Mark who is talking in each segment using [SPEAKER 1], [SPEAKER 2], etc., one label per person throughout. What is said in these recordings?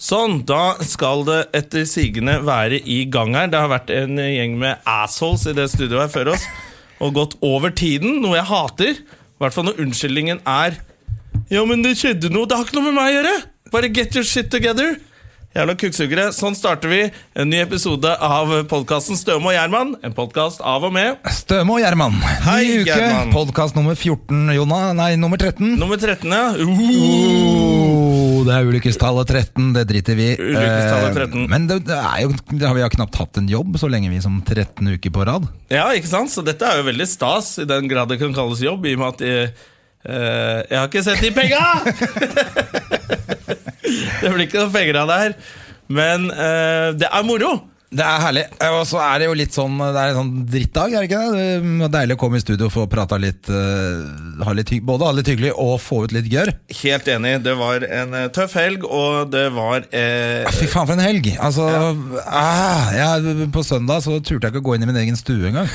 [SPEAKER 1] Sånn, da skal det etter sigende være i gang her. Det har vært en gjeng med assholes i det studioet her før oss og gått over tiden, noe jeg hater. I hvert fall når unnskyldningen er Ja, men det skjedde noe. Det har ikke noe med meg å gjøre. Bare get your shit together. Jævla kukksugere. Sånn starter vi en ny episode av podkasten Støme og Gjerman. En podkast av og med
[SPEAKER 2] Støme og Gjerman.
[SPEAKER 1] Hei,
[SPEAKER 2] Ny uke,
[SPEAKER 1] Gjerman.
[SPEAKER 2] podkast nummer 14, Jonna. Nei, nummer 13.
[SPEAKER 1] nummer 13. ja. Uh,
[SPEAKER 2] Oh, det er ulykkestallet 13, det driter vi i.
[SPEAKER 1] Ulykkestallet 13.
[SPEAKER 2] Eh, Men det, det er jo, det har vi har knapt hatt en jobb så lenge vi som 13 uker på rad.
[SPEAKER 1] Ja, ikke sant? Så dette er jo veldig stas, i den grad det kan kalles jobb, i og med at jeg, eh, jeg har ikke sett de penga! det blir ikke noen penger av det her. Men eh, det er moro!
[SPEAKER 2] Det er herlig. Eh, Og så er det jo litt sånn Det er en sånn drittdag, er det ikke det? det? er Deilig å komme i studio og få prata litt, eh, ha litt hygg- både ha det litt hyggelig og få ut litt gørr.
[SPEAKER 1] Helt enig. Det var en eh, tøff helg, og det var eh,
[SPEAKER 2] Ah, Fy faen, for en helg! Altså, ah, jeg, På søndag så turte jeg ikke å gå inn i min egen stue engang.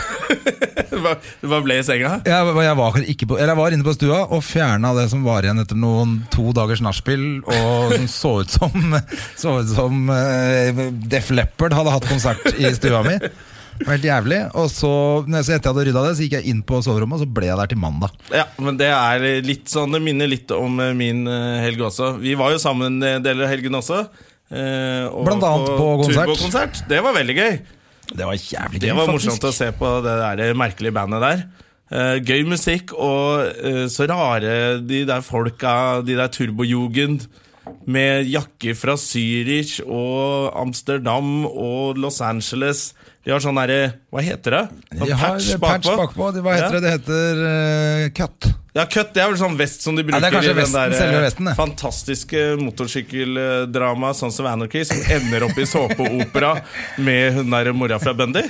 [SPEAKER 1] Hva hva ble i senga?
[SPEAKER 2] Jeg, jeg, var ikke på, eller jeg var inne på stua og fjerna det som var igjen etter noen to dagers nachspiel, og som så ut som, så ut som eh, Def Leppard hadde hatt konsert i stua mi. Det var Helt jævlig. Og så, når jeg- så etter jeg hadde rydda det, så gikk jeg inn på soverommet, og så ble jeg der til mandag.
[SPEAKER 1] Ja, men det er litt sånn Det minner litt om eh, min eh, helg også. Vi var jo sammen eh, deler av helgen også. eh, og
[SPEAKER 2] Blant annet på konsert.
[SPEAKER 1] turbokonsert. Det var veldig gøy.
[SPEAKER 2] Det var jævlig
[SPEAKER 1] Det var morsomt å se på det der merkelige bandet der. Eh, gøy musikk, og eh, så rare de der folka, de der turbojugend, med jakker fra Zürich og Amsterdam og Los Angeles. De har sånn derre Hva heter det? Sånn
[SPEAKER 2] De har patch bakpå. Det- Hva
[SPEAKER 1] ja.
[SPEAKER 2] heter det? Det heter eh, cut.
[SPEAKER 1] Ja, cut, det er vel sånn vest som de bruker
[SPEAKER 2] det er
[SPEAKER 1] i
[SPEAKER 2] kanskje
[SPEAKER 1] den
[SPEAKER 2] vesten,
[SPEAKER 1] der, eh,
[SPEAKER 2] selve vesten, det.
[SPEAKER 1] fantastiske motorsykkeldramaet Sons of Anarchy, som ender opp i såpeopera med hun derre mora fra Bundy.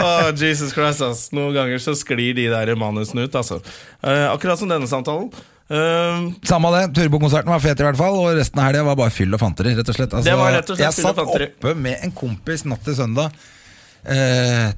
[SPEAKER 1] Å, Jesus Christ, ass. Noen ganger så sklir de der manusene ut, altså. Eh, akkurat som denne samtalen. Eh,
[SPEAKER 2] Samme av det, turbokonserten var fet i hvert fall, og resten av helga var bare fyll og fanteri. rett og slett. Altså,
[SPEAKER 1] Det var rett og slett
[SPEAKER 2] jeg
[SPEAKER 1] fyll og
[SPEAKER 2] satt
[SPEAKER 1] fanteri.
[SPEAKER 2] oppe med en kompis natt til søndag. Eh,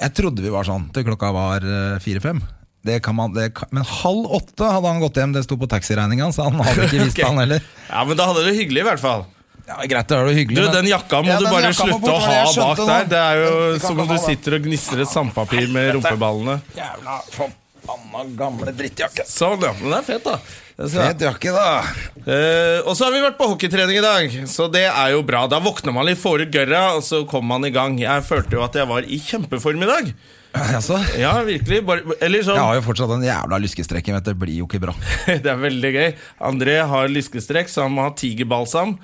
[SPEAKER 2] jeg trodde vi var sånn til klokka var eh, fire-fem. Det kan man, det kan, men halv åtte hadde han gått hjem, det sto på taxiregninga, så han hadde ikke visst
[SPEAKER 1] ok.
[SPEAKER 2] det, han heller.
[SPEAKER 1] Ja, men da hadde det hyggelig, i hvert fall.
[SPEAKER 2] Ja, greit, det var jo hyggelig
[SPEAKER 1] Du,
[SPEAKER 2] men-
[SPEAKER 1] Den jakka må
[SPEAKER 2] Ja,
[SPEAKER 1] du
[SPEAKER 2] den
[SPEAKER 1] bare
[SPEAKER 2] jakka må
[SPEAKER 1] slutte
[SPEAKER 2] bort,
[SPEAKER 1] å
[SPEAKER 2] ja,
[SPEAKER 1] ha
[SPEAKER 2] jeg
[SPEAKER 1] bak
[SPEAKER 2] skjønte
[SPEAKER 1] der.
[SPEAKER 2] det.
[SPEAKER 1] Det er jo
[SPEAKER 2] Den kan
[SPEAKER 1] som
[SPEAKER 2] ikke
[SPEAKER 1] om du
[SPEAKER 2] ha det.
[SPEAKER 1] sitter og gnisser et sandpapir med rumpeballene.
[SPEAKER 2] Jævla forbanna gamle drittjakke.
[SPEAKER 1] Sånn, ja. Men det er fett, da. Det skal jeg ha.
[SPEAKER 2] Fet jakke, da.
[SPEAKER 1] Eh, og så har vi vært på hockeytrening i dag, så det er jo bra. Da våkner man litt, får ut gørra, og så kommer man i gang. Jeg følte jo at jeg var i kjempeform i dag.
[SPEAKER 2] Altså, jeg
[SPEAKER 1] Ja, virkelig. Bare, eller sånn.
[SPEAKER 2] har jo fortsatt den jævla lyskestrekken, vet du. Det blir jo ikke bra.
[SPEAKER 1] Det er veldig gøy. André har lyskestrekk, så han må ha tigerbalsam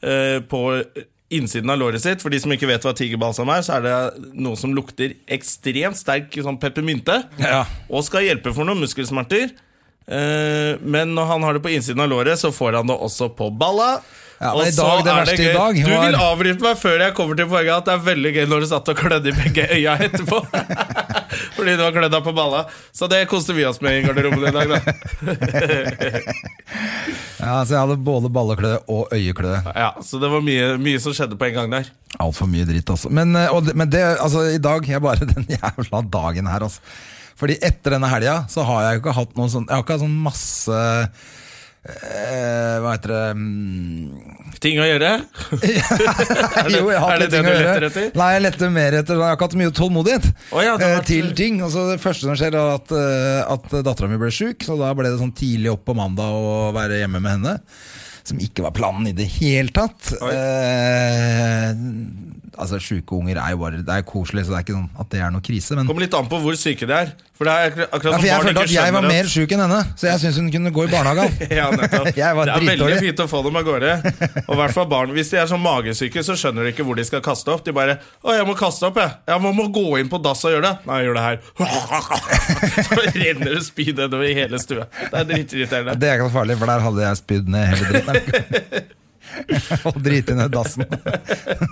[SPEAKER 1] eh, på innsiden av låret sitt. For de som ikke vet hva tigerbalsam er, så er det noe som lukter ekstremt sterk sånn peppermynte.
[SPEAKER 2] Ja.
[SPEAKER 1] Og skal hjelpe for noen muskelsmerter. Eh, men når han har det på innsiden av låret, så får han det også på balla.
[SPEAKER 2] Ja, men i
[SPEAKER 1] så
[SPEAKER 2] dag, det
[SPEAKER 1] er
[SPEAKER 2] verste i dag
[SPEAKER 1] Du
[SPEAKER 2] var-
[SPEAKER 1] vil avbryte meg før jeg kommer til poenget at det er veldig gøy når du satt og klødde i begge øya etterpå. Fordi du har klødda på balla. Så det koste vi oss med i garderoben i dag, da.
[SPEAKER 2] Ja, så jeg hadde både ballekløe og øyekløe.
[SPEAKER 1] Ja, så det var mye, mye som skjedde på en gang der.
[SPEAKER 2] Altfor mye dritt, altså. Men, eh, og, det- men det, altså, i dag er bare den jævla dagen her, altså. Fordi etter denne helga så har jeg jo ikke hatt noe sånn Jeg har ikke hatt sånn masse eh, Hva heter det mm,
[SPEAKER 1] Ting å gjøre?
[SPEAKER 2] Jo, jeg har
[SPEAKER 1] er det
[SPEAKER 2] hatt litt
[SPEAKER 1] det
[SPEAKER 2] ting
[SPEAKER 1] du
[SPEAKER 2] å
[SPEAKER 1] letter
[SPEAKER 2] gjøre.
[SPEAKER 1] etter?
[SPEAKER 2] Nei, jeg letter mer etter Jeg har ikke hatt mye tålmodighet
[SPEAKER 1] Å ja, du har
[SPEAKER 2] eh,
[SPEAKER 1] vært-
[SPEAKER 2] til ting. Og så Det første som skjer, er at, eh, at dattera mi ble sjuk, så da ble det sånn tidlig opp på mandag å være hjemme med henne. Som ikke var planen i det hele tatt.
[SPEAKER 1] Oi.
[SPEAKER 2] Eh, altså, sjuke unger er jo bare Det er koselig, så det er ikke sånn at det er noe krise. Men
[SPEAKER 1] Kommer litt an på hvor syke de er. For det er akkur- akkurat
[SPEAKER 2] ja,
[SPEAKER 1] som
[SPEAKER 2] for jeg
[SPEAKER 1] barn ikke
[SPEAKER 2] følte at jeg var
[SPEAKER 1] skjønner
[SPEAKER 2] mer sjuk enn henne, så jeg syns hun kunne gå i barnehagen.
[SPEAKER 1] ja, nettopp.
[SPEAKER 2] Jeg var
[SPEAKER 1] det er veldig
[SPEAKER 2] dritdårlig.
[SPEAKER 1] fint å få dem av gårde. Og i hvert fall barn Hvis de er sånn magesyke, så skjønner de ikke hvor de skal kaste opp. De bare 'Å, jeg må kaste opp, jeg. Jeg må, må gå inn på dass og gjøre det.' 'Nei, jeg gjør det her.' Så renner det spy nedover i hele stua. Det er dritirriterende.
[SPEAKER 2] Det er ikke så farlig, for der hadde jeg spydd ned hele dritten. Og driti ned dassen.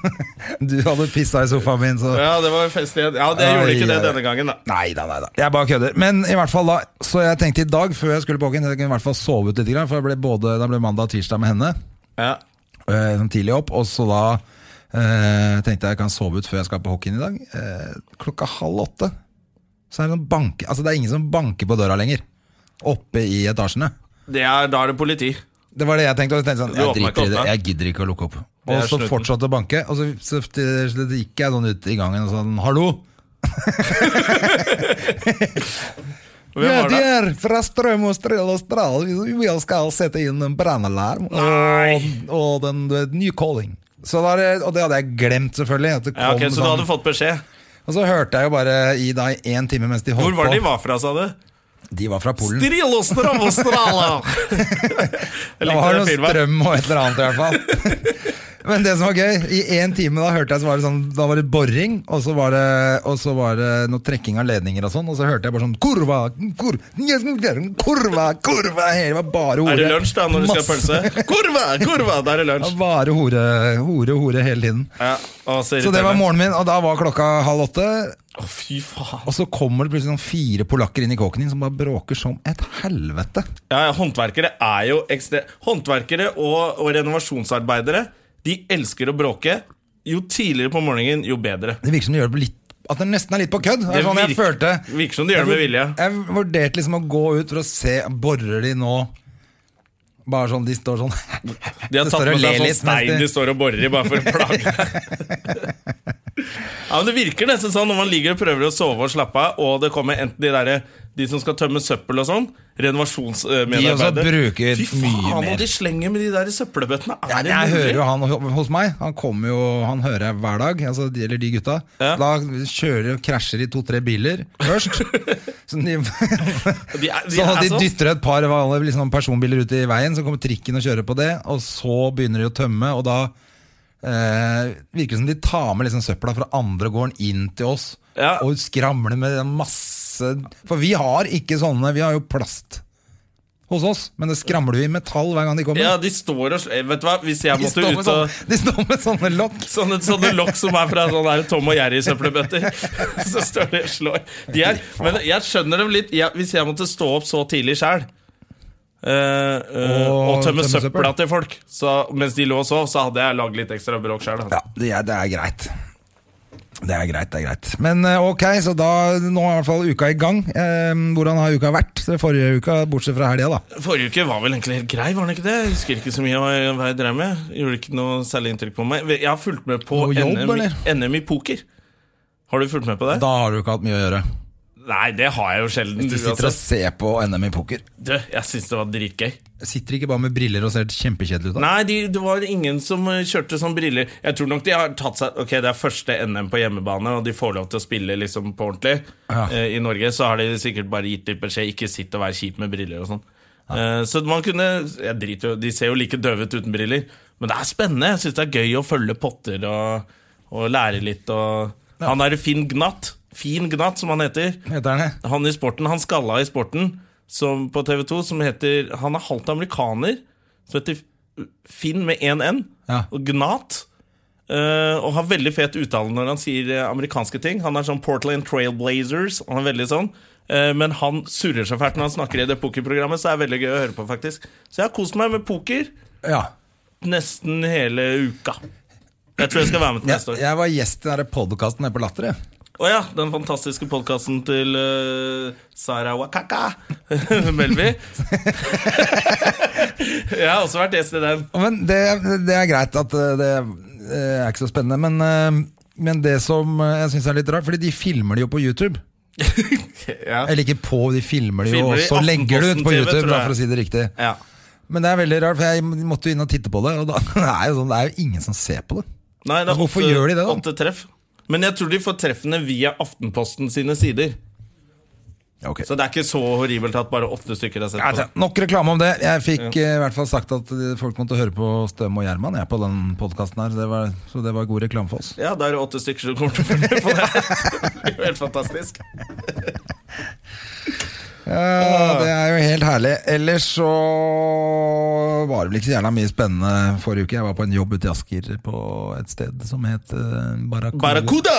[SPEAKER 2] Du hadde pissa i sofaen min, så
[SPEAKER 1] Ja, det var fest igjen. Ja, det gjorde ikke det denne gangen, da.
[SPEAKER 2] Nei da, nei da. Jeg bare kødder. Men i hvert fall da, så jeg tenkte i dag, før jeg skulle på Håken, jeg kunne i hvert fall sove ut litt, grann, for jeg ble både, det ble mandag og tirsdag med henne.
[SPEAKER 1] Ja.
[SPEAKER 2] eh, sånn tidlig opp, og så da eh, tenkte jeg jeg kan sove ut før jeg skal på hockeyen i dag. Eh, klokka halv åtte så er det noen banke, altså det er ingen som banker på døra lenger. Oppe i etasjene.
[SPEAKER 1] Det er, da er det politi.
[SPEAKER 2] Det var det jeg tenkte. Og jeg tenkte sånn,
[SPEAKER 1] Du
[SPEAKER 2] jeg
[SPEAKER 1] åpner ikke
[SPEAKER 2] driter i
[SPEAKER 1] opp,
[SPEAKER 2] det.
[SPEAKER 1] nei.
[SPEAKER 2] Jeg gidder ikke å lukke opp.
[SPEAKER 1] Det
[SPEAKER 2] Og
[SPEAKER 1] er
[SPEAKER 2] så
[SPEAKER 1] slutten.
[SPEAKER 2] fortsatte å banke. Og så, så til slutt gikk jeg sånn ut i gangen og sånn Hallo!
[SPEAKER 1] Hvem
[SPEAKER 2] Ja,
[SPEAKER 1] var
[SPEAKER 2] de
[SPEAKER 1] det?
[SPEAKER 2] er fra Strøm og Strøl og Stral. Vi skal sette inn en brannalarm og,
[SPEAKER 1] Nei.
[SPEAKER 2] og den du vet, nye calling. Så da, er det- og det hadde jeg glemt, selvfølgelig. At det kom
[SPEAKER 1] Ja, ok, så du
[SPEAKER 2] sånn-
[SPEAKER 1] hadde fått beskjed?
[SPEAKER 2] Og så hørte jeg jo bare i da i én time mens de
[SPEAKER 1] Hvor
[SPEAKER 2] holdt
[SPEAKER 1] var
[SPEAKER 2] på.
[SPEAKER 1] det de var fra, sa du?
[SPEAKER 2] De var fra Polen.
[SPEAKER 1] Strilostralostrala! Jeg
[SPEAKER 2] Det
[SPEAKER 1] likte
[SPEAKER 2] var
[SPEAKER 1] den
[SPEAKER 2] noe
[SPEAKER 1] filmen.
[SPEAKER 2] strøm og et eller annet i hvert fall. Men det som var gøy, i én time da hørte jeg så var det sånn Da var det boring, og så var det, og så var det noe trekking av ledninger og sånn, og så hørte jeg bare sånn Kurva, kur, kurva, kurva Det var bare hore.
[SPEAKER 1] Er det lunsj da, når du skal ha
[SPEAKER 2] Masse-
[SPEAKER 1] pølse? Kurva, kurva, da er det
[SPEAKER 2] Det
[SPEAKER 1] lunsj.
[SPEAKER 2] var Bare hore, hore, hore hele tiden.
[SPEAKER 1] Ja, å, så,
[SPEAKER 2] Så det var
[SPEAKER 1] irriterende.
[SPEAKER 2] morgenen min, og da var klokka halv åtte.
[SPEAKER 1] Å, fy faen.
[SPEAKER 2] Og så kommer det plutselig sånn fire polakker inn i kåken din som bare bråker som et helvete.
[SPEAKER 1] Ja, ja, håndverkere er jo ekstre... Håndverkere og, og renovasjonsarbeidere, de elsker å bråke. Jo tidligere på morgenen, jo bedre.
[SPEAKER 2] Det virker som de gjør det på litt At det nesten er litt på kødd. Det er
[SPEAKER 1] Det
[SPEAKER 2] sånn jeg
[SPEAKER 1] virker-
[SPEAKER 2] følte
[SPEAKER 1] virker som de gjør det med vilje.
[SPEAKER 2] Jeg vurderte liksom å gå ut for å se Borer de nå Bare sånn, de står sånn
[SPEAKER 1] De har
[SPEAKER 2] Det
[SPEAKER 1] tatt
[SPEAKER 2] står og
[SPEAKER 1] med seg
[SPEAKER 2] ler
[SPEAKER 1] sånn
[SPEAKER 2] litt mens
[SPEAKER 1] stein
[SPEAKER 2] de-
[SPEAKER 1] de står og borer i, bare for å plage deg. Ja, men Det virker nesten sånn når man ligger og prøver å sove og slappe av, og det kommer enten de derre de som skal tømme søppel og sånn, renovasjonsmedarbeidere
[SPEAKER 2] De også bruker
[SPEAKER 1] Fy faen,
[SPEAKER 2] mye mer.
[SPEAKER 1] og de slenger med de der søppelbøttene. Er
[SPEAKER 2] Ja,
[SPEAKER 1] det
[SPEAKER 2] jeg
[SPEAKER 1] mulig?
[SPEAKER 2] hører jo han ho- hos meg. Han kommer jo, han hører jeg hver dag. Altså, de, eller de gutta.
[SPEAKER 1] Ja.
[SPEAKER 2] Da kjører og krasjer de to-tre biler først. så de,
[SPEAKER 1] De er- de
[SPEAKER 2] så
[SPEAKER 1] er
[SPEAKER 2] de
[SPEAKER 1] sånn.
[SPEAKER 2] dytter et par vanlige liksom, personbiler ut i veien, så kommer trikken og kjører på det. Og så begynner de å tømme, og da eh, virker det som de tar med liksom, søpla fra andre gården inn til oss.
[SPEAKER 1] Ja.
[SPEAKER 2] Og skramler med en masse For vi har ikke sånne, vi har jo plast. Hos oss, Men det skramler vi i metall hver gang de kommer.
[SPEAKER 1] Ja, de står og sl- Eh, Vet du hva, hvis jeg
[SPEAKER 2] De
[SPEAKER 1] måtte
[SPEAKER 2] står, sånn med
[SPEAKER 1] ut og
[SPEAKER 2] sånne, de står med sånne lokk.
[SPEAKER 1] Sånne, sånne lokk som er fra sånne der Tom og Jerry-søppelbøtter. Så står de og slår. De er, men jeg skjønner dem litt. Jeg, hvis jeg måtte stå opp så tidlig sjæl og,
[SPEAKER 2] Og
[SPEAKER 1] tømme
[SPEAKER 2] tømme søppel.
[SPEAKER 1] søpla til folk så, mens de lå og sov, så hadde jeg lagd litt ekstra bråk sjæl.
[SPEAKER 2] Ja, det er, det er greit. Det er greit, det er greit. Men eh, ok, så da, nå er i hvert fall uka i gang. Eh, hvordan har uka vært? Så Forrige uka, bortsett fra helga, da.
[SPEAKER 1] Forrige uke var vel egentlig helt grei, var den ikke det? Jeg husker ikke så mye hva jeg, hva jeg drev med. Gjorde ikke noe særlig inntrykk på meg. Jeg har fulgt med på
[SPEAKER 2] Noe jobb,
[SPEAKER 1] NM, i-
[SPEAKER 2] eller?
[SPEAKER 1] NM i poker. Har du fulgt med på det?
[SPEAKER 2] Da har du ikke hatt mye å gjøre.
[SPEAKER 1] Nei, det har jeg jo sjelden.
[SPEAKER 2] Du sitter og
[SPEAKER 1] uansett.
[SPEAKER 2] ser på NM i poker.
[SPEAKER 1] Du, jeg syns det var dritgøy.
[SPEAKER 2] Sitter ikke bare med briller og ser kjempekjedelig ut? da?
[SPEAKER 1] Nei, de, det var ingen som eh, kjørte sånn briller. Jeg tror nok de har tatt seg Ok, det er første NM på hjemmebane, og de får lov til å spille liksom på ordentlig.
[SPEAKER 2] Ja.
[SPEAKER 1] Eh, I Norge så har de sikkert bare gitt litt beskjed ikke sitt og vær kjip med briller og sånn. Eh, så man kunne Jeg driter jo, de ser jo like døve ut uten briller, men det er spennende. Jeg syns det er gøy å følge potter og, og lære litt og Han er Finn Gnatt. Fin Gnatt, som han heter
[SPEAKER 2] Heter han det?
[SPEAKER 1] han i sporten, han skalla i sporten som, på TV 2, som heter Han er halvt amerikaner, som heter Finn med én N,
[SPEAKER 2] Ja.
[SPEAKER 1] og Gnat. eh, og har veldig fet uttale når han sier eh, amerikanske ting. Han er sånn Portland Trailblazers. Han er veldig sånn Eh, Men han surrer så fælt når han snakker i det pokerprogrammet, så det er veldig gøy å høre på, faktisk. Så jeg har kost meg med poker
[SPEAKER 2] Ja.
[SPEAKER 1] nesten hele uka. Jeg tror jeg skal være med til neste
[SPEAKER 2] Jeg,
[SPEAKER 1] år.
[SPEAKER 2] jeg var gjest i den podkasten nede på Latter. jeg.
[SPEAKER 1] Å ja, den fantastiske podkasten til eh, Sara Wakaka Melby. jeg har også vært gjest i den.
[SPEAKER 2] Men det, det er greit at eh, det eh, er ikke så spennende. Men, eh, men det som eh, jeg syns er litt rart, fordi de filmer det jo på YouTube.
[SPEAKER 1] Ja.
[SPEAKER 2] Eller ikke på, de filmer det jo,
[SPEAKER 1] Filmer
[SPEAKER 2] og
[SPEAKER 1] de
[SPEAKER 2] så legger du ut på
[SPEAKER 1] Aftenposten-TV,
[SPEAKER 2] YouTube,
[SPEAKER 1] tror
[SPEAKER 2] da,
[SPEAKER 1] jeg.
[SPEAKER 2] for å si det riktig.
[SPEAKER 1] ja.
[SPEAKER 2] Men det er veldig rart, for jeg måtte jo inn og titte på det, og da det er jo sånn, det er jo ingen som ser på det.
[SPEAKER 1] Nei, det er
[SPEAKER 2] Hvorfor gjør de det da?
[SPEAKER 1] Åtte treff. Men jeg tror de får treffene via Aftenposten sine sider.
[SPEAKER 2] Ok.
[SPEAKER 1] Så det er ikke så horribelt at bare åtte stykker har sett
[SPEAKER 2] Ja,
[SPEAKER 1] på.
[SPEAKER 2] så Nok reklame om det. Jeg fikk eh, i hvert fall sagt at eh, folk måtte høre på Støm og Gjerman jeg, på den podkasten her, så det, var, så det var god reklame for oss.
[SPEAKER 1] Ja, da er det åtte stykker som kommer til å følge med på det. det er jo helt fantastisk.
[SPEAKER 2] Ja, det er jo helt herlig. Ellers så var det vel ikke så jævla mye spennende forrige uke. Jeg var på en jobb ute i Asker på et sted som het eh, Barracuda.
[SPEAKER 1] Barracuda!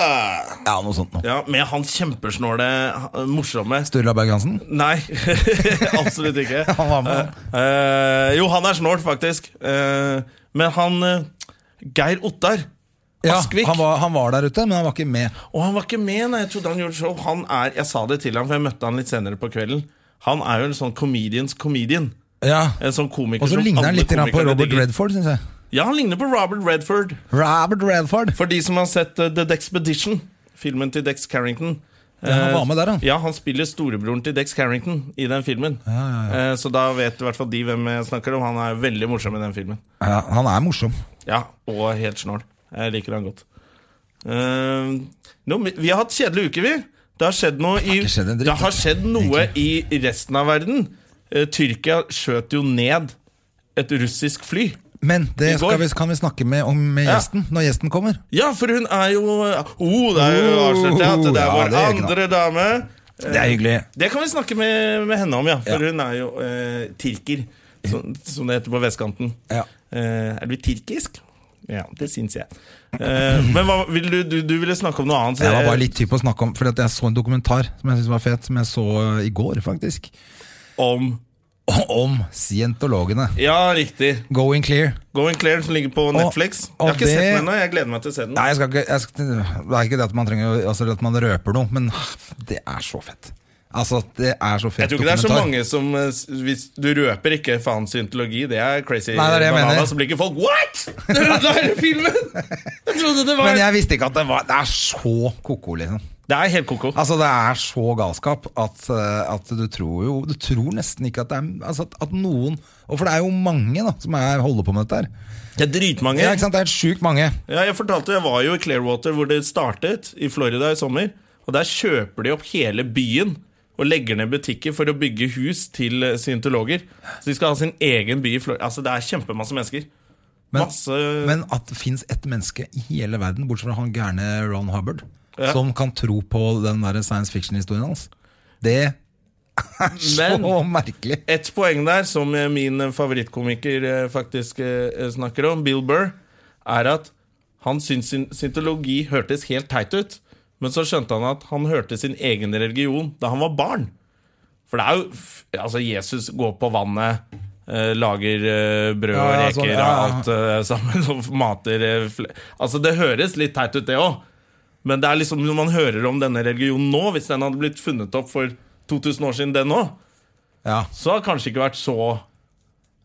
[SPEAKER 2] Ja, noe sånt noe.
[SPEAKER 1] Ja, med han kjempesnåle, han- morsomme
[SPEAKER 2] Sturla Berg-Hansen.
[SPEAKER 1] Nei, absolutt ikke.
[SPEAKER 2] Han var med.
[SPEAKER 1] Eh, eh, jo, han er snål, faktisk. Eh, men han eh, Geir Ottar
[SPEAKER 2] Ja,
[SPEAKER 1] Askvik.
[SPEAKER 2] han var, han var der ute, men han var ikke med.
[SPEAKER 1] Og han var ikke med når jeg trodde han gjorde show. Han er, Jeg sa det til ham, for jeg møtte han litt senere på kvelden. Han er jo en sånn comedians comedian.
[SPEAKER 2] Ja.
[SPEAKER 1] En sånn komiker
[SPEAKER 2] Og så
[SPEAKER 1] som
[SPEAKER 2] ligner han
[SPEAKER 1] alle
[SPEAKER 2] litt grann på
[SPEAKER 1] komikere
[SPEAKER 2] Robert
[SPEAKER 1] digger.
[SPEAKER 2] Redford, syns jeg.
[SPEAKER 1] Ja, han ligner på Robert Redford.
[SPEAKER 2] Robert Redford!
[SPEAKER 1] For de som har sett eh, The Dexpedition, filmen til Dex Carrington.
[SPEAKER 2] Ja, han
[SPEAKER 1] eh,
[SPEAKER 2] var med der, han.
[SPEAKER 1] Ja, han spiller storebroren til Dex Carrington i den filmen. Eh, Så da vet i hvert fall de hvem jeg snakker om. Han er veldig morsom i den filmen.
[SPEAKER 2] Ja, han er morsom.
[SPEAKER 1] Ja, og helt snål. Jeg liker han godt. Eh, nå, vi har hatt kjedelige uker, vi. Det har skjedd noe i
[SPEAKER 2] ikke skjedd en dritt,
[SPEAKER 1] Det har skjedd noe i resten av verden. Eh, Tyrkia skjøt jo ned et russisk fly.
[SPEAKER 2] Men
[SPEAKER 1] I
[SPEAKER 2] det
[SPEAKER 1] går.
[SPEAKER 2] skal vi, kan vi snakke med om med
[SPEAKER 1] Ja.
[SPEAKER 2] gjesten når gjesten kommer.
[SPEAKER 1] Ja, for hun er jo oh, det er jo
[SPEAKER 2] Oh,
[SPEAKER 1] avslørt ja, at det er
[SPEAKER 2] ja,
[SPEAKER 1] vår
[SPEAKER 2] det er ikke
[SPEAKER 1] andre dame.
[SPEAKER 2] Det er hyggelig.
[SPEAKER 1] Det kan vi snakke med, med henne om, ja. For
[SPEAKER 2] Ja.
[SPEAKER 1] hun er jo eh, tirker, som, som det heter på vestkanten.
[SPEAKER 2] Ja.
[SPEAKER 1] Eh, er du tirkisk? Ja, det syns jeg. Eh, men hva, vil du, du, du ville snakke om noe annet? så
[SPEAKER 2] Det var
[SPEAKER 1] jeg-
[SPEAKER 2] bare litt typ å snakke om, Fordi at jeg så en dokumentar som jeg synes var fet, som jeg så eh, i går, faktisk.
[SPEAKER 1] Om
[SPEAKER 2] Om scientologene.
[SPEAKER 1] Ja, riktig.
[SPEAKER 2] Going clear.
[SPEAKER 1] Going Clear, som ligger på Netflix. jeg
[SPEAKER 2] og
[SPEAKER 1] har ikke
[SPEAKER 2] det-
[SPEAKER 1] sett den ennå. Jeg gleder meg til å se den.
[SPEAKER 2] Nei, jeg skal ikke, jeg skal, det er ikke det at man trenger å- Altså det at man røper noe, men det er så fett. Altså, det er så fett
[SPEAKER 1] Jeg tror ikke det er så
[SPEAKER 2] dokumentar.
[SPEAKER 1] mange som eh, s- hvis Du røper ikke faen syntologi. Det er crazy.
[SPEAKER 2] Nei, det er det jeg
[SPEAKER 1] Banana,
[SPEAKER 2] mener.
[SPEAKER 1] Så blir ikke folk What?! Det er den der filmen! Jeg trodde det var
[SPEAKER 2] Men jeg visste ikke at det var Det er så ko-ko, liksom.
[SPEAKER 1] Det er helt koko.
[SPEAKER 2] Altså Det er så galskap at, eh, at du tror jo Du tror nesten ikke at det er altså, at, at noen Og for det er jo mange da som er, holder på med dette her.
[SPEAKER 1] Det er dritmange.
[SPEAKER 2] Ja, ikke sant? Det er helt sjukt mange.
[SPEAKER 1] Ja, jeg fortalte jeg var jo i Clearwater, hvor det startet, i Florida i sommer. Og der kjøper de opp hele byen og legger ned butikker for å bygge hus til eh, scientologer. Så de skal ha sin egen by i Florida. Altså, det er kjempemasse mennesker.
[SPEAKER 2] Men-
[SPEAKER 1] masse
[SPEAKER 2] Men at det fins ett menneske i hele verden, bortsett fra han gærne Ron Hubbard,
[SPEAKER 1] Ja.
[SPEAKER 2] som kan tro på den der science fiction-historien hans, det er så
[SPEAKER 1] Men-
[SPEAKER 2] merkelig.
[SPEAKER 1] Ett poeng der, som eh, min eh, favorittkomiker eh, faktisk eh, snakker om, Bill Burr, er at han syntes sin- syntologi hørtes helt teit ut. Men så skjønte han at han hørte sin egen religion da han var barn. For det er jo f- Altså, Jesus går på vannet, eh, lager eh, brød og
[SPEAKER 2] Ja, ja,
[SPEAKER 1] reker
[SPEAKER 2] sånn, ja, ja.
[SPEAKER 1] og alt eh, sammen, og mater eh, fl- Altså, det høres litt teit ut, det òg. Men det er liksom når man hører om denne religionen nå, hvis den hadde blitt funnet opp for 2000 år siden, den òg
[SPEAKER 2] Ja.
[SPEAKER 1] så har det kanskje ikke vært så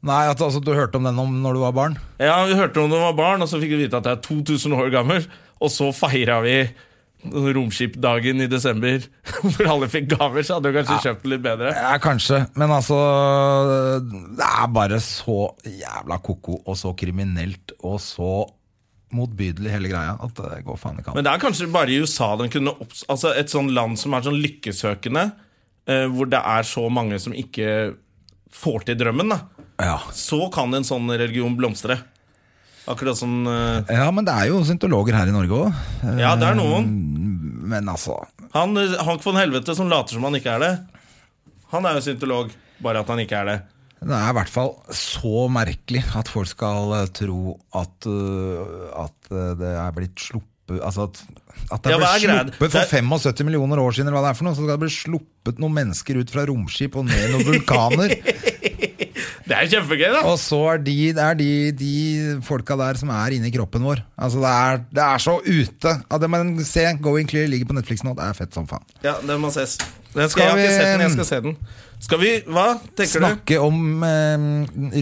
[SPEAKER 2] Nei, at, altså, du hørte om den om når du var barn?
[SPEAKER 1] Ja, vi hørte om det var barn, og så fikk vi vite at det er 2000 år gammel, og så feira vi romskipdagen i desember, hvor alle fikk gaver, så hadde vi kanskje kjøpt det litt bedre.
[SPEAKER 2] Ja, kanskje. Men altså Det er bare så jævla ko-ko og så kriminelt og så motbydelig hele greia at det går faen ikke an.
[SPEAKER 1] Men det er kanskje bare i USA den kunne opps... Altså et sånn land som er sånn lykkesøkende, eh, hvor det er så mange som ikke får til drømmen, da.
[SPEAKER 2] Ja.
[SPEAKER 1] Så kan en sånn religion blomstre. Akkurat som eh,
[SPEAKER 2] ja, men det er jo syntologer her i Norge òg.
[SPEAKER 1] Ja, det er noen.
[SPEAKER 2] Men altså
[SPEAKER 1] Han eh, Hank von Helvete som later som han ikke er det. Han er jo syntolog, bare at han ikke er det.
[SPEAKER 2] Det er i hvert fall så merkelig at folk skal eh, tro at, øh, at eh, det er blitt sluppet Altså at, at det
[SPEAKER 1] Ja,
[SPEAKER 2] ble
[SPEAKER 1] hva er greia?
[SPEAKER 2] sluppet
[SPEAKER 1] Det
[SPEAKER 2] for
[SPEAKER 1] er-
[SPEAKER 2] 75 millioner år siden, eller hva det er for noe, så skal det bli sluppet noen mennesker ut fra romskip og ned i noen vulkaner.
[SPEAKER 1] Det er kjempegøy, da!
[SPEAKER 2] Og så er de, det er de, de folka der som er inni kroppen vår. Altså Det er, det er så ute. Ja, det, men se, Going Clear ligger på Netflix nå. Det er fett som faen.
[SPEAKER 1] Ja, Den må ses. Den skal,
[SPEAKER 2] Skal
[SPEAKER 1] jeg har ikke
[SPEAKER 2] vi-
[SPEAKER 1] sett den, jeg skal se den. Skal vi Hva tenker du?
[SPEAKER 2] Snakke om eh,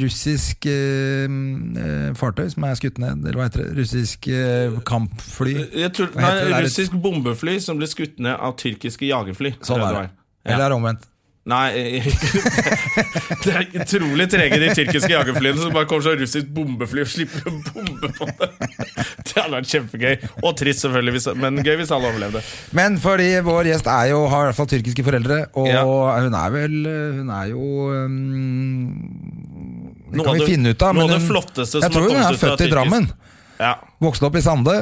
[SPEAKER 2] russisk eh, eh, fartøy som er skutt ned, eller hva heter det? Russisk eh, kampfly.
[SPEAKER 1] Jeg tror,
[SPEAKER 2] Hva
[SPEAKER 1] nei,
[SPEAKER 2] heter det der?
[SPEAKER 1] russisk bombefly som ble skutt ned av tyrkiske jagerfly.
[SPEAKER 2] Sånn
[SPEAKER 1] tror jeg
[SPEAKER 2] er det.
[SPEAKER 1] det var.
[SPEAKER 2] Eller er det omvendt?
[SPEAKER 1] Nei eh, Det er utrolig trege, de tyrkiske jagerflyene som bare kommer sånn russisk bombefly og slipper en bombe på det. Det hadde vært kjempegøy. Og trist, selvfølgelig, hvis, men gøy hvis alle overlevde.
[SPEAKER 2] Men fordi vår gjest er jo, har i hvert fall tyrkiske foreldre, og
[SPEAKER 1] Ja.
[SPEAKER 2] hun er vel Hun er jo eh, Det
[SPEAKER 1] Noe
[SPEAKER 2] kan
[SPEAKER 1] av
[SPEAKER 2] vi
[SPEAKER 1] det-
[SPEAKER 2] finne ut av.
[SPEAKER 1] noe av
[SPEAKER 2] men
[SPEAKER 1] det
[SPEAKER 2] hun-
[SPEAKER 1] flotteste som har
[SPEAKER 2] Jeg tror hun
[SPEAKER 1] kommet
[SPEAKER 2] er
[SPEAKER 1] ut av
[SPEAKER 2] født i
[SPEAKER 1] tyrkisk-
[SPEAKER 2] Drammen.
[SPEAKER 1] Ja.
[SPEAKER 2] Vokste opp i Sande.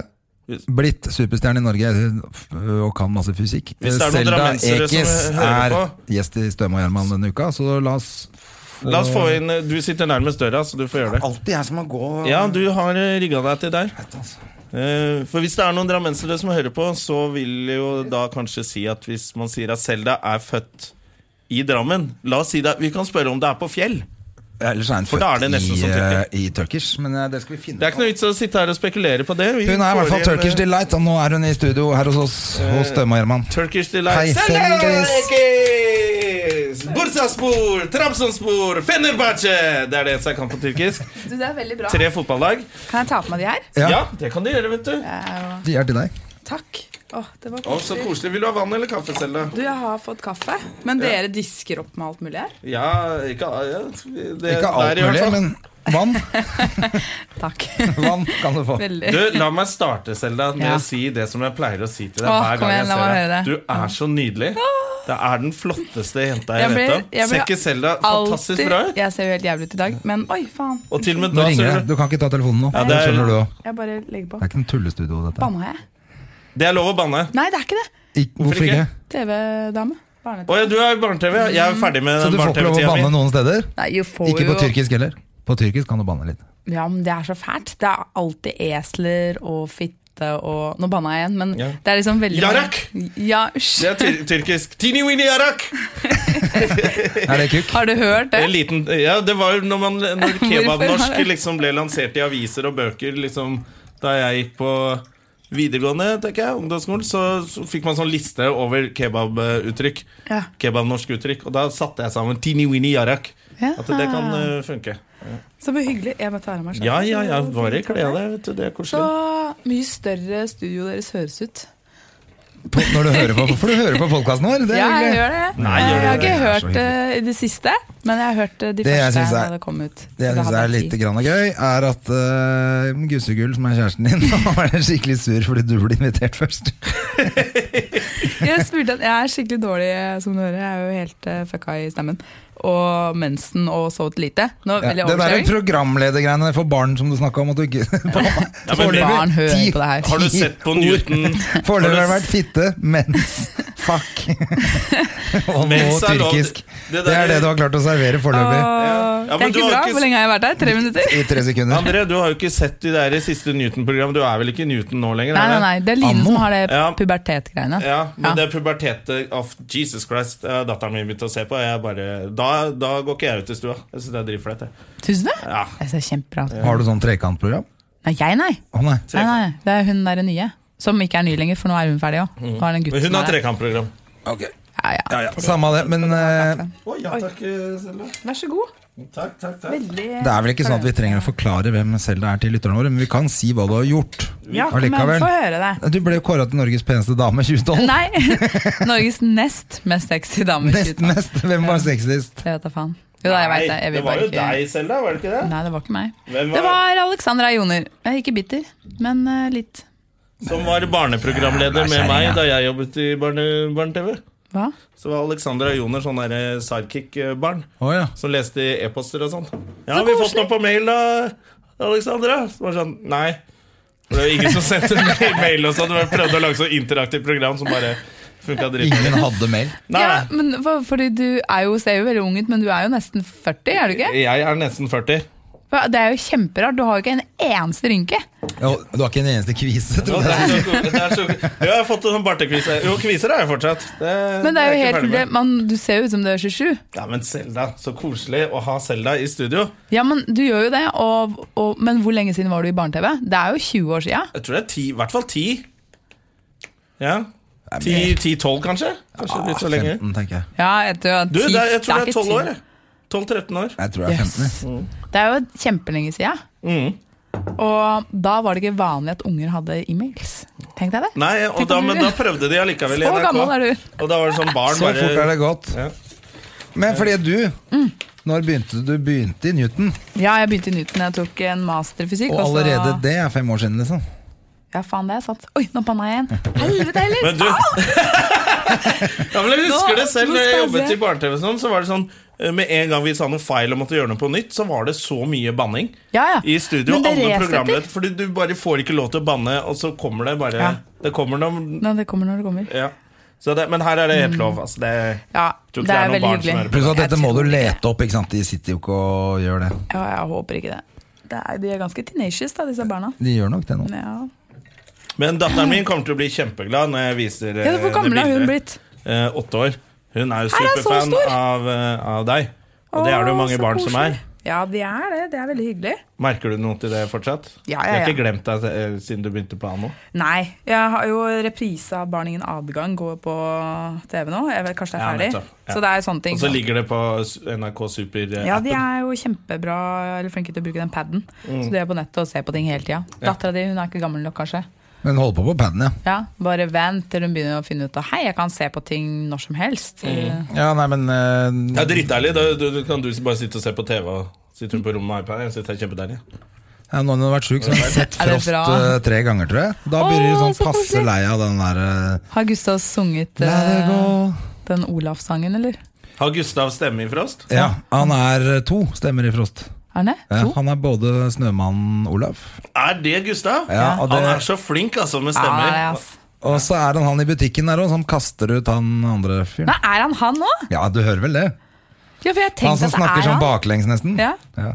[SPEAKER 1] Hvis-
[SPEAKER 2] Blitt superstjerne i Norge f- og kan masse fysikk.
[SPEAKER 1] Hvis det er noen
[SPEAKER 2] Selda
[SPEAKER 1] drammensere som
[SPEAKER 2] Ekiz
[SPEAKER 1] hører
[SPEAKER 2] er
[SPEAKER 1] på.
[SPEAKER 2] gjest i Støme og Gjerman denne uka, så la oss
[SPEAKER 1] La oss få inn eh, Du sitter nærmest døra, så du får gjøre det.
[SPEAKER 2] Alltid jeg som må gå
[SPEAKER 1] Ja, du har rigga deg til der.
[SPEAKER 2] altså.
[SPEAKER 1] Eh, For hvis det er noen drammensere som hører på, så vil jeg jo da kanskje si at hvis man sier at Selda er født i Drammen La oss si det, Vi kan spørre om det er på fjell.
[SPEAKER 2] Ellers er hun
[SPEAKER 1] For
[SPEAKER 2] født
[SPEAKER 1] da er det nesten
[SPEAKER 2] i,
[SPEAKER 1] som
[SPEAKER 2] eh, i Turkish, men eh, det skal vi
[SPEAKER 1] Det
[SPEAKER 2] finne
[SPEAKER 1] er ikke noe vits å sitte her og spekulere på det. Vi
[SPEAKER 2] Hun er i hvert fall
[SPEAKER 1] får en,
[SPEAKER 2] Turkish
[SPEAKER 1] eh,
[SPEAKER 2] Delight, og nå er hun i studio her hos oss, hos Støme og Gjerman.
[SPEAKER 1] Turkish
[SPEAKER 2] Hei,
[SPEAKER 1] Delight.
[SPEAKER 2] Seldis!
[SPEAKER 1] Seldis! Bursaspor, Trabzonspor, Fenerbahçe! Det er det eneste jeg kan på tyrkisk.
[SPEAKER 3] Du, det er veldig bra.
[SPEAKER 1] Tre fotballag.
[SPEAKER 3] Kan jeg ta på meg de her?
[SPEAKER 1] Ja.
[SPEAKER 2] Ja.
[SPEAKER 1] det kan du gjøre, vet du.
[SPEAKER 3] Det er jo-
[SPEAKER 2] De er til deg.
[SPEAKER 3] Takk. Åh, det var
[SPEAKER 1] Å, så
[SPEAKER 3] koselig.
[SPEAKER 1] koselig. Vil du ha vann eller kaffe, Selda?
[SPEAKER 3] Du, jeg har fått kaffe, men dere disker opp med alt mulig her?
[SPEAKER 1] Ja, ikke, ja, det,
[SPEAKER 2] Ikke alt
[SPEAKER 1] Eh, der i hvert
[SPEAKER 2] mulig,
[SPEAKER 1] fall.
[SPEAKER 2] men vann.
[SPEAKER 3] Takk.
[SPEAKER 2] Vann kan du få.
[SPEAKER 3] Veldig.
[SPEAKER 1] Du, La meg starte Selda, med
[SPEAKER 3] Ja.
[SPEAKER 1] å si det som jeg pleier å si til deg.
[SPEAKER 3] Åh,
[SPEAKER 1] hver
[SPEAKER 3] kom
[SPEAKER 1] gang
[SPEAKER 3] igjen,
[SPEAKER 1] jeg
[SPEAKER 3] la
[SPEAKER 1] ser
[SPEAKER 3] meg høre.
[SPEAKER 1] deg Du er så nydelig. Det er den flotteste jenta jeg,
[SPEAKER 3] Jeg blir-
[SPEAKER 1] vet om.
[SPEAKER 3] jeg blir
[SPEAKER 1] Ser ikke Selda fantastisk bra ut?
[SPEAKER 3] Jeg ser jo helt jævlig ut i dag, men oi, faen.
[SPEAKER 1] Og til og med
[SPEAKER 2] Nå
[SPEAKER 1] da
[SPEAKER 2] ringer
[SPEAKER 1] ser
[SPEAKER 2] jeg. Du kan ikke ta telefonen nå.
[SPEAKER 1] Ja,
[SPEAKER 2] det,
[SPEAKER 1] det er-
[SPEAKER 2] skjønner du også.
[SPEAKER 3] Jeg bare legger på.
[SPEAKER 2] det er ikke en tullestudio, dette.
[SPEAKER 3] Banna jeg?
[SPEAKER 1] du Det er lov å banne.
[SPEAKER 3] Nei, det er ikke det.
[SPEAKER 2] Ik hvorfor
[SPEAKER 1] ikke?
[SPEAKER 2] ikke?
[SPEAKER 3] TV-dame. Barne-TV.
[SPEAKER 1] Å ja, du er barne-TV. ja. Jeg er ferdig med
[SPEAKER 2] Så du
[SPEAKER 1] den
[SPEAKER 2] får ikke lov å banne
[SPEAKER 1] barne-TV-tida mi.
[SPEAKER 2] noen steder?
[SPEAKER 3] Nei, jo, får
[SPEAKER 2] Ikke på
[SPEAKER 3] jo-
[SPEAKER 2] tyrkisk heller. På tyrkisk kan du banne litt.
[SPEAKER 3] Ja, men det er så fælt. Det er alltid esler og fitte og Nå banna jeg igjen, men
[SPEAKER 1] Ja.
[SPEAKER 3] det er liksom veldig
[SPEAKER 1] Jarak!
[SPEAKER 3] Ja, hysj.
[SPEAKER 1] Det er tyr tyrkisk. Tini Winnie Arak!
[SPEAKER 2] Er det kukk?
[SPEAKER 3] Har du hørt
[SPEAKER 1] En
[SPEAKER 3] det?
[SPEAKER 1] liten, ja, det var jo når, man- når
[SPEAKER 3] Hvorfor
[SPEAKER 1] kebabnorsk
[SPEAKER 3] har det?
[SPEAKER 1] liksom ble lansert i aviser og bøker liksom, da jeg gikk på videregående, tenker jeg, ungdomsskolen, så, så fikk man sånn liste over kebabuttrykk.
[SPEAKER 3] Ja.
[SPEAKER 1] Kebabnorsk uttrykk. Og da satte jeg sammen Tini Winnie Jarak.
[SPEAKER 3] Ja.
[SPEAKER 1] At det
[SPEAKER 3] Ah.
[SPEAKER 1] kan eh, funke.
[SPEAKER 3] Så hyggelig. Jeg må ta av meg skjerfet.
[SPEAKER 1] Ja, ja, ja. Bare kle av deg, vet du. Det er
[SPEAKER 3] Så
[SPEAKER 1] koselig.
[SPEAKER 3] mye større studio deres høres ut.
[SPEAKER 2] På- Når du hører på, for du hører på podkasten vår. Det
[SPEAKER 3] Ja,
[SPEAKER 2] er
[SPEAKER 3] jeg
[SPEAKER 2] hyggelig.
[SPEAKER 3] gjør det.
[SPEAKER 1] Nei,
[SPEAKER 3] jeg
[SPEAKER 1] gjør
[SPEAKER 3] har
[SPEAKER 1] det.
[SPEAKER 3] ikke
[SPEAKER 2] Det er så
[SPEAKER 3] hørt det i det siste, men jeg har hørt eh, de
[SPEAKER 2] Det jeg
[SPEAKER 3] første
[SPEAKER 2] synes er-
[SPEAKER 3] da det kom ut.
[SPEAKER 2] Det jeg
[SPEAKER 3] Da
[SPEAKER 2] syns
[SPEAKER 3] hadde
[SPEAKER 2] er
[SPEAKER 3] jeg
[SPEAKER 2] litt
[SPEAKER 3] ti.
[SPEAKER 2] grann gøy, er at uh, Gussegull, som er kjæresten din, nå er skikkelig sur fordi du ble invitert først.
[SPEAKER 3] Jeg spurte at jeg er skikkelig dårlig, eh, som du hører. Jeg er jo helt eh, fucka i stemmen. Og mensen og sovet lite. Nå
[SPEAKER 2] Ja,
[SPEAKER 3] vil jeg
[SPEAKER 2] det der
[SPEAKER 3] overkjøring.
[SPEAKER 2] programledergreiene for barn som du snakka om at du ikke
[SPEAKER 1] Ja, men
[SPEAKER 2] Foreløpig
[SPEAKER 3] barn hører
[SPEAKER 2] ti-
[SPEAKER 3] på det her.
[SPEAKER 1] Har du sett på Newton?
[SPEAKER 2] Foreløpig har det
[SPEAKER 1] Har
[SPEAKER 2] vært fitte, mens fuck. Og nå
[SPEAKER 1] Mens er lov-
[SPEAKER 2] tyrkisk.
[SPEAKER 1] Det
[SPEAKER 2] Det er det du
[SPEAKER 1] der,
[SPEAKER 2] har klart å servere foreløpig.
[SPEAKER 3] Åh,
[SPEAKER 1] Ja, men
[SPEAKER 3] det er
[SPEAKER 1] du
[SPEAKER 3] ikke
[SPEAKER 1] har
[SPEAKER 3] bra.
[SPEAKER 1] ikke-
[SPEAKER 3] Hvor lenge har jeg vært her? Tre minutter?
[SPEAKER 2] I tre sekunder.
[SPEAKER 1] André, du har jo ikke sett de der siste Newton-programmet. Du er vel ikke Newton nå lenger?
[SPEAKER 3] Nei,
[SPEAKER 1] er det?
[SPEAKER 3] nei, nei. Det er Line
[SPEAKER 2] Anno?
[SPEAKER 3] som har det
[SPEAKER 1] Ja.
[SPEAKER 3] pubertetgreiene.
[SPEAKER 1] Ja, men
[SPEAKER 3] Ja.
[SPEAKER 1] det pubertete of Jesus Christ eh, datteren min begynte å se på. og Jeg bare, da, da går ikke jeg ut i stua. Jeg synes det er dritflaut. jeg.
[SPEAKER 3] Tusen takk.
[SPEAKER 1] Ja.
[SPEAKER 3] Jeg ser kjempebra ut.
[SPEAKER 2] Har du sånn trekantprogram?
[SPEAKER 3] Nei, jeg, nei.
[SPEAKER 2] Å nei.
[SPEAKER 3] nei, nei. Det er hun derre nye. Som ikke er ny lenger, for nå er hun ferdig òg. Nå er det en gutt
[SPEAKER 1] Mhm. Men hun
[SPEAKER 3] som
[SPEAKER 1] har
[SPEAKER 3] er der.
[SPEAKER 1] trekantprogram.
[SPEAKER 3] Ja, ja.
[SPEAKER 1] Ja, ja.
[SPEAKER 2] Samme av det, men eh,
[SPEAKER 1] Å, ja, takk, eh, Selda.
[SPEAKER 3] Vær så god.
[SPEAKER 1] Takk, takk, takk.
[SPEAKER 3] Veldig
[SPEAKER 2] det er vel ikke sånn at vi trenger å forklare hvem Selda er til lytterne våre, men vi kan si hva du har gjort.
[SPEAKER 3] Ja,
[SPEAKER 2] Allikevel.
[SPEAKER 3] men få høre det.
[SPEAKER 2] Du ble jo kåra til Norges peneste dame i 2012.
[SPEAKER 3] Nei! Norges nest mest sexy dame. i
[SPEAKER 2] Nest
[SPEAKER 3] 2012.
[SPEAKER 2] mest. Hvem var sexist?
[SPEAKER 3] Jeg vet da faen. Jo da, jeg vet det.
[SPEAKER 1] Nei, det
[SPEAKER 3] Jeg vil
[SPEAKER 1] var
[SPEAKER 3] bare
[SPEAKER 1] jo
[SPEAKER 3] ikke
[SPEAKER 1] deg, Selda, var det ikke det?
[SPEAKER 3] Nei, det var ikke meg.
[SPEAKER 1] Hvem var-
[SPEAKER 3] Det var Alexandra Joner. Jeg er ikke bitter, men eh, litt.
[SPEAKER 1] Som var barneprogramleder med meg da jeg jobbet i barne- barne-TV.
[SPEAKER 3] Hva?
[SPEAKER 1] Så var Alexandra Joner sånn der sidekick-barn
[SPEAKER 2] Å ja.
[SPEAKER 1] som leste i e-poster og sånn. Ja,
[SPEAKER 3] Så
[SPEAKER 1] har vi fått
[SPEAKER 3] koselig.
[SPEAKER 1] noe på mail da, Alexandra? Så var det sånn, nei. For det var ingen som sendte mail, mail og sånn. Vi prøvde å lage så interaktivt program som bare funka dritbra.
[SPEAKER 2] Ingen hadde mail.
[SPEAKER 1] Nei,
[SPEAKER 3] Ja,
[SPEAKER 1] nei.
[SPEAKER 3] men for, fordi du er jo, ser jo veldig ung ut, men du er jo nesten 40, er du ikke?
[SPEAKER 1] Jeg er nesten 40.
[SPEAKER 3] For Det er jo kjemperart. Du har jo ikke en eneste rynke.
[SPEAKER 2] Jo, du har ikke en eneste kvise,
[SPEAKER 1] Å,
[SPEAKER 2] tror
[SPEAKER 1] det
[SPEAKER 2] jeg.
[SPEAKER 1] er så ko- det er så ko- Jo, jeg har fått en sånn bartekvise. Jo, kviser har jeg fortsatt. Det,
[SPEAKER 3] Men det er jo
[SPEAKER 1] jeg ikke
[SPEAKER 3] helt
[SPEAKER 1] ferdig med.
[SPEAKER 3] det- man, Du ser jo ut som du er 27.
[SPEAKER 1] Ja, men Selda. Så koselig å ha Selda i studio.
[SPEAKER 3] Ja, men du gjør jo det. Og, og, men hvor lenge siden var du i barne-TV? Det er jo 20 år sia.
[SPEAKER 1] Jeg tror det er ti, i hvert fall ti. Ja. Ti-tolv, kanskje? Kanskje litt så lenge.
[SPEAKER 2] 15, tenker jeg.
[SPEAKER 3] Ja, jeg tror,
[SPEAKER 1] Du, det er, jeg tror det er
[SPEAKER 3] ikke
[SPEAKER 1] tolv
[SPEAKER 3] 10.
[SPEAKER 1] år. jeg. 12-13 år.
[SPEAKER 2] Jeg tror jeg er 15. jeg.
[SPEAKER 3] Yes. Mm. Det er jo kjempelenge siden.
[SPEAKER 1] Mm.
[SPEAKER 3] Og da var det ikke vanlig at unger hadde e-mails. Tenk deg det.
[SPEAKER 1] Nei, og
[SPEAKER 3] Tenk
[SPEAKER 1] da,
[SPEAKER 3] om du-
[SPEAKER 1] men da prøvde de allikevel i
[SPEAKER 3] Så
[SPEAKER 1] NRK.
[SPEAKER 3] gammel er du.
[SPEAKER 1] Og da var det sånn barn
[SPEAKER 2] Så fort er
[SPEAKER 1] bare
[SPEAKER 2] det gått.
[SPEAKER 1] Ja.
[SPEAKER 2] Men fordi du Når begynte du? Du begynte i Newton,
[SPEAKER 3] Ja, jeg begynte i Newton. Jeg tok en master i fysikk.
[SPEAKER 2] og
[SPEAKER 3] så-
[SPEAKER 2] allerede det er fem år siden, liksom.
[SPEAKER 3] Ja, faen, det er sant. Oi, nå banna jeg igjen. Helvete heller!
[SPEAKER 1] Men du Ja, men jeg husker
[SPEAKER 3] Nå-
[SPEAKER 1] det selv.
[SPEAKER 3] nå
[SPEAKER 1] Når jeg
[SPEAKER 3] skal jeg
[SPEAKER 1] jobbet
[SPEAKER 3] se.
[SPEAKER 1] i barne-TV, og sånn, så var det sånn eh, med en gang vi sa noe feil og måtte gjøre noe på nytt, så var det så mye banning
[SPEAKER 3] Ja, ja.
[SPEAKER 1] i studio.
[SPEAKER 3] Men det
[SPEAKER 1] Alle
[SPEAKER 3] resetter.
[SPEAKER 1] programleder Fordi du bare får ikke lov til å banne, og så kommer det bare
[SPEAKER 3] Ja.
[SPEAKER 1] Det kommer noen
[SPEAKER 3] Nei, det kommer når det kommer.
[SPEAKER 1] Ja. Så det, men her er det
[SPEAKER 3] Mm.
[SPEAKER 1] helt lov. Altså, det,
[SPEAKER 3] Ja,
[SPEAKER 1] Tror ikke
[SPEAKER 3] det er
[SPEAKER 1] det er noen
[SPEAKER 3] veldig
[SPEAKER 1] barn som er
[SPEAKER 3] hyggelig.
[SPEAKER 1] på.
[SPEAKER 2] Pluss at
[SPEAKER 3] Jeg
[SPEAKER 2] dette må du
[SPEAKER 3] tror ikke
[SPEAKER 2] lete opp, ikke sant. De sitter jo ikke og gjør det.
[SPEAKER 3] Ja, jeg håper ikke det. det er, de er ganske tenacious, da, disse barna.
[SPEAKER 2] De gjør nok det nå.
[SPEAKER 3] Ja,
[SPEAKER 1] Men datteren min kommer til å bli kjempeglad når jeg viser
[SPEAKER 3] ja Hvor gammel har hun blitt?
[SPEAKER 1] eh, åtte år. Hun er jo
[SPEAKER 3] Er han så
[SPEAKER 1] superfan
[SPEAKER 3] stor?
[SPEAKER 1] av, eh, av deg. Og det
[SPEAKER 3] Å,
[SPEAKER 1] er det jo mange
[SPEAKER 3] så
[SPEAKER 1] barn som
[SPEAKER 3] koselig.
[SPEAKER 1] er.
[SPEAKER 3] Ja, de er det. Det er veldig hyggelig.
[SPEAKER 1] Merker du noe til det fortsatt?
[SPEAKER 3] Ja, ja,
[SPEAKER 1] Jeg har
[SPEAKER 3] ja.
[SPEAKER 1] ikke glemt deg eh, siden du begynte på Anno.
[SPEAKER 3] Nei. Jeg har jo reprise av Barn ingen adgang går på TV nå. Jeg vet, kanskje det
[SPEAKER 1] Ja,
[SPEAKER 3] er ferdig.
[SPEAKER 1] nettopp. Ja.
[SPEAKER 3] Så det er sånne ting.
[SPEAKER 1] Og så ligger det på s- NRK eh, Super-appen.
[SPEAKER 3] ja, de er jo kjempebra eller flinke til å bruke den paden. Så de er på nettet og ser på ting hele tida.
[SPEAKER 1] Mm. Ja.
[SPEAKER 3] Dattera di hun er ikke gammel nok, kanskje.
[SPEAKER 2] Men hold på på paden, ja.
[SPEAKER 3] Ja, Bare vent til hun begynner å finne ut av Hei, jeg kan se på ting når som helst.
[SPEAKER 1] Mm.
[SPEAKER 2] Ja, nei, men eh,
[SPEAKER 1] Det er dritdeilig. Da du, du, kan du bare sitte og se på TV. Og sitter hun på rommet med iPad? Jeg synes det er kjempedeilig.
[SPEAKER 2] ja, Nå har hun vært sjuk, så hun har sett
[SPEAKER 3] Er det
[SPEAKER 2] Frost
[SPEAKER 3] bra?
[SPEAKER 2] eh, tre ganger, tror jeg. Da blir
[SPEAKER 3] Åh,
[SPEAKER 2] hun sånn
[SPEAKER 3] så
[SPEAKER 2] passe
[SPEAKER 3] koselig.
[SPEAKER 2] lei av den der eh,
[SPEAKER 3] Har Gustav sunget
[SPEAKER 2] La det
[SPEAKER 3] eh,
[SPEAKER 2] gå
[SPEAKER 3] den Olaf-sangen, eller?
[SPEAKER 1] Har Gustav stemme i Frost?
[SPEAKER 2] Ja, han er eh, to stemmer i Frost.
[SPEAKER 3] Er han det?
[SPEAKER 2] Ja,
[SPEAKER 3] To?
[SPEAKER 2] han er både snømannen Olaf
[SPEAKER 1] Er det Gustav?
[SPEAKER 2] Ja, og
[SPEAKER 1] Han
[SPEAKER 2] det-
[SPEAKER 1] er så flink altså med
[SPEAKER 3] Ja,
[SPEAKER 1] stemmer.
[SPEAKER 3] det er Ah, ass.
[SPEAKER 2] Og så er han han i butikken der òg, som kaster ut han andre fyren.
[SPEAKER 3] Nei, er han han òg?
[SPEAKER 2] Ja, du hører vel det?
[SPEAKER 3] Ja, for jeg
[SPEAKER 2] Han
[SPEAKER 3] tenkte
[SPEAKER 2] som
[SPEAKER 3] at det er
[SPEAKER 2] snakker sånn
[SPEAKER 3] han.
[SPEAKER 2] baklengs, nesten.
[SPEAKER 3] Ja.
[SPEAKER 2] Ja.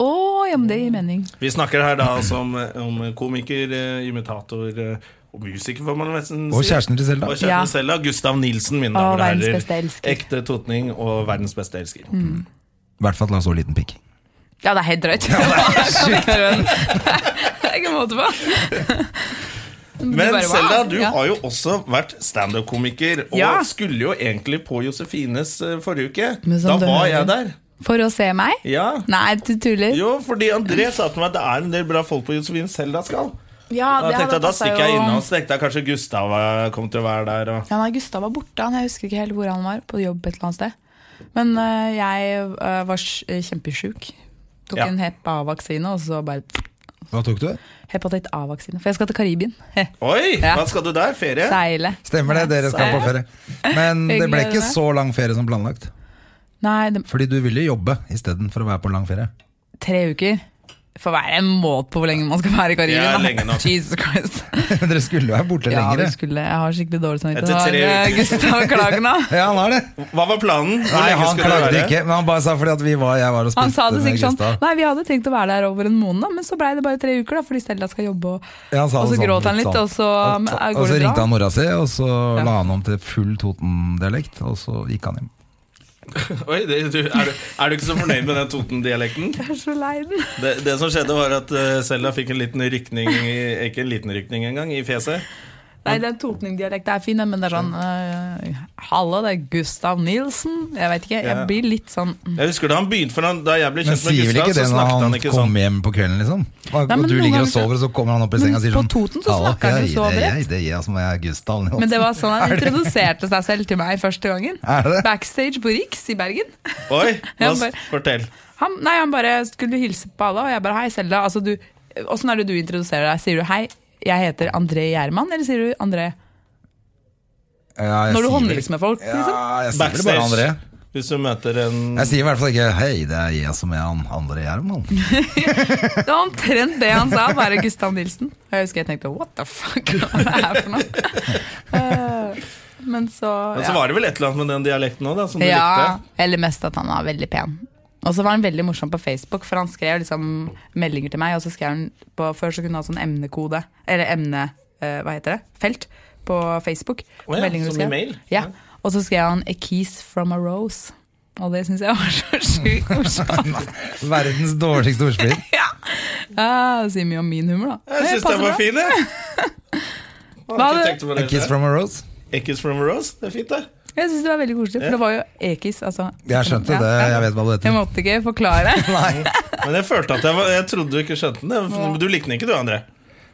[SPEAKER 3] Å, ja, men det gir mening.
[SPEAKER 1] Vi snakker her da altså om, om komiker, eh, imitator eh, og musiker, får man nesten si.
[SPEAKER 2] Og kjæresten til Selda.
[SPEAKER 1] Og kjæresten
[SPEAKER 3] Ja.
[SPEAKER 1] selv, da. Gustav Nilsen, mine damer og
[SPEAKER 3] Og verdens
[SPEAKER 1] herrer.
[SPEAKER 3] beste elsker. Mm.
[SPEAKER 1] Ekte totning og verdens beste elsker.
[SPEAKER 2] I hvert fall la så liten pikk.
[SPEAKER 3] Ja, det er helt drøyt. det er ikke måte på. Du
[SPEAKER 1] Men
[SPEAKER 3] bare, wow.
[SPEAKER 1] Selda, du
[SPEAKER 3] Ja.
[SPEAKER 1] har jo også vært standup-komiker, og
[SPEAKER 3] Ja.
[SPEAKER 1] skulle jo egentlig på Josefines eh, forrige uke.
[SPEAKER 3] Men
[SPEAKER 1] Da
[SPEAKER 3] som du
[SPEAKER 1] var
[SPEAKER 3] hører.
[SPEAKER 1] jeg der.
[SPEAKER 3] For å se meg?
[SPEAKER 1] Ja.
[SPEAKER 3] Nei, du tuller.
[SPEAKER 1] Jo, fordi André sa til meg at det er en del bra folk på Josefines Selda skal.
[SPEAKER 3] Ja,
[SPEAKER 1] Da tenkte jeg, da
[SPEAKER 3] passet
[SPEAKER 1] stikker jeg
[SPEAKER 3] jo-
[SPEAKER 1] innom, så tenkte jeg kanskje Gustav eh, kom til å være der. Og...
[SPEAKER 3] Ja, nei, Gustav var borte, han, jeg husker ikke helt hvor han var, på jobb et eller annet sted. Men øh, jeg øh, var sj- øh, kjempesjuk. Tok
[SPEAKER 1] Ja.
[SPEAKER 3] en Hep A-vaksine, og så bare
[SPEAKER 2] Hva tok du?
[SPEAKER 3] hepatitt A-vaksine. For jeg skal til Karibien. Heh,
[SPEAKER 1] Oi,
[SPEAKER 3] Ja.
[SPEAKER 1] hva skal du der? Ferie?
[SPEAKER 3] Seile.
[SPEAKER 2] Stemmer det, dere skal på ferie. Men det ble ikke så lang ferie som planlagt.
[SPEAKER 3] Nei, det,
[SPEAKER 2] Fordi du ville jobbe istedenfor å være på lang ferie.
[SPEAKER 3] tre uker. Får være en måte på hvor lenge man skal være i Karibien.
[SPEAKER 1] Ja,
[SPEAKER 3] da.
[SPEAKER 1] lenge nok.
[SPEAKER 3] Jesus Christ.
[SPEAKER 2] Men dere skulle jo være borte
[SPEAKER 3] Ja,
[SPEAKER 2] lenger.
[SPEAKER 3] vi skulle, jeg har skikkelig dårlig samvittighet.
[SPEAKER 1] Etter
[SPEAKER 3] Har,
[SPEAKER 1] tre
[SPEAKER 3] øh,
[SPEAKER 1] uker.
[SPEAKER 3] Gustav klagen da.
[SPEAKER 2] Ja, han har det.
[SPEAKER 1] Hva var planen? Hvor
[SPEAKER 2] Nei,
[SPEAKER 1] lenge
[SPEAKER 2] han
[SPEAKER 1] skulle du
[SPEAKER 2] klagde
[SPEAKER 1] være?
[SPEAKER 2] ikke, men han bare sa fordi at vi var, jeg var og
[SPEAKER 3] Han sa
[SPEAKER 2] spilte
[SPEAKER 3] det
[SPEAKER 2] med
[SPEAKER 3] sikkert sånn.
[SPEAKER 2] Gustav.
[SPEAKER 3] Nei, vi hadde tenkt å være der over en måned, men så blei det bare tre uker, da, fordi Stella skal jobbe og
[SPEAKER 2] Ja, han sa
[SPEAKER 3] Og
[SPEAKER 2] det
[SPEAKER 3] så
[SPEAKER 2] sånn,
[SPEAKER 3] gråt han litt,
[SPEAKER 2] sånn.
[SPEAKER 3] og så
[SPEAKER 2] Og-
[SPEAKER 3] men,
[SPEAKER 2] og-
[SPEAKER 3] går
[SPEAKER 2] og så
[SPEAKER 3] det
[SPEAKER 2] ringte
[SPEAKER 3] bra?
[SPEAKER 2] han mora si, og så
[SPEAKER 3] Ja.
[SPEAKER 2] la han om til full Toten-dialekt, og så gikk han hjem.
[SPEAKER 1] Oi, det, du, er, du, er du ikke så fornøyd med den Toten-dialekten?
[SPEAKER 3] Jeg er så lei den.
[SPEAKER 1] Det, det som skjedde, var at eh, Selda fikk en liten rykning i- Ikke en liten rykning engang, i fjeset.
[SPEAKER 3] Nei, den totningdialekten er fin, men det er sånn øh, Hallo, det er Gustav Nilsen. Jeg vet ikke, jeg
[SPEAKER 1] Ja.
[SPEAKER 3] blir litt sånn mm.
[SPEAKER 1] Jeg husker Da han begynte for han, Da jeg ble
[SPEAKER 2] Men
[SPEAKER 1] kjent med
[SPEAKER 2] sier
[SPEAKER 1] Gustav,
[SPEAKER 2] vel ikke det
[SPEAKER 1] så
[SPEAKER 2] når
[SPEAKER 1] snakket
[SPEAKER 2] han
[SPEAKER 1] han ikke sånn.
[SPEAKER 2] kommer hjem på kvelden, liksom? Og,
[SPEAKER 3] Nei, men
[SPEAKER 2] og du
[SPEAKER 3] noen
[SPEAKER 2] ligger og
[SPEAKER 3] ganger så-
[SPEAKER 2] sover, og så kommer han opp i
[SPEAKER 3] Men
[SPEAKER 2] senga og sier
[SPEAKER 3] på
[SPEAKER 2] sånn
[SPEAKER 3] Toten så
[SPEAKER 2] «Hallo,
[SPEAKER 3] snakker han jo
[SPEAKER 2] jeg-
[SPEAKER 3] så
[SPEAKER 2] det-
[SPEAKER 3] bredt.»
[SPEAKER 2] jeg- Det er jeg som er Gustav Nilsen.
[SPEAKER 3] Men det var sånn han introduserte seg selv til meg første gangen.
[SPEAKER 2] Er det det?
[SPEAKER 3] Backstage på Riks i Bergen.
[SPEAKER 1] Oi, hva,
[SPEAKER 3] Ja, bare-
[SPEAKER 1] fortell.
[SPEAKER 3] Han, nei, han bare skulle hilse på alle, og jeg bare Hei, Selda. Altså, du Åssen er det du introduserer deg? Sier du hei, jeg heter André Gjerman, eller sier du André?
[SPEAKER 2] Ja, jeg
[SPEAKER 3] Når du
[SPEAKER 2] sier vel-
[SPEAKER 3] håndhilser med folk, liksom?
[SPEAKER 2] Ja, jeg sier vel bare André.
[SPEAKER 1] Backstage. Hvis du møter en
[SPEAKER 2] Jeg sier i hvert fall ikke 'hei, det er jeg som er han andre Gjerman'.
[SPEAKER 3] Det var omtrent det han sa, bare Gustav Nilsen. Og jeg husker jeg tenkte what the fuck, hva er det her for noe? Eh, Men så
[SPEAKER 1] Men så var det vel et eller annet med den dialekten òg, da, som du
[SPEAKER 3] ja,
[SPEAKER 1] likte?
[SPEAKER 3] eller mest at han var veldig pen. Og så var han veldig morsom på Facebook, for han skrev liksom meldinger til meg. Og så skrev han på, Før så kunne han ha sånn emnekode, eller emne... eh, hva heter det? Felt på Facebook.
[SPEAKER 1] Å ja,
[SPEAKER 3] Meldinger du
[SPEAKER 1] som
[SPEAKER 3] skrev.
[SPEAKER 1] i mail?
[SPEAKER 3] Ja. Og så skrev han 'A kiss from a rose'. Og det syns jeg var så sjukt morsomt.
[SPEAKER 2] Verdens dårligste ordspill.
[SPEAKER 3] Ja, det sier mye om min humor, da.
[SPEAKER 1] Jeg
[SPEAKER 3] Men
[SPEAKER 1] syns den
[SPEAKER 3] passer
[SPEAKER 1] var
[SPEAKER 3] bra.
[SPEAKER 1] fin, jeg. Har
[SPEAKER 3] Hva
[SPEAKER 1] ikke
[SPEAKER 3] hadde-
[SPEAKER 1] tenkt på
[SPEAKER 2] A
[SPEAKER 1] det.
[SPEAKER 2] kiss from a rose.
[SPEAKER 1] A kiss from a rose? Det er fint, det.
[SPEAKER 3] Jeg syns det var veldig koselig, for det var jo E-kiss. Altså.
[SPEAKER 2] Jeg skjønte det, jeg vet hva det
[SPEAKER 3] Jeg
[SPEAKER 2] heter.
[SPEAKER 3] måtte ikke forklare.
[SPEAKER 1] Men jeg følte at jeg, var, jeg trodde du ikke skjønte den. Men Du likte den ikke, du, André.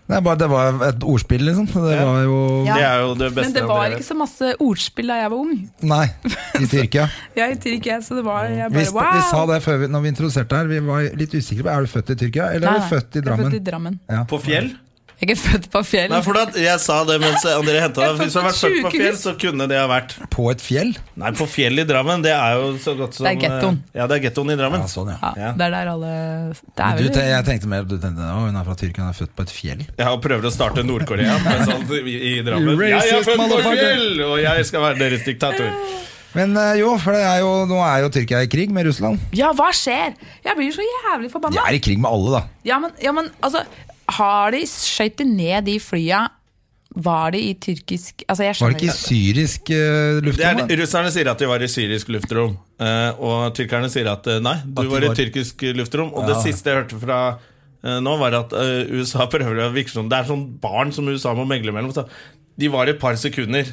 [SPEAKER 2] Det, er bare, det var et ordspill, liksom. Det
[SPEAKER 1] Ja.
[SPEAKER 2] var jo
[SPEAKER 3] Ja.
[SPEAKER 1] Det er jo det beste
[SPEAKER 3] Men det
[SPEAKER 1] André
[SPEAKER 3] var
[SPEAKER 1] vet.
[SPEAKER 3] ikke så masse ordspill da jeg var ung.
[SPEAKER 2] Nei, i Tyrkia.
[SPEAKER 3] Jeg gir ikke, så det var jeg
[SPEAKER 2] Vi,
[SPEAKER 3] bare
[SPEAKER 2] sp
[SPEAKER 3] wow.
[SPEAKER 2] vi sa det før vi, når vi introduserte her. Vi var litt usikre på Er du født i Tyrkia, eller er
[SPEAKER 3] Nei,
[SPEAKER 2] du født i Drammen?
[SPEAKER 3] Jeg er født i Drammen.
[SPEAKER 2] Ja.
[SPEAKER 1] På fjell?
[SPEAKER 3] Jeg er ikke født på fjell.
[SPEAKER 1] Nei, for da, jeg sa det mens André hentet
[SPEAKER 3] Jeg
[SPEAKER 1] deg.
[SPEAKER 3] fant
[SPEAKER 1] Hvis du hadde vært
[SPEAKER 3] et
[SPEAKER 1] født på fjell,
[SPEAKER 3] sykehus.
[SPEAKER 1] så kunne det ha vært
[SPEAKER 2] På et fjell?
[SPEAKER 1] Nei, på fjell i Drammen, det er jo så godt som
[SPEAKER 3] Det er gettoen.
[SPEAKER 1] eh, Ja, det er gettoen i Drammen.
[SPEAKER 2] Ja, sånn, ja.
[SPEAKER 3] ja,
[SPEAKER 1] Ja.
[SPEAKER 3] Det er der alle Det er
[SPEAKER 2] Du,
[SPEAKER 3] vel
[SPEAKER 2] te- jeg tenkte mer du tenkte, å, hun er fra Tyrkia, hun er født på et fjell.
[SPEAKER 1] Jeg har prøvd å starte Nord-Korea men sånn, i, i Drammen.
[SPEAKER 2] Racist
[SPEAKER 1] Jeg er født på
[SPEAKER 2] motherfucker.
[SPEAKER 1] fjell, og jeg skal være deres diktator.
[SPEAKER 2] Men eh, jo, for det er jo, nå er jo Tyrkia i krig med Russland.
[SPEAKER 3] Ja, hva skjer? Jeg blir så jævlig
[SPEAKER 2] De
[SPEAKER 3] forbanna.
[SPEAKER 2] er i krig med alle, da.
[SPEAKER 3] Ja, men, ja, men altså Har de skøyter ned de flya Var de i tyrkisk Altså, jeg
[SPEAKER 2] Var
[SPEAKER 3] skjønner
[SPEAKER 2] det ikke i syrisk eh,
[SPEAKER 1] Det er,
[SPEAKER 2] luftrom? da?
[SPEAKER 1] russerne sier at de var i syrisk luftrom, eh, og tyrkerne sier at eh, nei, du
[SPEAKER 2] At de
[SPEAKER 1] var i
[SPEAKER 2] var-
[SPEAKER 1] tyrkisk luftrom. Og det
[SPEAKER 2] Ja.
[SPEAKER 1] siste jeg hørte fra eh, nå, var at eh, USA prøver å virke som Det er sånn barn som USA må megle mellom. Så de var et par sekunder.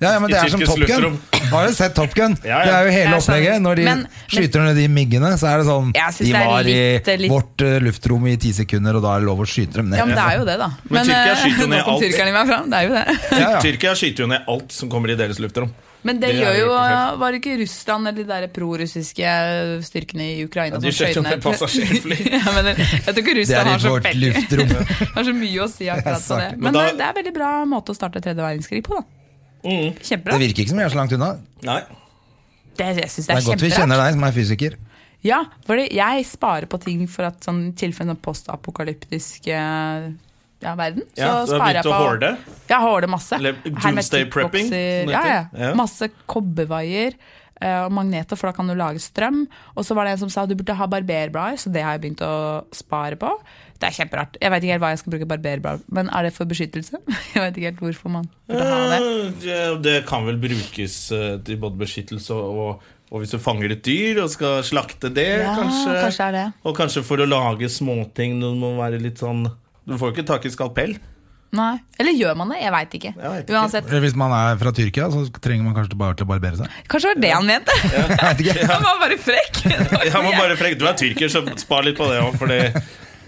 [SPEAKER 2] Ja, ja, men
[SPEAKER 1] i
[SPEAKER 2] det er som
[SPEAKER 1] tyrkisk
[SPEAKER 2] Top Gun.
[SPEAKER 1] luftrom.
[SPEAKER 2] Har du sett Top Gun?
[SPEAKER 1] Ja, ja.
[SPEAKER 2] Det er jo hele
[SPEAKER 3] Jeg skjønner.
[SPEAKER 2] opplegget. Når de
[SPEAKER 3] sånn- Men-
[SPEAKER 2] skyter ned de miggene, så er det sånn
[SPEAKER 3] Jeg synes
[SPEAKER 2] De
[SPEAKER 3] det er
[SPEAKER 2] var
[SPEAKER 3] litt-
[SPEAKER 2] i
[SPEAKER 3] litt-
[SPEAKER 2] vårt eh, luftrom i ti sekunder, og da er det lov å skyte dem ned.
[SPEAKER 3] Ja, men det er jo det, da.
[SPEAKER 1] Men Tyrkia
[SPEAKER 3] eh,
[SPEAKER 1] skyter jo ned
[SPEAKER 3] nå kom
[SPEAKER 1] alt.
[SPEAKER 3] tyrkerne meg fram, det er jo det.
[SPEAKER 2] Ja, ja.
[SPEAKER 1] Tyrkia skyter jo ned alt som kommer i deres luftrom.
[SPEAKER 3] Men det,
[SPEAKER 1] Det er
[SPEAKER 3] gjør
[SPEAKER 1] jo
[SPEAKER 3] jo eh,
[SPEAKER 1] perfekt.
[SPEAKER 3] Var det ikke Russland eller de der prorussiske styrkene i
[SPEAKER 1] Ja,
[SPEAKER 3] Ukraina
[SPEAKER 1] de
[SPEAKER 3] som skjøt
[SPEAKER 1] skjøt jo
[SPEAKER 3] ned
[SPEAKER 1] ned passasjerfly.
[SPEAKER 3] ja, men jeg tror ikke
[SPEAKER 2] Det
[SPEAKER 3] Russland
[SPEAKER 2] er i
[SPEAKER 3] har så,
[SPEAKER 2] vårt
[SPEAKER 3] veldig,
[SPEAKER 2] luftrom.
[SPEAKER 3] har så mye å si akkurat på det.
[SPEAKER 2] Jeg sa ikke-
[SPEAKER 1] Men
[SPEAKER 3] Men
[SPEAKER 1] da-
[SPEAKER 3] det- det er en veldig bra måte å starte tredje verdenskrig på, da.
[SPEAKER 2] Det
[SPEAKER 3] Kjempebra. Det,
[SPEAKER 2] virker ikke som vi er så langt unna.
[SPEAKER 1] Nei.
[SPEAKER 3] jeg
[SPEAKER 2] Det er
[SPEAKER 3] synes det
[SPEAKER 2] godt
[SPEAKER 3] er
[SPEAKER 2] vi
[SPEAKER 3] kjemperart.
[SPEAKER 2] kjenner deg, som er fysiker.
[SPEAKER 3] Ja, fordi jeg sparer på ting for at sånn tilfelle sånn postapokalyptisk eh, ja, verden. Så
[SPEAKER 1] Ja, så du har
[SPEAKER 3] sparer jeg
[SPEAKER 1] begynt å
[SPEAKER 3] på
[SPEAKER 1] hårde?
[SPEAKER 3] Jeg hårder masse.
[SPEAKER 1] Eller doomsday
[SPEAKER 3] Hermetikkbokser.
[SPEAKER 1] prepping, som det
[SPEAKER 3] Ja, ja.
[SPEAKER 1] heter. Ja.
[SPEAKER 3] Masse kobbervaier eh, og magneter, for da kan du lage strøm. Og så var det en som sa du burde ha barberblader, så det har jeg begynt å spare på. Det er kjemperart. Jeg veit ikke helt hva jeg skal bruke barberblader men er det for beskyttelse? Jeg veit ikke helt hvorfor man burde ha det.
[SPEAKER 1] Eh, Det kan vel brukes eh, til både beskyttelse og, og hvis du fanger et dyr og skal slakte det, Eh,
[SPEAKER 3] Ja,
[SPEAKER 1] kanskje.
[SPEAKER 3] kanskje det er det.
[SPEAKER 1] Og kanskje for å lage småting. Du må være litt sånn Du får jo ikke tak i skalpell.
[SPEAKER 3] Nei. Eller gjør man det? Jeg veit ikke.
[SPEAKER 1] Jeg vet ikke.
[SPEAKER 3] Uansett.
[SPEAKER 2] Eh, Hvis man er fra Tyrkia, så trenger man kanskje bare til å barbere seg.
[SPEAKER 3] Kanskje det var det han mente?
[SPEAKER 2] Jeg vet ikke.
[SPEAKER 3] Han var bare frekk. Det var
[SPEAKER 1] Jeg må
[SPEAKER 3] ikke-
[SPEAKER 1] bare frekke, Du er tyrker, så spar litt på det òg, fordi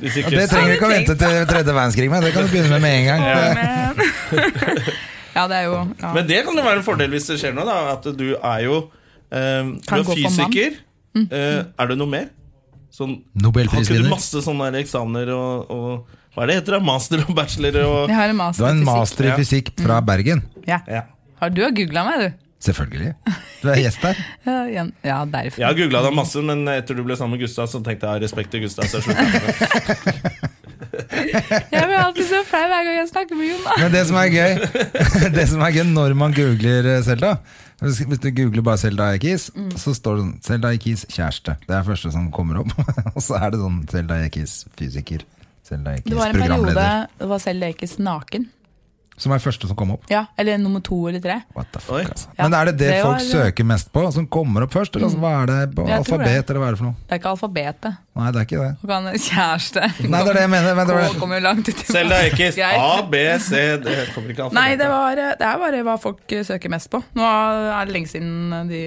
[SPEAKER 1] hvis ikke
[SPEAKER 2] Det trenger du ikke å vente til tredje verdenskrig med. Det kan du begynne med med en gang.
[SPEAKER 3] Å, men. Ja, det er jo ja.
[SPEAKER 1] Men det kan jo være en fordel hvis det skjer noe, da. At du er jo eh, Du
[SPEAKER 3] Kan
[SPEAKER 1] er
[SPEAKER 3] gå for mann. Mm.
[SPEAKER 1] fysiker. Eh, er det noe mer? Sånn, har ikke du
[SPEAKER 2] Nobelprisvinner.
[SPEAKER 1] masse sånne der eksamener og, og Hva er det heter? da? Master og bachelor og
[SPEAKER 3] Jeg har en master
[SPEAKER 2] Du har en
[SPEAKER 3] i fysikk.
[SPEAKER 2] master i
[SPEAKER 1] Ja.
[SPEAKER 2] fysikk fra Bergen.
[SPEAKER 3] Ja.
[SPEAKER 1] ja.
[SPEAKER 3] Har du googla meg, du?
[SPEAKER 2] Selvfølgelig. Du er gjest der.
[SPEAKER 3] Ja, igjen. Ja, derfor.
[SPEAKER 1] Jeg har googla deg masse, men etter du ble sammen med Gustav, så tenkte jeg respekt til Gustav. Så jeg sluttet med det.
[SPEAKER 3] Jeg blir alltid så flau hver gang jeg snakker med Jon.
[SPEAKER 2] Men det som er gøy Det som er gøy når man googler eh, Zelda Hvis hvis du googler bare Zelda Eikis,
[SPEAKER 3] Mm.
[SPEAKER 2] så står det sånn Zelda Eikis kjæreste. Det er det første som kommer opp. Og så er det sånn Zelda Eikis fysiker. Zelda Eikis
[SPEAKER 3] Det var en periode
[SPEAKER 2] programleder.
[SPEAKER 3] det var selv Lekes naken.
[SPEAKER 2] Som er første som kom opp.
[SPEAKER 3] Ja, Eller nummer to eller tre.
[SPEAKER 2] What the fuck,
[SPEAKER 1] Oi.
[SPEAKER 2] altså.
[SPEAKER 3] Ja,
[SPEAKER 2] Men er det det,
[SPEAKER 3] det var- Mm.
[SPEAKER 2] folk søker mest på, som kommer opp først? Eller altså, hva er det på
[SPEAKER 3] Jeg tror
[SPEAKER 2] alfabet,
[SPEAKER 3] det.
[SPEAKER 2] eller hva er det for noe?
[SPEAKER 3] Det er ikke alfabetet.
[SPEAKER 2] Nei, det er ikke det.
[SPEAKER 3] Du kan kjæreste.
[SPEAKER 2] Nei, det er det jeg mener. Men det var
[SPEAKER 3] K
[SPEAKER 2] det.
[SPEAKER 3] kommer jo langt ut i
[SPEAKER 1] Selda Ekiz.
[SPEAKER 3] Greit.
[SPEAKER 1] A, B, C Det kommer ikke an
[SPEAKER 3] Nei, det, var, det er bare hva folk søker mest på. Nå er det lenge siden de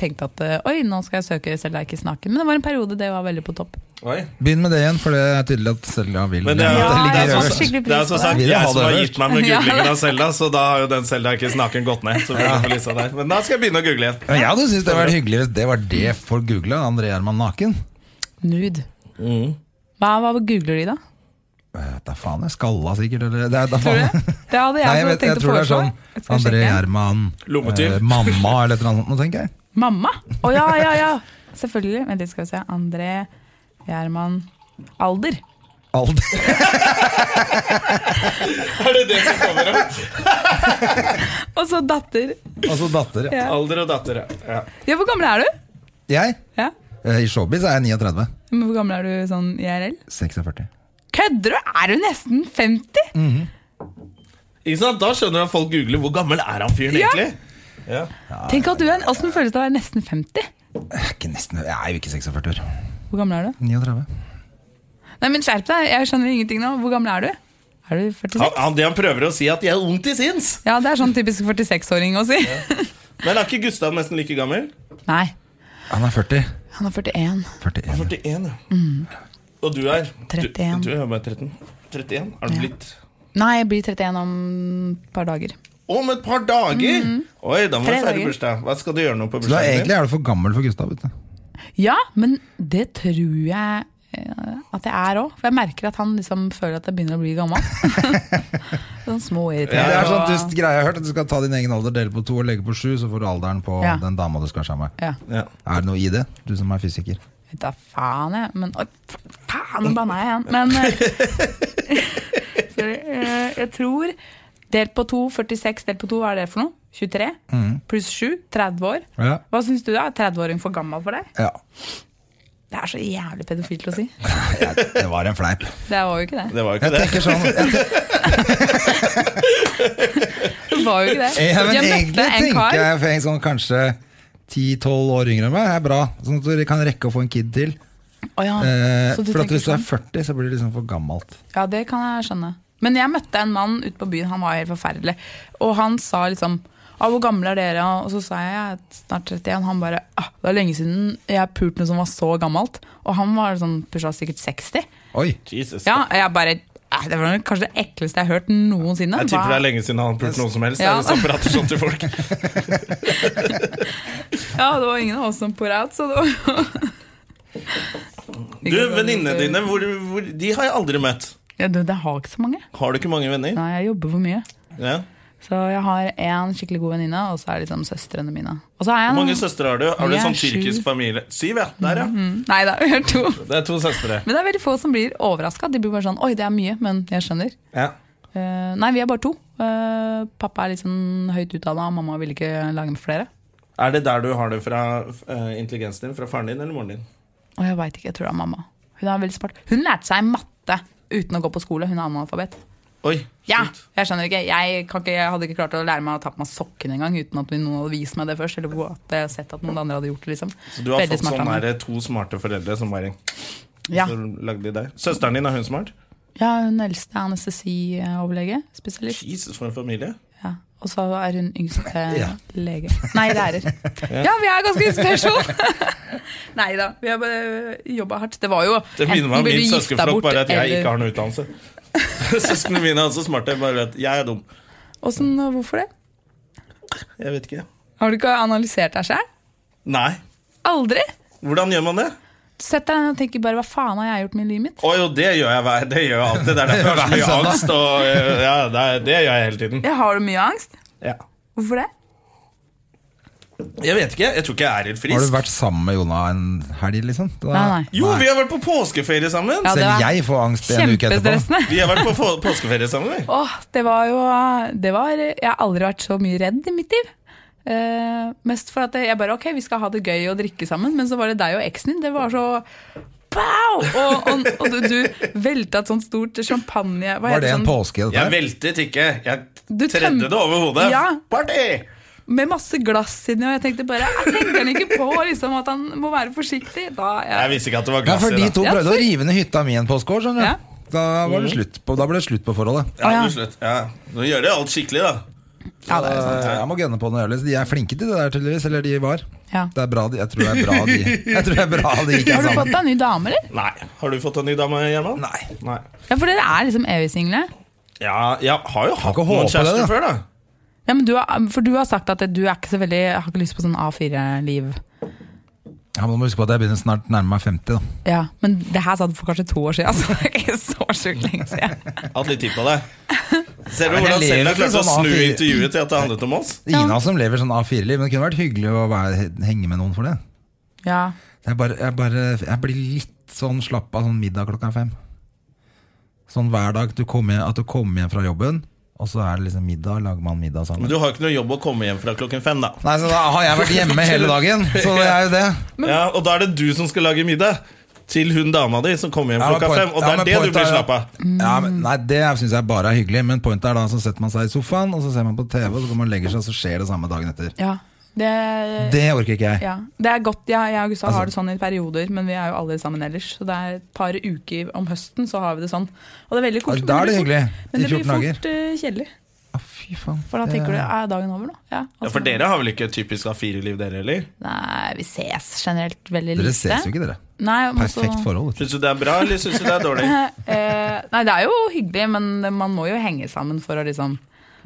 [SPEAKER 3] tenkte at oi, nå skal jeg søke Selda Eikes naken. Men det var en periode det var veldig på topp.
[SPEAKER 1] Oi.
[SPEAKER 2] Begynn med det igjen, for det er tydelig at Selda vil
[SPEAKER 1] Men det er, jo-
[SPEAKER 2] det
[SPEAKER 3] Ja,
[SPEAKER 1] det er, jo-
[SPEAKER 2] ligger
[SPEAKER 3] jeg
[SPEAKER 2] øverst.
[SPEAKER 3] satte skikkelig pris
[SPEAKER 1] det er som
[SPEAKER 3] på det.
[SPEAKER 1] sagt
[SPEAKER 2] Vil jeg
[SPEAKER 1] jeg
[SPEAKER 2] ha
[SPEAKER 1] som
[SPEAKER 2] det
[SPEAKER 1] har
[SPEAKER 2] øverst?
[SPEAKER 1] gitt meg med
[SPEAKER 3] Ja.
[SPEAKER 1] googlingen av Selda, så da har jo den Selda Ekiz naken gått ned. Så blir det på lista der. Men da skal jeg begynne å google igjen.
[SPEAKER 2] Men jeg hadde syntes det var hyggelig hvis det var det folk googla. André Gjerman naken.
[SPEAKER 3] Nude.
[SPEAKER 1] Mm.
[SPEAKER 3] Hva, hva googler de, da?
[SPEAKER 2] Eh, Da faen, jeg skalla sikkert. Eller, det er, da
[SPEAKER 3] Tror du
[SPEAKER 2] faen.
[SPEAKER 3] det? Det altså hadde jeg,
[SPEAKER 2] Nei, jeg,
[SPEAKER 3] så
[SPEAKER 2] vet, jeg
[SPEAKER 3] tenkt å
[SPEAKER 2] tror det er
[SPEAKER 3] foreslå.
[SPEAKER 2] sånn
[SPEAKER 3] Jeg skal
[SPEAKER 2] André
[SPEAKER 3] sjekke.
[SPEAKER 2] Gjerman,
[SPEAKER 1] Lommetyv.
[SPEAKER 2] eh, mamma eller et eller annet sånt, nå tenker jeg.
[SPEAKER 3] Mamma? Å ja, ja, ja. Selvfølgelig. Vent litt, skal vi se. André Gjerman Alder.
[SPEAKER 2] Alt.
[SPEAKER 1] Er det det som kommer opp?
[SPEAKER 3] Og så datter.
[SPEAKER 2] Altså datter. ja.
[SPEAKER 3] Ja.
[SPEAKER 1] Alder og datter, ja.
[SPEAKER 3] Ja, hvor gammel er du?
[SPEAKER 2] Jeg?
[SPEAKER 3] Ja.
[SPEAKER 2] eh, I showbiz er jeg 39.
[SPEAKER 3] Men hvor gammel er du sånn IRL?
[SPEAKER 2] 46.
[SPEAKER 3] Kødder du? Er du nesten 50?
[SPEAKER 1] Ikke sant? Da skjønner du at folk googler hvor gammel er han fyren
[SPEAKER 3] Ja.
[SPEAKER 1] egentlig? Ja.
[SPEAKER 3] Tenk at du er, Åssen føles det å være nesten 50?
[SPEAKER 2] Jeg er, ikke nesten, jeg er jo ikke 46 år.
[SPEAKER 3] Hvor gammel er du?
[SPEAKER 2] 39.
[SPEAKER 3] Nei, men Skjerp deg, jeg skjønner ingenting nå. Hvor gammel er du? Er du 46?
[SPEAKER 1] Han, han, det han prøver å si, at jeg er ung til sinns.
[SPEAKER 3] Ja, det er sånn typisk 46-åring å si.
[SPEAKER 1] Men er ikke Gustav nesten like gammel?
[SPEAKER 3] Nei,
[SPEAKER 2] Han er 40.
[SPEAKER 3] han er 41.
[SPEAKER 2] 41.
[SPEAKER 1] 41, ja.
[SPEAKER 2] Mm.
[SPEAKER 1] Og du er?
[SPEAKER 3] 31.
[SPEAKER 1] Du, du er bare 13. 31? Er du
[SPEAKER 3] Ja.
[SPEAKER 1] blitt
[SPEAKER 3] Nei, jeg blir 31 om et par dager.
[SPEAKER 1] Om et par dager? Oi, da må
[SPEAKER 3] Tre
[SPEAKER 1] du feire
[SPEAKER 3] dager.
[SPEAKER 1] bursdag. Hva skal du gjøre nå på
[SPEAKER 2] Mm. Så da
[SPEAKER 1] bursdagen
[SPEAKER 2] egentlig
[SPEAKER 1] din?
[SPEAKER 2] er du for gammel for Gustav. Vet du.
[SPEAKER 3] Ja, men det tror jeg eh, at jeg er òg. For jeg merker at han liksom føler at jeg begynner å bli gammel. sånn
[SPEAKER 2] Det
[SPEAKER 3] småirriterende.
[SPEAKER 2] er sånn
[SPEAKER 3] og-
[SPEAKER 2] dust greie jeg har hørt. At du skal ta din egen alder, dele på to og legge på sju, så får du alderen på
[SPEAKER 3] Ja.
[SPEAKER 2] den dama du skal være sammen med.
[SPEAKER 3] Ja,
[SPEAKER 1] Ja.
[SPEAKER 2] Er det noe i det, du som er fysiker?
[SPEAKER 3] vet da faen, jeg. Men oi, faen, nå banna jeg igjen. Men eh, sorry, eh, jeg tror Delt på to, 46 delt på to, hva er det for noe? 23
[SPEAKER 2] Mm.
[SPEAKER 3] pluss 7, 30 år.
[SPEAKER 2] Ja.
[SPEAKER 3] Hva syns du, da? Er 30-åring for gammel for deg?
[SPEAKER 2] ja.
[SPEAKER 3] Det er så jævlig pedofilt å si.
[SPEAKER 2] Det var en fleip.
[SPEAKER 3] Det var jo ikke det.
[SPEAKER 1] Det var jo
[SPEAKER 2] Jeg
[SPEAKER 1] ikke det.
[SPEAKER 2] tenker sånn jeg,
[SPEAKER 3] Det var jo ikke det.
[SPEAKER 2] ja, men
[SPEAKER 3] Jeg
[SPEAKER 2] Egentlig
[SPEAKER 3] møtte en
[SPEAKER 2] tenker
[SPEAKER 3] kar
[SPEAKER 2] jeg for en sånn kanskje 10-12 år yngre enn meg er bra. Sånn at du kan rekke å få en kid til.
[SPEAKER 3] Å ja.
[SPEAKER 2] Eh,
[SPEAKER 3] Ah, Så du
[SPEAKER 2] for at
[SPEAKER 3] tenker
[SPEAKER 2] hvis du er
[SPEAKER 3] sånn?
[SPEAKER 2] 40, så blir det liksom for gammelt.
[SPEAKER 3] Ja, det kan jeg skjønne. Men jeg møtte en mann ute på byen, han var helt forferdelig. Og han sa liksom ah, 'Hvor gamle er dere?' Og så sa jeg «Jeg er snart 31. Han bare ah, 'Det er lenge siden jeg pulte noe som var så gammelt.' Og han var sånn pusha sikkert 60.
[SPEAKER 2] Oi!
[SPEAKER 1] Jesus.
[SPEAKER 3] Ja, og jeg bare «Eh, Det var kanskje det ekleste jeg har hørt noensinne.
[SPEAKER 1] Jeg tipper det
[SPEAKER 3] Hva-
[SPEAKER 1] er lenge siden han har pult noen som helst.
[SPEAKER 3] Ja.
[SPEAKER 1] Er det sånn prater sånn til folk?
[SPEAKER 3] Ja, det var ingen av oss som pora out, så det var
[SPEAKER 1] Du, venninnene
[SPEAKER 3] eh.
[SPEAKER 1] dine, hvor, hvor, de har jeg aldri møtt.
[SPEAKER 3] ja, du, Det har ikke så mange.
[SPEAKER 1] Har du ikke mange venner?
[SPEAKER 3] Nei, jeg jobber for mye.
[SPEAKER 1] Ja.
[SPEAKER 3] Så jeg har én skikkelig god venninne, og så er det liksom søstrene mine. Og så har jeg
[SPEAKER 1] Hvor
[SPEAKER 3] en-
[SPEAKER 1] mange søstre har du? Har du
[SPEAKER 3] Jeg
[SPEAKER 1] en
[SPEAKER 3] er
[SPEAKER 1] sånn tyrkisk
[SPEAKER 3] sju.
[SPEAKER 1] familie? Syv, ja. Der, ja.
[SPEAKER 3] Nei da, vi har to.
[SPEAKER 1] Det er to søstre.
[SPEAKER 3] Men det er veldig få som blir overraska. De blir bare sånn Oi, det er mye, men jeg skjønner.
[SPEAKER 1] Ja.
[SPEAKER 3] Eh, nei, vi er bare to. Eh, pappa er litt sånn høyt utdanna, og mamma vil ikke lage med flere.
[SPEAKER 1] Er det der du har det fra eh, intelligensen din? Fra faren din eller moren din?
[SPEAKER 3] Og jeg veit ikke, jeg tror det er mamma. Hun er veldig smart. Hun lærte seg matte uten å gå på skole. Hun er analfabet.
[SPEAKER 1] Oi,
[SPEAKER 3] Ja,
[SPEAKER 1] shit.
[SPEAKER 3] jeg skjønner ikke. Jeg, kan ikke. jeg hadde ikke klart å lære meg å ta på meg sokken engang uten at noen hadde vist meg det først. Eller at jeg hadde sett at noen andre hadde gjort det, liksom.
[SPEAKER 1] Så du har
[SPEAKER 3] Veldig
[SPEAKER 1] fått
[SPEAKER 3] smart av
[SPEAKER 1] sånn
[SPEAKER 3] meg.
[SPEAKER 1] her, to smarte foreldre som bare
[SPEAKER 3] Ja.
[SPEAKER 1] så lagde de deg. Søsteren din, er hun smart?
[SPEAKER 3] ja, hun eldste er anestesioverlege, spesialist.
[SPEAKER 1] Jesus, for en familie.
[SPEAKER 3] Ja. Og så er hun yngste
[SPEAKER 2] Ja.
[SPEAKER 3] lege. Nei, lærer. Ja, vi er ganske inspirasjon! Nei da, vi har bare jobba hardt. Det var jo
[SPEAKER 1] Det minner meg
[SPEAKER 3] enten
[SPEAKER 1] om
[SPEAKER 3] blir
[SPEAKER 1] min
[SPEAKER 3] du gifta
[SPEAKER 1] søskenflokk,
[SPEAKER 3] bort,
[SPEAKER 1] bare at jeg
[SPEAKER 3] eller-
[SPEAKER 1] ikke har noen utdannelse. Søsknene mine er også smarte, bare at jeg er dum.
[SPEAKER 3] Åssen- hvorfor det?
[SPEAKER 1] Jeg vet ikke.
[SPEAKER 3] Har du ikke analysert deg sjøl?
[SPEAKER 1] Nei.
[SPEAKER 3] Aldri!
[SPEAKER 1] Hvordan gjør man det?
[SPEAKER 3] Sett deg ned og tenk bare hva faen har jeg gjort med livet mitt?
[SPEAKER 1] Å jo, det gjør jeg hver Det gjør jeg alltid. Det er derfor jeg har så mye
[SPEAKER 2] Hver søndag.
[SPEAKER 1] angst. Og, eh, ja, det, er- det gjør jeg hele tiden.
[SPEAKER 3] Jeg har du mye angst?
[SPEAKER 1] Ja.
[SPEAKER 3] Hvorfor det?
[SPEAKER 1] Jeg vet ikke. Jeg tror ikke jeg er helt
[SPEAKER 2] Har du
[SPEAKER 1] frisk.
[SPEAKER 2] vært sammen med Jonna en helg, liksom? Da-
[SPEAKER 3] Nei, nei.
[SPEAKER 1] Jo, vi har vært på påskeferie sammen!
[SPEAKER 3] Ja, det
[SPEAKER 2] Selv
[SPEAKER 3] var
[SPEAKER 2] jeg får angst en uke etterpå.
[SPEAKER 3] Kjempestressende.
[SPEAKER 1] Vi har vært på få- påskeferie sammen. vi.
[SPEAKER 3] Åh, det var jo det var, Jeg har aldri vært så mye redd i mitt liv. Eh, mest for at jeg bare Ok, vi skal ha det gøy og drikke sammen, men så var det deg og eksen din. Det var så Pow! Og, og, og du, du velta et sånt stort champagne hva
[SPEAKER 2] Var det
[SPEAKER 3] heter
[SPEAKER 2] en
[SPEAKER 3] sånn-
[SPEAKER 2] påske?
[SPEAKER 1] Jeg
[SPEAKER 2] Dette? her?
[SPEAKER 1] veltet ikke.
[SPEAKER 3] Du
[SPEAKER 1] Jeg
[SPEAKER 3] tøm-
[SPEAKER 1] tredde det over hodet.
[SPEAKER 3] Ja.
[SPEAKER 1] Party!
[SPEAKER 3] Med masse glass inni, og jeg tenkte bare Jeg tenker han ikke på liksom, at han må være forsiktig. Da,
[SPEAKER 1] Jeg
[SPEAKER 3] jeg,
[SPEAKER 1] visste ikke at det var
[SPEAKER 2] Ja,
[SPEAKER 1] glass
[SPEAKER 2] for
[SPEAKER 1] i
[SPEAKER 2] de
[SPEAKER 1] det.
[SPEAKER 2] to
[SPEAKER 3] Ja,
[SPEAKER 2] prøvde å
[SPEAKER 3] for-
[SPEAKER 2] rive ned hytta mi en påskeår, skjønner
[SPEAKER 3] Ja.
[SPEAKER 2] du. Da, var det slutt på, da ble det slutt på forholdet.
[SPEAKER 1] Ja,
[SPEAKER 3] Å, ja.
[SPEAKER 1] du slutt. Ja. Nå gjør de alt skikkelig, da.
[SPEAKER 3] ja, det er jo sant.
[SPEAKER 2] Eh, Jeg må gønne på noe jævlig. så De er flinke til det der, tydeligvis. Eller de var.
[SPEAKER 3] Ja.
[SPEAKER 2] Det er bra de, jeg tror det er bra de Jeg tror det er bra de ikke er
[SPEAKER 3] Har du fått
[SPEAKER 2] sammen.
[SPEAKER 3] deg en ny dame, eller?
[SPEAKER 1] Nei. Har du fått en ny dame, Gjerman?
[SPEAKER 2] Nei.
[SPEAKER 1] Nei.
[SPEAKER 3] Ja, For dere er liksom evig single.
[SPEAKER 1] Ja, jeg har jo hatt
[SPEAKER 2] ikke
[SPEAKER 1] noen
[SPEAKER 2] håpe
[SPEAKER 1] kjærester
[SPEAKER 2] det, da.
[SPEAKER 1] før, da.
[SPEAKER 3] Ja, men du har, for du har sagt at du er ikke så veldig har ikke lyst på sånn A4-liv.
[SPEAKER 2] Ja, men Du må huske på at jeg begynner snart nærme meg 50. da
[SPEAKER 3] Ja, Men det her sa du for kanskje to år siden, så det er ikke så sjukt lenge siden.
[SPEAKER 1] Hatt litt tid på det. Ser du
[SPEAKER 2] men
[SPEAKER 1] hvordan
[SPEAKER 2] jeg lever
[SPEAKER 1] Selda
[SPEAKER 2] ikke
[SPEAKER 1] klarte å
[SPEAKER 2] sånn
[SPEAKER 1] snu
[SPEAKER 2] A4.
[SPEAKER 1] intervjuet til liksom at det handlet om oss?
[SPEAKER 2] Det er Ingen av oss som lever sånn A4-liv, men det kunne vært hyggelig å være, henge med noen for det.
[SPEAKER 3] Ja,
[SPEAKER 2] Jeg, bare, jeg, bare, jeg blir litt sånn slapp av sånn middag klokka fem. Sånn hver dag du kommer, at du kommer hjem fra jobben, og så er det liksom middag, lager man middag sammen.
[SPEAKER 1] Men du har ikke noe jobb å komme hjem fra klokken fem, da.
[SPEAKER 2] Nei, så da har jeg vært hjemme hele dagen, så det er jo det.
[SPEAKER 1] Ja, og da er det du som skal lage middag til hun dama di som kommer hjem
[SPEAKER 2] Ja, men
[SPEAKER 1] klokka
[SPEAKER 2] point-
[SPEAKER 1] fem. Og
[SPEAKER 2] ja,
[SPEAKER 1] det
[SPEAKER 2] men
[SPEAKER 1] er det
[SPEAKER 2] point
[SPEAKER 1] du blir
[SPEAKER 2] er-
[SPEAKER 1] slapp av.
[SPEAKER 2] Ja, men, nei, det syns jeg bare er hyggelig, men pointet er da så setter man seg i sofaen, og så ser man på TV, og så går man og legger seg, og så skjer det samme dagen etter.
[SPEAKER 3] ja. Det,
[SPEAKER 2] Det Altså- orker ikke jeg.
[SPEAKER 3] ja. det er godt. Jeg, jeg og Gustav har det sånn i perioder, men vi er jo aldri sammen ellers. Så det er et par uker om høsten, så har vi det sånn. Og det er veldig kort.
[SPEAKER 2] Ja,
[SPEAKER 3] men
[SPEAKER 2] da er det
[SPEAKER 3] blir
[SPEAKER 2] hyggelig,
[SPEAKER 3] fort-
[SPEAKER 2] i
[SPEAKER 3] Men det
[SPEAKER 2] 14
[SPEAKER 3] blir
[SPEAKER 2] dager.
[SPEAKER 3] fort eh, kjedelig.
[SPEAKER 2] Å, Ah, fy faen.
[SPEAKER 3] For da
[SPEAKER 2] det-
[SPEAKER 3] tenker du er dagen over nå? Ja,
[SPEAKER 1] Ja,
[SPEAKER 3] altså-
[SPEAKER 1] for dere har vel ikke et typisk A4-liv, dere heller?
[SPEAKER 3] Nei, vi ses generelt veldig lite.
[SPEAKER 2] Dere ses jo ikke, dere.
[SPEAKER 3] Nei, men altså- også-
[SPEAKER 2] Perfekt forhold. vet du.
[SPEAKER 1] Syns du det er bra, eller syns du det er dårlig?
[SPEAKER 3] eh, nei, det er jo hyggelig, men man må jo henge sammen for å liksom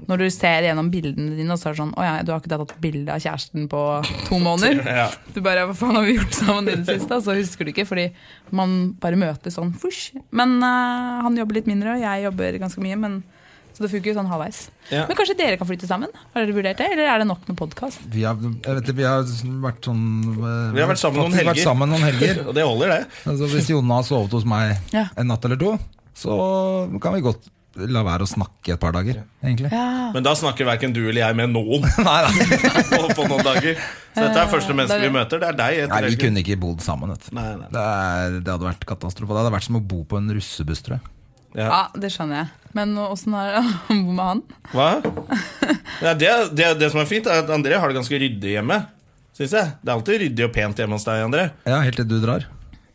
[SPEAKER 3] Når du ser gjennom bildene dine, og så er det sånn Å ja, du har ikke tatt bilde av kjæresten på to måneder.
[SPEAKER 1] Ja.
[SPEAKER 3] Du bare Hva faen har vi gjort sammen i det siste? Og så husker du ikke, fordi man bare møtes sånn fush. Men eh, han jobber litt mindre, og jeg jobber ganske mye, men så det funker jo sånn halvveis.
[SPEAKER 1] Ja.
[SPEAKER 3] Men kanskje dere kan flytte sammen? Har dere vurdert det, eller er det nok med podkast?
[SPEAKER 2] Vi har, jeg vet, ikke, vi har vært sånn eh,
[SPEAKER 1] Vi har vært sammen noen
[SPEAKER 2] faktisk
[SPEAKER 1] helger.
[SPEAKER 2] Vært sammen noen helger.
[SPEAKER 1] Og det holder, det.
[SPEAKER 2] Altså, hvis Jonna har sovet hos meg
[SPEAKER 3] Ja.
[SPEAKER 2] en natt eller to, så kan vi godt la være å snakke et par dager, egentlig.
[SPEAKER 3] Ja.
[SPEAKER 1] Men da snakker verken du eller jeg med noen
[SPEAKER 2] Nei, nei.
[SPEAKER 1] på, på noen dager. Så dette er første menneske vi møter. Det er deg.
[SPEAKER 2] nei,
[SPEAKER 1] etter
[SPEAKER 2] vi
[SPEAKER 1] regel.
[SPEAKER 2] kunne ikke bodd sammen, vet du.
[SPEAKER 1] Nei, nei.
[SPEAKER 2] Det, er, det hadde vært katastrofe. Det hadde vært som å bo på en russebuss, tror jeg.
[SPEAKER 1] Ja.
[SPEAKER 3] ja, det skjønner jeg. Men eh, åssen er det å bo med han?
[SPEAKER 1] Hva? Ja, det, det, det som er fint, er at André har det ganske ryddig hjemme. Synes jeg Det er alltid ryddig og pent hjemme hos deg, André.
[SPEAKER 2] Ja, helt til du drar.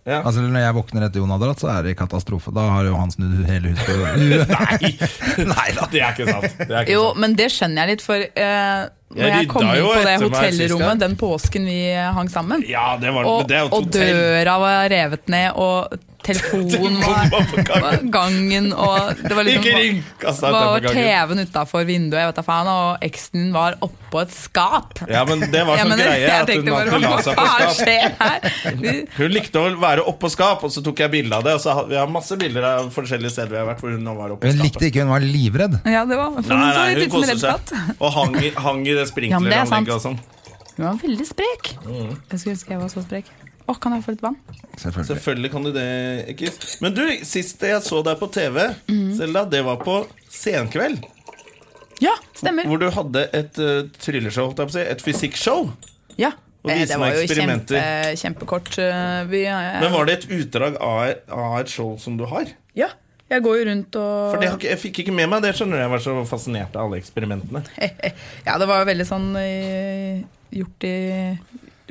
[SPEAKER 1] Ja.
[SPEAKER 2] Altså Når jeg våkner etter Jon har dratt, så er det katastrofe. Da har jo han snudd hele huset på huet. Nei da.
[SPEAKER 1] Det er ikke sant. Det er ikke
[SPEAKER 3] Jo,
[SPEAKER 1] sant.
[SPEAKER 3] men det skjønner jeg litt, for eh, når jeg
[SPEAKER 1] rydda
[SPEAKER 3] kom inn
[SPEAKER 1] jo
[SPEAKER 3] på det
[SPEAKER 1] etter meg sist gang.
[SPEAKER 3] hotellrommet den påsken vi eh, hang sammen,
[SPEAKER 1] Ja, det var
[SPEAKER 3] og,
[SPEAKER 1] det. Er jo et
[SPEAKER 3] og
[SPEAKER 1] hotell.
[SPEAKER 3] døra var revet ned, og telefonen var
[SPEAKER 1] Bomba på gangen.
[SPEAKER 3] på gangen, og det var liksom
[SPEAKER 1] Ikke ring! Kasta
[SPEAKER 3] Det var
[SPEAKER 1] utenfor gangen.
[SPEAKER 3] TV-en utafor vinduet, jeg vet da faen, og eksen din var oppå et skap.
[SPEAKER 1] Ja, men det var
[SPEAKER 3] Jeg
[SPEAKER 1] sånn
[SPEAKER 3] mener,
[SPEAKER 1] greie
[SPEAKER 3] jeg
[SPEAKER 1] at hun
[SPEAKER 3] tenkte bare,
[SPEAKER 1] alltid la seg på
[SPEAKER 3] Hva
[SPEAKER 1] skap.
[SPEAKER 3] skjer her? Vi,
[SPEAKER 1] Hun likte å være oppå skap, og så tok jeg bilde av det. Og så har, vi har masse bilder av forskjellige steder vi har vært hvor hun var oppå
[SPEAKER 2] Hun
[SPEAKER 1] skapet.
[SPEAKER 2] likte ikke, hun var livredd.
[SPEAKER 3] ja, det var
[SPEAKER 1] Nei,
[SPEAKER 3] for hun så
[SPEAKER 1] nei, hun
[SPEAKER 3] litt ut som en
[SPEAKER 1] koser
[SPEAKER 3] redd
[SPEAKER 1] seg.
[SPEAKER 3] katt.
[SPEAKER 1] Og hang i, hang i det
[SPEAKER 3] Ja, men det er sant.
[SPEAKER 1] sprinkleranlegget og sånn.
[SPEAKER 3] Hun var veldig sprek.
[SPEAKER 1] Mm.
[SPEAKER 3] Jeg skulle ønske jeg var så sprek. Å, kan jeg få litt vann?
[SPEAKER 2] Selvfølgelig.
[SPEAKER 1] Selvfølgelig kan du det, ikke? Men du, sist jeg så deg på TV,
[SPEAKER 3] Mhm.
[SPEAKER 1] Selda, det var på Senkveld.
[SPEAKER 3] Ja, stemmer.
[SPEAKER 1] Hvor du hadde et uh, trylleshow, holdt jeg på å si. Et fysikkshow.
[SPEAKER 3] Ja.
[SPEAKER 1] Og
[SPEAKER 3] Eh,
[SPEAKER 1] vise
[SPEAKER 3] Det
[SPEAKER 1] meg
[SPEAKER 3] var jo
[SPEAKER 1] eksperimenter.
[SPEAKER 3] kjempe, kjempekort. eh, Vi, eh,
[SPEAKER 1] Men var det et utdrag av, av et show som du har?
[SPEAKER 3] Ja. Jeg går jo rundt
[SPEAKER 1] For
[SPEAKER 3] og
[SPEAKER 1] det har ikke, jeg fikk ikke med meg det, skjønner du. Jeg var så fascinert av alle eksperimentene.
[SPEAKER 3] Ja, det var jo veldig sånn eh, gjort i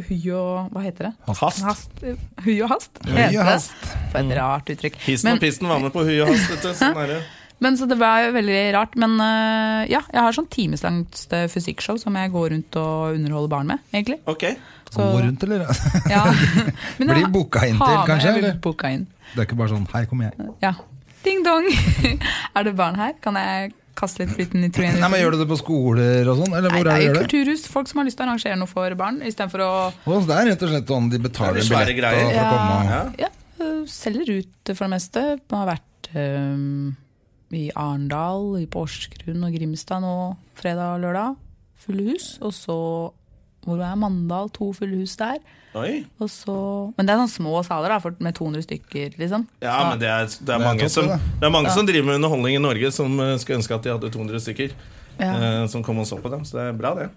[SPEAKER 3] hui og Hva heter det?
[SPEAKER 1] Hast.
[SPEAKER 3] Hast. eh, Hui og hast.
[SPEAKER 2] Hui og
[SPEAKER 3] heter det.
[SPEAKER 2] hast.
[SPEAKER 3] For
[SPEAKER 1] Mm.
[SPEAKER 3] et rart uttrykk.
[SPEAKER 1] Hissen
[SPEAKER 3] Men,
[SPEAKER 1] og pisten var med på hui og hast, vet du. Sånn er det.
[SPEAKER 3] men Så det var jo veldig rart. Men eh, ja, jeg har sånn timeslangt eh, fysikkshow som jeg går rundt og underholder barn med, egentlig.
[SPEAKER 1] Ok.
[SPEAKER 2] Gå rundt, eller?
[SPEAKER 3] ja. Men
[SPEAKER 2] Blir
[SPEAKER 3] jeg
[SPEAKER 2] booka inn til,
[SPEAKER 3] har med-
[SPEAKER 2] kanskje?
[SPEAKER 3] jeg blir
[SPEAKER 2] Eller?
[SPEAKER 3] Booka inn.
[SPEAKER 2] Det er ikke bare sånn 'hei, kom jeg'.
[SPEAKER 3] Ja. Ding dong! er det barn her? Kan jeg kaste litt flytende nitrogen?
[SPEAKER 2] Nei, men Gjør du det på skoler og sånn, eller
[SPEAKER 3] Nei,
[SPEAKER 2] hvor
[SPEAKER 3] det
[SPEAKER 2] er det du
[SPEAKER 3] er jo
[SPEAKER 2] gjør det?
[SPEAKER 3] kulturhus. Folk som har lyst til å arrangere noe for barn, istedenfor å
[SPEAKER 2] Hos deg, rett og slett sånn de betaler
[SPEAKER 1] Det er
[SPEAKER 2] en
[SPEAKER 1] svære
[SPEAKER 2] billett og-
[SPEAKER 1] greier.
[SPEAKER 2] for å komme.
[SPEAKER 1] Ja.
[SPEAKER 3] ja, øh, selger ut for det meste. Man har vært øhm, i Arendal, i Porsgrunn og Grimstad nå fredag og lørdag. Fulle hus. Og så hvor er Mandal? To fulle hus der.
[SPEAKER 1] Oi.
[SPEAKER 3] Og så, men det er sånne små saler da, for, med 200 stykker, liksom.
[SPEAKER 1] Ja, men det er, det
[SPEAKER 2] er
[SPEAKER 1] er mange,
[SPEAKER 2] topp,
[SPEAKER 1] som,
[SPEAKER 2] det.
[SPEAKER 1] det er mange som driver med underholdning i Norge, som eh, skulle ønske at de hadde 200 stykker
[SPEAKER 3] Ja,
[SPEAKER 1] eh, som kom og så på dem. Så det er bra, det.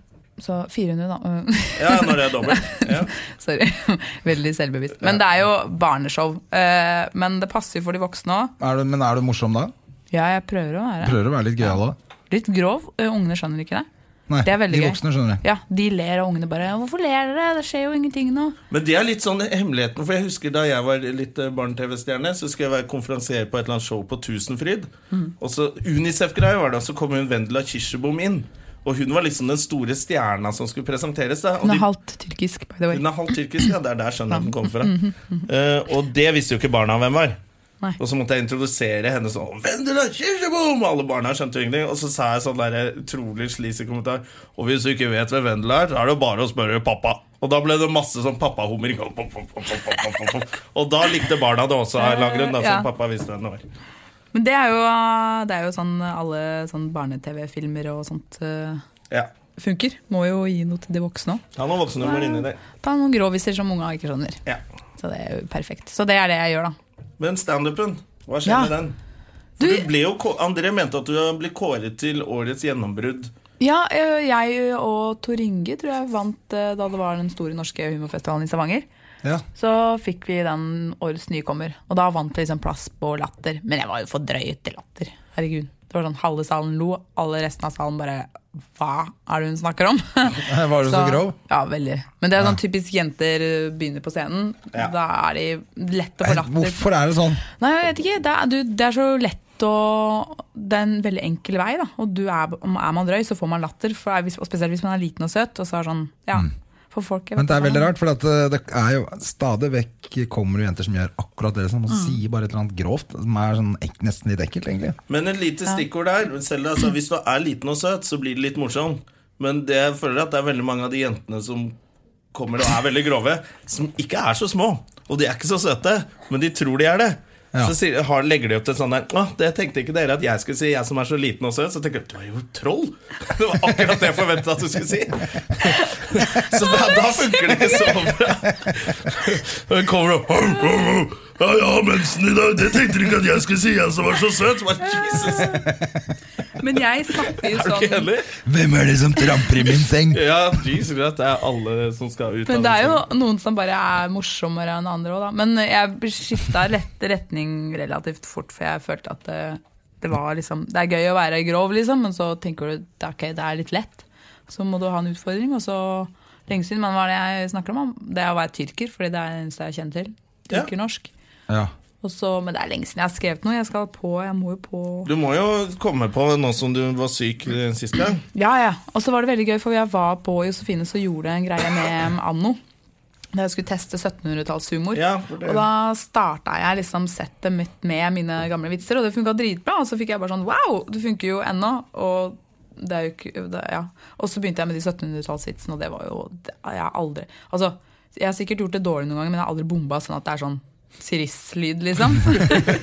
[SPEAKER 3] så 400, da.
[SPEAKER 1] Ja, når det er dobbelt. Ja.
[SPEAKER 3] Sorry. Veldig selvbevisst. Men det er jo barneshow. øh, Men det passer jo for de voksne òg.
[SPEAKER 2] Er du, men er du morsom da?
[SPEAKER 3] Ja, jeg prøver å være
[SPEAKER 2] Prøver å være litt gøyal da?
[SPEAKER 3] litt grov. øh, Ungene skjønner ikke det.
[SPEAKER 2] Nei,
[SPEAKER 3] Det er veldig
[SPEAKER 2] de
[SPEAKER 3] gøy.
[SPEAKER 2] voksne skjønner jeg.
[SPEAKER 3] Ja, De ler, og ungene bare 'Hvorfor ler dere? Det skjer jo ingenting nå'.
[SPEAKER 1] Men det er litt sånn hemmeligheten, for jeg husker da jeg var litt eh, barne-TV-stjerne, så skulle jeg være konferansier på et eller annet show på Tusenfryd.
[SPEAKER 3] Mm.
[SPEAKER 1] Og så Unicef-greia var det, og så kom hun Vendela Kirsebom inn. Og hun var liksom den store stjerna som skulle presenteres. Da. Og
[SPEAKER 3] Hun er
[SPEAKER 1] de,
[SPEAKER 3] halvt tyrkisk, by the way.
[SPEAKER 1] hun er halvt tyrkisk, ja. Det er der skjønnheten kom fra.
[SPEAKER 3] Mm-hmm.
[SPEAKER 1] Eh, og det visste jo ikke barna hvem var.
[SPEAKER 3] Nei.
[SPEAKER 1] Og så måtte jeg introdusere henne sånn Vendela Kirsebom! Og alle barna skjønte jo ingenting. Og så sa jeg sånn der utrolig sleazy kommentar. Og hvis du ikke vet hvem Vendela er, så er det jo bare å spørre pappa. Og da ble det masse sånn pappahumring. Pop, pop, pop, pop, pop, pop, pop, pop. Og da likte barna det også, av en eller annen grunn, da,
[SPEAKER 3] Ja.
[SPEAKER 1] som pappa visste hvem det var.
[SPEAKER 3] Men det er jo, det er jo sånn alle sånn barne-TV-filmer og sånt eh,
[SPEAKER 1] Ja.
[SPEAKER 3] funker. Må jo gi noe til de voksne òg.
[SPEAKER 1] Han var voksenhumor inni der.
[SPEAKER 3] Ta noen gråviser som unga ikke skjønner.
[SPEAKER 1] Ja.
[SPEAKER 3] Så det er jo perfekt. Så det er det jeg gjør, da.
[SPEAKER 1] Men standupen, hva skjer
[SPEAKER 3] Ja.
[SPEAKER 1] med den? For
[SPEAKER 3] Du-
[SPEAKER 1] Du ble jo, kå- André mente at du ble kåret til årets gjennombrudd.
[SPEAKER 3] Ja, eh, jeg og Tor Inge tror jeg vant eh, da det var den store norske humorfestivalen i Stavanger.
[SPEAKER 2] Ja.
[SPEAKER 3] Så fikk vi den årets nykommer, og da vant vi liksom plass på latter. Men jeg var jo for drøy til latter. Herregud. Det var sånn halve salen lo, alle resten av salen bare Hva er det hun snakker om?
[SPEAKER 2] Var du så, grov?
[SPEAKER 3] Ja, veldig. Men det er sånn typisk jenter uh, begynner på scenen.
[SPEAKER 1] Ja.
[SPEAKER 3] Da er de lett å få
[SPEAKER 2] Nei,
[SPEAKER 3] latter.
[SPEAKER 2] Hvorfor er det sånn?
[SPEAKER 3] Nei, jeg vet ikke. Det er, du, det er så lett å Det er en veldig enkel vei, da. Og du er, om er man drøy, så får man latter. For er, hvis- og spesielt hvis man er liten og søt. Og så er det sånn, ja, for folk, jeg
[SPEAKER 2] Mm. Men det er
[SPEAKER 3] vet ikke
[SPEAKER 2] veldig
[SPEAKER 3] hva-
[SPEAKER 2] rart, for at eh, det er jo stadig vekk kommer jo jenter som gjør akkurat det samme, og
[SPEAKER 3] Mm.
[SPEAKER 2] sier bare et eller annet grovt, som er sånn ek- nesten litt ekkelt, egentlig.
[SPEAKER 1] Men et lite stikkord der. Selv altså, hvis du er liten og søt, så blir det litt morsom. Men det jeg føler at det er veldig mange av de jentene som kommer og er veldig grove, som ikke er så små. Og de er ikke så søte, men de tror de er det.
[SPEAKER 2] Ja.
[SPEAKER 1] Så sier, har, legger de opp til sånn der Å, det tenkte ikke dere at jeg skulle si, jeg som er så liten og søt. Så tenker jeg du er jo troll! Det var akkurat det jeg forventet at du skulle si. Så da, da funker det ikke så bra. Og hun kommer opp Ja, ja, mensen i dag, det tenkte dere ikke at jeg skulle si, jeg som var så søt. Så Bare, Jesus,
[SPEAKER 3] Men jeg snakker
[SPEAKER 1] er
[SPEAKER 3] jo
[SPEAKER 1] du ikke
[SPEAKER 3] sånn
[SPEAKER 1] enig?
[SPEAKER 2] Hvem er det som tramper i min seng?
[SPEAKER 1] Ja, Jesus, det er alle som skal ut
[SPEAKER 3] Men
[SPEAKER 1] av
[SPEAKER 3] det er
[SPEAKER 1] den
[SPEAKER 3] jo noen som bare er morsommere enn andre òg, da. Men jeg skifta rett retning relativt fort, for jeg følte at det, det var liksom Det er gøy å være grov, liksom, men så tenker du det er, ok, det er litt lett. Så må du ha en utfordring, og så Lenge siden, men hva er det jeg snakker om? Det er å være tyrker, fordi det er det eneste jeg kjenner til.
[SPEAKER 1] Ja.
[SPEAKER 3] Tyrkernorsk.
[SPEAKER 2] Ja.
[SPEAKER 3] Og så- Men det er lenge siden jeg har skrevet noe. Jeg skal på, jeg må jo på
[SPEAKER 1] Du må jo komme på nå som du var syk eh, sist gang.
[SPEAKER 3] Ja, ja. Og så var det veldig gøy, for jeg var på Josefine, så gjorde jeg en greie med Anno. Da jeg skulle teste 1700-tallshumor.
[SPEAKER 1] Ja, for det-
[SPEAKER 3] og da starta jeg liksom settet mitt med mine gamle vitser, og det funka dritbra. Og så fikk jeg bare sånn wow, det funker jo ennå. Og det er jo ikke det, Ja. Og så begynte jeg med de 1700-tallsvitsene, og det var jo det, Jeg har aldri Altså, jeg har sikkert gjort det dårlig noen ganger, men jeg har aldri bomba sånn at det er sånn Siris-lyd, liksom.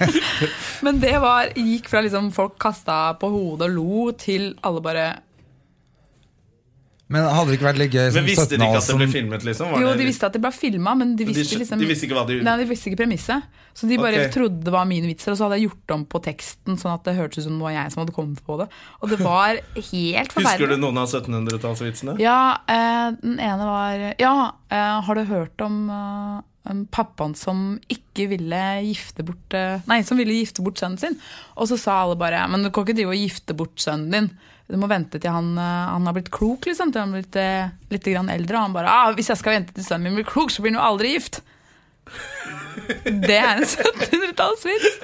[SPEAKER 3] Men det var, gikk fra liksom folk kasta på hodet og lo, til alle bare
[SPEAKER 2] Men hadde det ikke vært litt gøy som
[SPEAKER 1] Men visste de ikke at det
[SPEAKER 2] 17-åring
[SPEAKER 1] ble
[SPEAKER 2] som-
[SPEAKER 1] filmet, liksom? Var
[SPEAKER 3] Jo,
[SPEAKER 1] det
[SPEAKER 3] de
[SPEAKER 1] litt-
[SPEAKER 3] visste at det ble filma, men de
[SPEAKER 1] de
[SPEAKER 3] visste
[SPEAKER 1] skj-
[SPEAKER 3] liksom
[SPEAKER 1] de visste ikke hva de-
[SPEAKER 3] Nei, de visste ikke premisset. Så de bare
[SPEAKER 1] Ok.
[SPEAKER 3] trodde det var mine vitser, og så hadde jeg gjort om på teksten, sånn at det hørtes ut som det var jeg som hadde kommet på det. Og det var helt
[SPEAKER 1] Husker du
[SPEAKER 3] forferdelig.
[SPEAKER 1] noen av 1700-tallsvitsene?
[SPEAKER 3] Ja, eh, den ene var Ja, eh, har du hørt om eh, om pappaen som ikke ville gifte bort eh, Nei, som ville gifte bort sønnen sin. Og så sa alle bare Men du kan ikke drive og gifte bort sønnen din. Du må vente til han, eh, han har blitt klok, liksom. Til han har blitt eh, litt grann eldre. Og han bare ah, 'Hvis jeg skal vente til sønnen min blir klok, så blir han jo aldri gift'. Det er en 1700-tallsvits!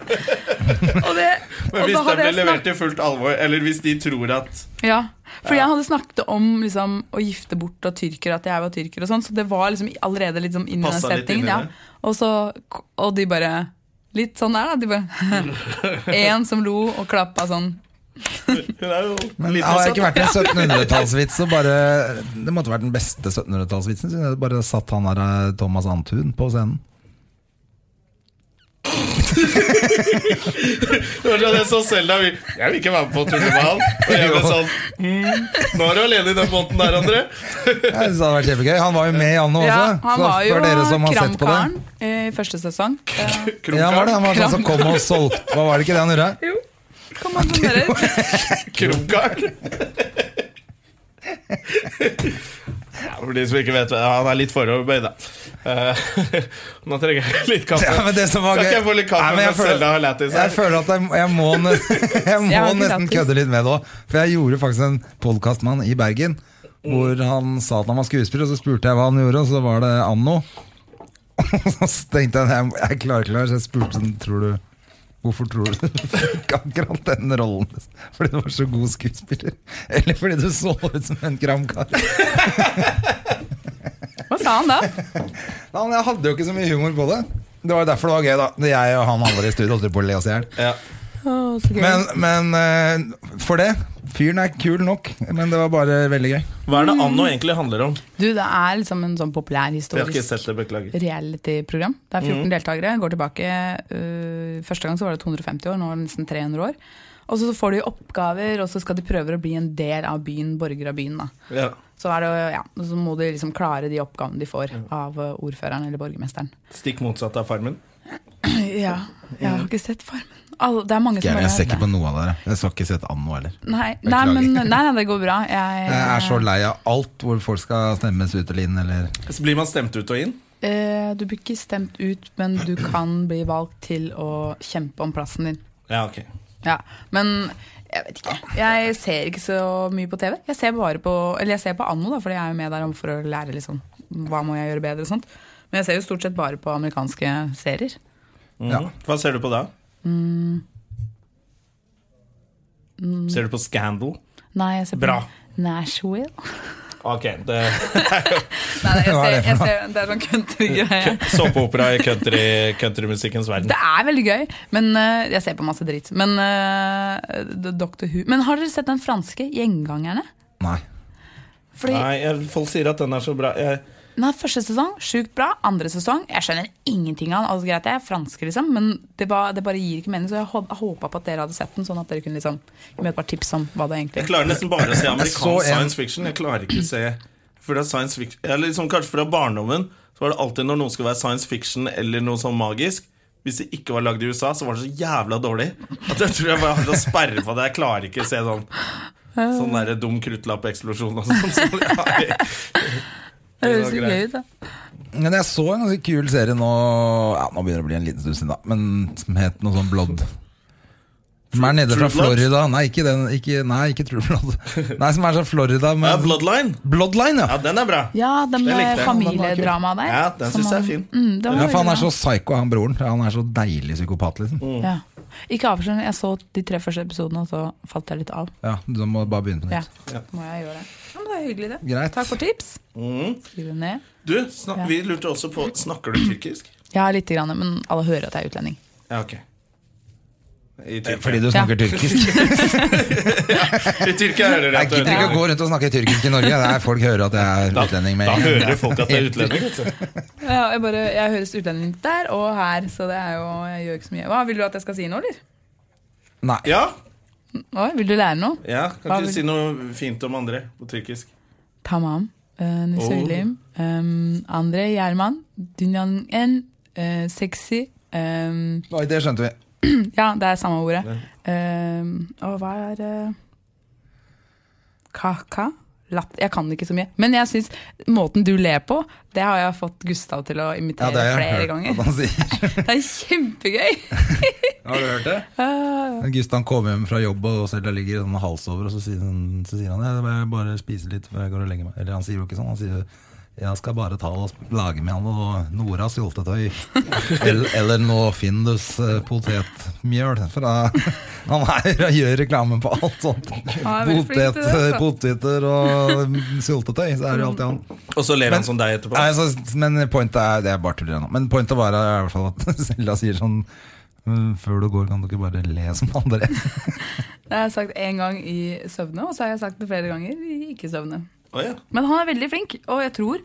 [SPEAKER 3] Og det
[SPEAKER 1] Men
[SPEAKER 3] og
[SPEAKER 1] hvis det
[SPEAKER 3] da hadde
[SPEAKER 1] blir
[SPEAKER 3] jeg
[SPEAKER 1] levert i fullt alvor, eller hvis de tror at
[SPEAKER 3] ja, fordi han hadde snakket om liksom, å gifte bort av tyrker, at jeg var tyrker og sånn, så det var liksom allerede liksom inn i den
[SPEAKER 1] Passet litt inn i
[SPEAKER 3] settingen. Ja.
[SPEAKER 1] det.
[SPEAKER 3] Og, så, og de bare Litt sånn der, da. De bare Én som lo og klappa sånn.
[SPEAKER 1] Hun er jo
[SPEAKER 2] Men
[SPEAKER 1] liten
[SPEAKER 2] hadde
[SPEAKER 1] og
[SPEAKER 2] det ikke
[SPEAKER 1] søt.
[SPEAKER 2] vært en 1700-tallsvits, så bare Det måtte vært den beste 1700-tallsvitsen. synes jeg. Bare satt han der eh, Thomas Antun på scenen.
[SPEAKER 1] Det var sånn Jeg så Selda vi- Jeg vil ikke være med på turné med han. Og jeg ble sånn mm, Nå er du alene i den båten der, André.
[SPEAKER 2] Jeg synes det hadde vært kjempegøy. Han var jo med i Anno
[SPEAKER 3] Ja,
[SPEAKER 2] også.
[SPEAKER 3] han
[SPEAKER 2] så
[SPEAKER 3] var jo
[SPEAKER 2] for dere som har sett på det.
[SPEAKER 3] kramkaren eh, i første sesong. Eh,
[SPEAKER 2] Ja, han var det. Han var sånn som kom og solgte Hva var det ikke det han gjorde?
[SPEAKER 3] jo, kom an sånn dere.
[SPEAKER 1] Krokgarn. Ja, for de som ikke vet Han er litt foroverbøyd, da. Eh, Nå trenger jeg litt kaffe.
[SPEAKER 2] Ja, men det som var
[SPEAKER 1] Kan
[SPEAKER 2] gøy
[SPEAKER 1] ikke jeg få litt kaffe
[SPEAKER 2] Nei, men jeg
[SPEAKER 1] mens
[SPEAKER 2] føler-
[SPEAKER 1] Selda har lættis her?
[SPEAKER 2] Jeg føler at jeg, jeg må, ne- jeg må
[SPEAKER 3] Jeg har ikke
[SPEAKER 2] nesten
[SPEAKER 3] lættis.
[SPEAKER 2] kødde litt med det òg. For jeg gjorde faktisk en podkast med han i Bergen. Hvor
[SPEAKER 3] Mm.
[SPEAKER 2] han sa at han var skuespiller, og så spurte jeg hva han gjorde, og så var det Anno. Og så tenkte jeg jeg, jeg klarer ikke det her, så jeg spurte sånn Tror du Hvorfor tror du du fikk akkurat den rollen? Fordi du var så god skuespiller? Eller fordi du så ut som en kramkar?
[SPEAKER 3] Hva sa han da?
[SPEAKER 2] Nei, men Jeg hadde jo ikke så mye humor på det. Det var jo derfor det var gøy, da. Når Jeg og han andre i studio holdt på å le oss i hjel.
[SPEAKER 1] Ja.
[SPEAKER 3] Å, så gøy.
[SPEAKER 2] Men, men eh, for det Fyren er kul nok, men det var bare veldig gøy.
[SPEAKER 1] Hva er det Anno egentlig handler om?
[SPEAKER 3] du, det er liksom en sånn populær
[SPEAKER 1] Jeg har ikke
[SPEAKER 3] historisk
[SPEAKER 1] sett det, beklager.
[SPEAKER 3] reality-program. Det er 14 deltakere, går tilbake øh, Første gang så var det 250 år, nå er det nesten 300 år. Og så får de oppgaver, og så skal de prøve å bli en del av byen, borger av byen. da.
[SPEAKER 1] Ja.
[SPEAKER 3] Så, er det, ja, så må de liksom klare de oppgavene de får av øh, ordføreren eller borgermesteren.
[SPEAKER 1] Stikk motsatt av Farmen.
[SPEAKER 3] Ja, jeg har ikke sett Farmen. Alle, det er mange som
[SPEAKER 2] Jeg,
[SPEAKER 3] bare-
[SPEAKER 2] ser ikke på noe av dere. Jeg skal ikke sette an nå heller.
[SPEAKER 3] Nei, nei, men, nei, nei, det går bra. Jeg,
[SPEAKER 2] Jeg er så lei av alt hvor folk skal stemmes ut eller inn, eller
[SPEAKER 1] Så blir man stemt ut og inn?
[SPEAKER 3] Eh, du blir ikke stemt ut, men du kan bli valgt til å kjempe om plassen din.
[SPEAKER 1] Ja, ok.
[SPEAKER 3] Ja, men jeg vet ikke. Jeg ser ikke så mye på TV. Jeg ser bare på Eller jeg ser på Anno, da, fordi jeg er jo med der om for å lære liksom, hva må jeg gjøre bedre og sånt. Men jeg ser jo stort sett bare på amerikanske serier.
[SPEAKER 1] Mhm.
[SPEAKER 2] Ja.
[SPEAKER 1] Hva ser du på da? Ser du på Scandal?
[SPEAKER 3] Nei, jeg ser på
[SPEAKER 1] Bra.
[SPEAKER 3] Nashville.
[SPEAKER 1] Ok, det
[SPEAKER 3] Nei, nei, jeg
[SPEAKER 2] Hva er det
[SPEAKER 3] ser,
[SPEAKER 2] for
[SPEAKER 3] jeg ser, det er sånn country-greie.
[SPEAKER 1] såpeopera i country, countrymusikkens verden.
[SPEAKER 3] Det er veldig gøy, men eh, jeg ser på masse dritt. Men eh, Dr. Who Men har dere sett den franske Gjengangerne?
[SPEAKER 2] Nei.
[SPEAKER 3] Fordi
[SPEAKER 1] Nei, jeg, folk sier at den er så bra. Jeg,
[SPEAKER 3] Nei, Første sesong sjukt bra. Andre sesong jeg skjønner ingenting av den. Altså, greit, jeg er fransk, liksom, men det, bare, det bare gir ikke mening. Så jeg hå- håpa på at dere hadde sett den, sånn at dere kunne liksom, gi meg et par tips om hva det
[SPEAKER 1] Jeg
[SPEAKER 3] egentlig
[SPEAKER 1] klarer nesten bare å se
[SPEAKER 2] så en-
[SPEAKER 1] amerikansk science fiction. Jeg klarer ikke å se For det er science fiction Eller liksom kanskje fra barndommen Så var det alltid når noen skulle være science fiction eller noe sånn magisk. Hvis det ikke var lagd i USA, så var det så jævla dårlig at jeg tror jeg bare har til å sperre på det. Jeg klarer ikke å se sånn Sånn der dum kruttlappeksplosjon og sånn. Så jeg,
[SPEAKER 3] Det
[SPEAKER 1] er
[SPEAKER 3] høres
[SPEAKER 1] så
[SPEAKER 3] jo gøy ut, da.
[SPEAKER 2] Men jeg så en ganske kul serie nå ja, Nå begynner det å bli en liten stund siden, da. Men som het noe sånn Blood. Som er nede
[SPEAKER 1] True
[SPEAKER 2] fra
[SPEAKER 1] Blood?
[SPEAKER 2] Florida. Nei, ikke den. Ikke, nei, ikke True Blood. Nei, som er fra Florida.
[SPEAKER 1] ja,
[SPEAKER 2] Men
[SPEAKER 1] Bloodline.
[SPEAKER 2] Bloodline,
[SPEAKER 1] Ja,
[SPEAKER 2] ja!
[SPEAKER 1] den er bra.
[SPEAKER 3] Ja, den
[SPEAKER 1] Jeg likte
[SPEAKER 3] eh,
[SPEAKER 1] den.
[SPEAKER 3] familiedramaet der.
[SPEAKER 1] Ja, den
[SPEAKER 3] som
[SPEAKER 1] synes jeg er
[SPEAKER 3] han-
[SPEAKER 1] fin.
[SPEAKER 3] Mm, den var
[SPEAKER 2] Ja, for han
[SPEAKER 3] veldig
[SPEAKER 2] er så
[SPEAKER 3] bra.
[SPEAKER 2] psycho, han broren. Han er så deilig psykopat,
[SPEAKER 1] Mm.
[SPEAKER 2] liksom.
[SPEAKER 3] ja. Ikke avslør, jeg så de tre første episodene, og så falt jeg litt av.
[SPEAKER 2] Ja, Du må bare begynne på
[SPEAKER 3] Ja,
[SPEAKER 2] nytt.
[SPEAKER 3] må jeg gjøre det. Ja, men det er hyggelig, det.
[SPEAKER 2] Greit.
[SPEAKER 3] Takk for tips.
[SPEAKER 1] Mm.
[SPEAKER 3] Skriv det ned.
[SPEAKER 1] Du, snak,
[SPEAKER 3] Ja.
[SPEAKER 1] vi lurte også på Snakker du tyrkisk?
[SPEAKER 3] Ja, lite grann, men alle hører at jeg er utlending.
[SPEAKER 1] Ja, ok. I Tyrkia,
[SPEAKER 2] Fordi du snakker tyrkisk.
[SPEAKER 1] I Tyrkia hører de
[SPEAKER 2] Jeg
[SPEAKER 1] at du
[SPEAKER 2] gidder ikke
[SPEAKER 1] er
[SPEAKER 2] å gå rundt og snakke tyrkisk i Norge. Det er folk hører at jeg er utlending med
[SPEAKER 1] Da
[SPEAKER 2] en gang.
[SPEAKER 1] hører folk at du er utlending. vet du.
[SPEAKER 3] Ja, jeg, bare, jeg høres utlending der og her, så det er jo, jeg gjør ikke så mye. Hva, Vil du at jeg skal si noe, eller?
[SPEAKER 2] Nei.
[SPEAKER 1] Ja,
[SPEAKER 3] Oi, vil du lære noe?
[SPEAKER 1] ja kan
[SPEAKER 3] Hva
[SPEAKER 1] ikke du
[SPEAKER 3] vil-
[SPEAKER 1] si noe fint om andre på tyrkisk?
[SPEAKER 3] Tamam. Eh, Nusøylim. Um, Andre Gjerman. Dynjan en. eh, sexy. Um,
[SPEAKER 2] Oi, det skjønte vi.
[SPEAKER 3] ja, det er samme ordet. Um, og hva er eh, Kaka? Latt. Jeg kan ikke så mye. Men jeg syns måten du ler på, det har jeg fått Gustav til å
[SPEAKER 2] Ja,
[SPEAKER 3] imitere
[SPEAKER 2] det har jeg
[SPEAKER 3] flere
[SPEAKER 2] hørt at
[SPEAKER 3] ganger.
[SPEAKER 2] han sier.
[SPEAKER 3] Det er kjempegøy!
[SPEAKER 2] Har du hørt det?
[SPEAKER 3] Eh,
[SPEAKER 2] Gustav kommer hjem fra jobb og Selda ligger sånn hals over, og så sier, han- så sier han ja, jeg bare- bare spiser litt før jeg går og legger meg. Eller han sier jo ikke sånn, han sier jeg skal bare ta og sp- lage med han noe Nora syltetøy. Eller, eller noe Findus eh, potetmjøl. For da, han er og gjør reklame på alt sånt.
[SPEAKER 3] Han er veldig flink til
[SPEAKER 2] Potet, eh,
[SPEAKER 3] det, altså.
[SPEAKER 2] poteter og mm, syltetøy, så er det jo alltid han.
[SPEAKER 1] Og så ler
[SPEAKER 2] Men-
[SPEAKER 1] han som deg etterpå.
[SPEAKER 2] Nei, så, men pointet er Det er bare tuller jeg nå. Men pointet var i hvert fall at Selda sier sånn «Mm, Før du går, kan du ikke bare le som andre?
[SPEAKER 3] Det har jeg sagt én gang i søvne, og så har jeg sagt det flere ganger i ikke-søvne.
[SPEAKER 1] Å, ja.
[SPEAKER 3] Men han er veldig flink, og jeg tror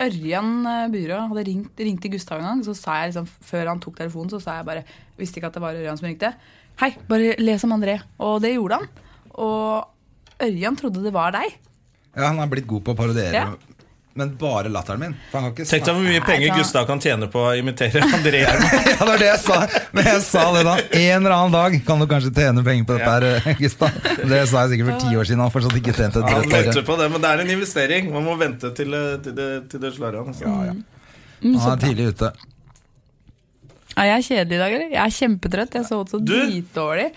[SPEAKER 3] Ørjan eh, Byrå hadde ringt, ringt til Gustav en gang, så sa jeg liksom, før han tok telefonen, så sa jeg bare Visste ikke at det var Ørjan som ringte. Hei, bare le som André. Og det gjorde han. Og Ørjan trodde det var deg.
[SPEAKER 2] Ja, han er blitt god på å parodiere.
[SPEAKER 3] Ja.
[SPEAKER 2] Men bare latteren min. For han kan ikke
[SPEAKER 1] Tenk deg hvor mye penger
[SPEAKER 3] da-
[SPEAKER 1] Gustav kan tjene på å imitere André. Gjerman.
[SPEAKER 2] Ja, det var det jeg sa. Men jeg sa det da. En eller annen dag kan du kanskje tjene penger på dette her, Gustav. Det sa jeg sikkert for ti år siden. Han har fortsatt ikke tjent
[SPEAKER 1] Han
[SPEAKER 2] et drøtt
[SPEAKER 1] venter
[SPEAKER 2] øre.
[SPEAKER 1] på det, men det er en investering. Man må vente til, eh, til, det- til det slår an. altså.
[SPEAKER 2] Han er tidlig ute.
[SPEAKER 3] Er jeg kjedelig i dag, eller? Jeg er kjempetrøtt. Jeg sov så
[SPEAKER 1] Du?
[SPEAKER 3] dritdårlig.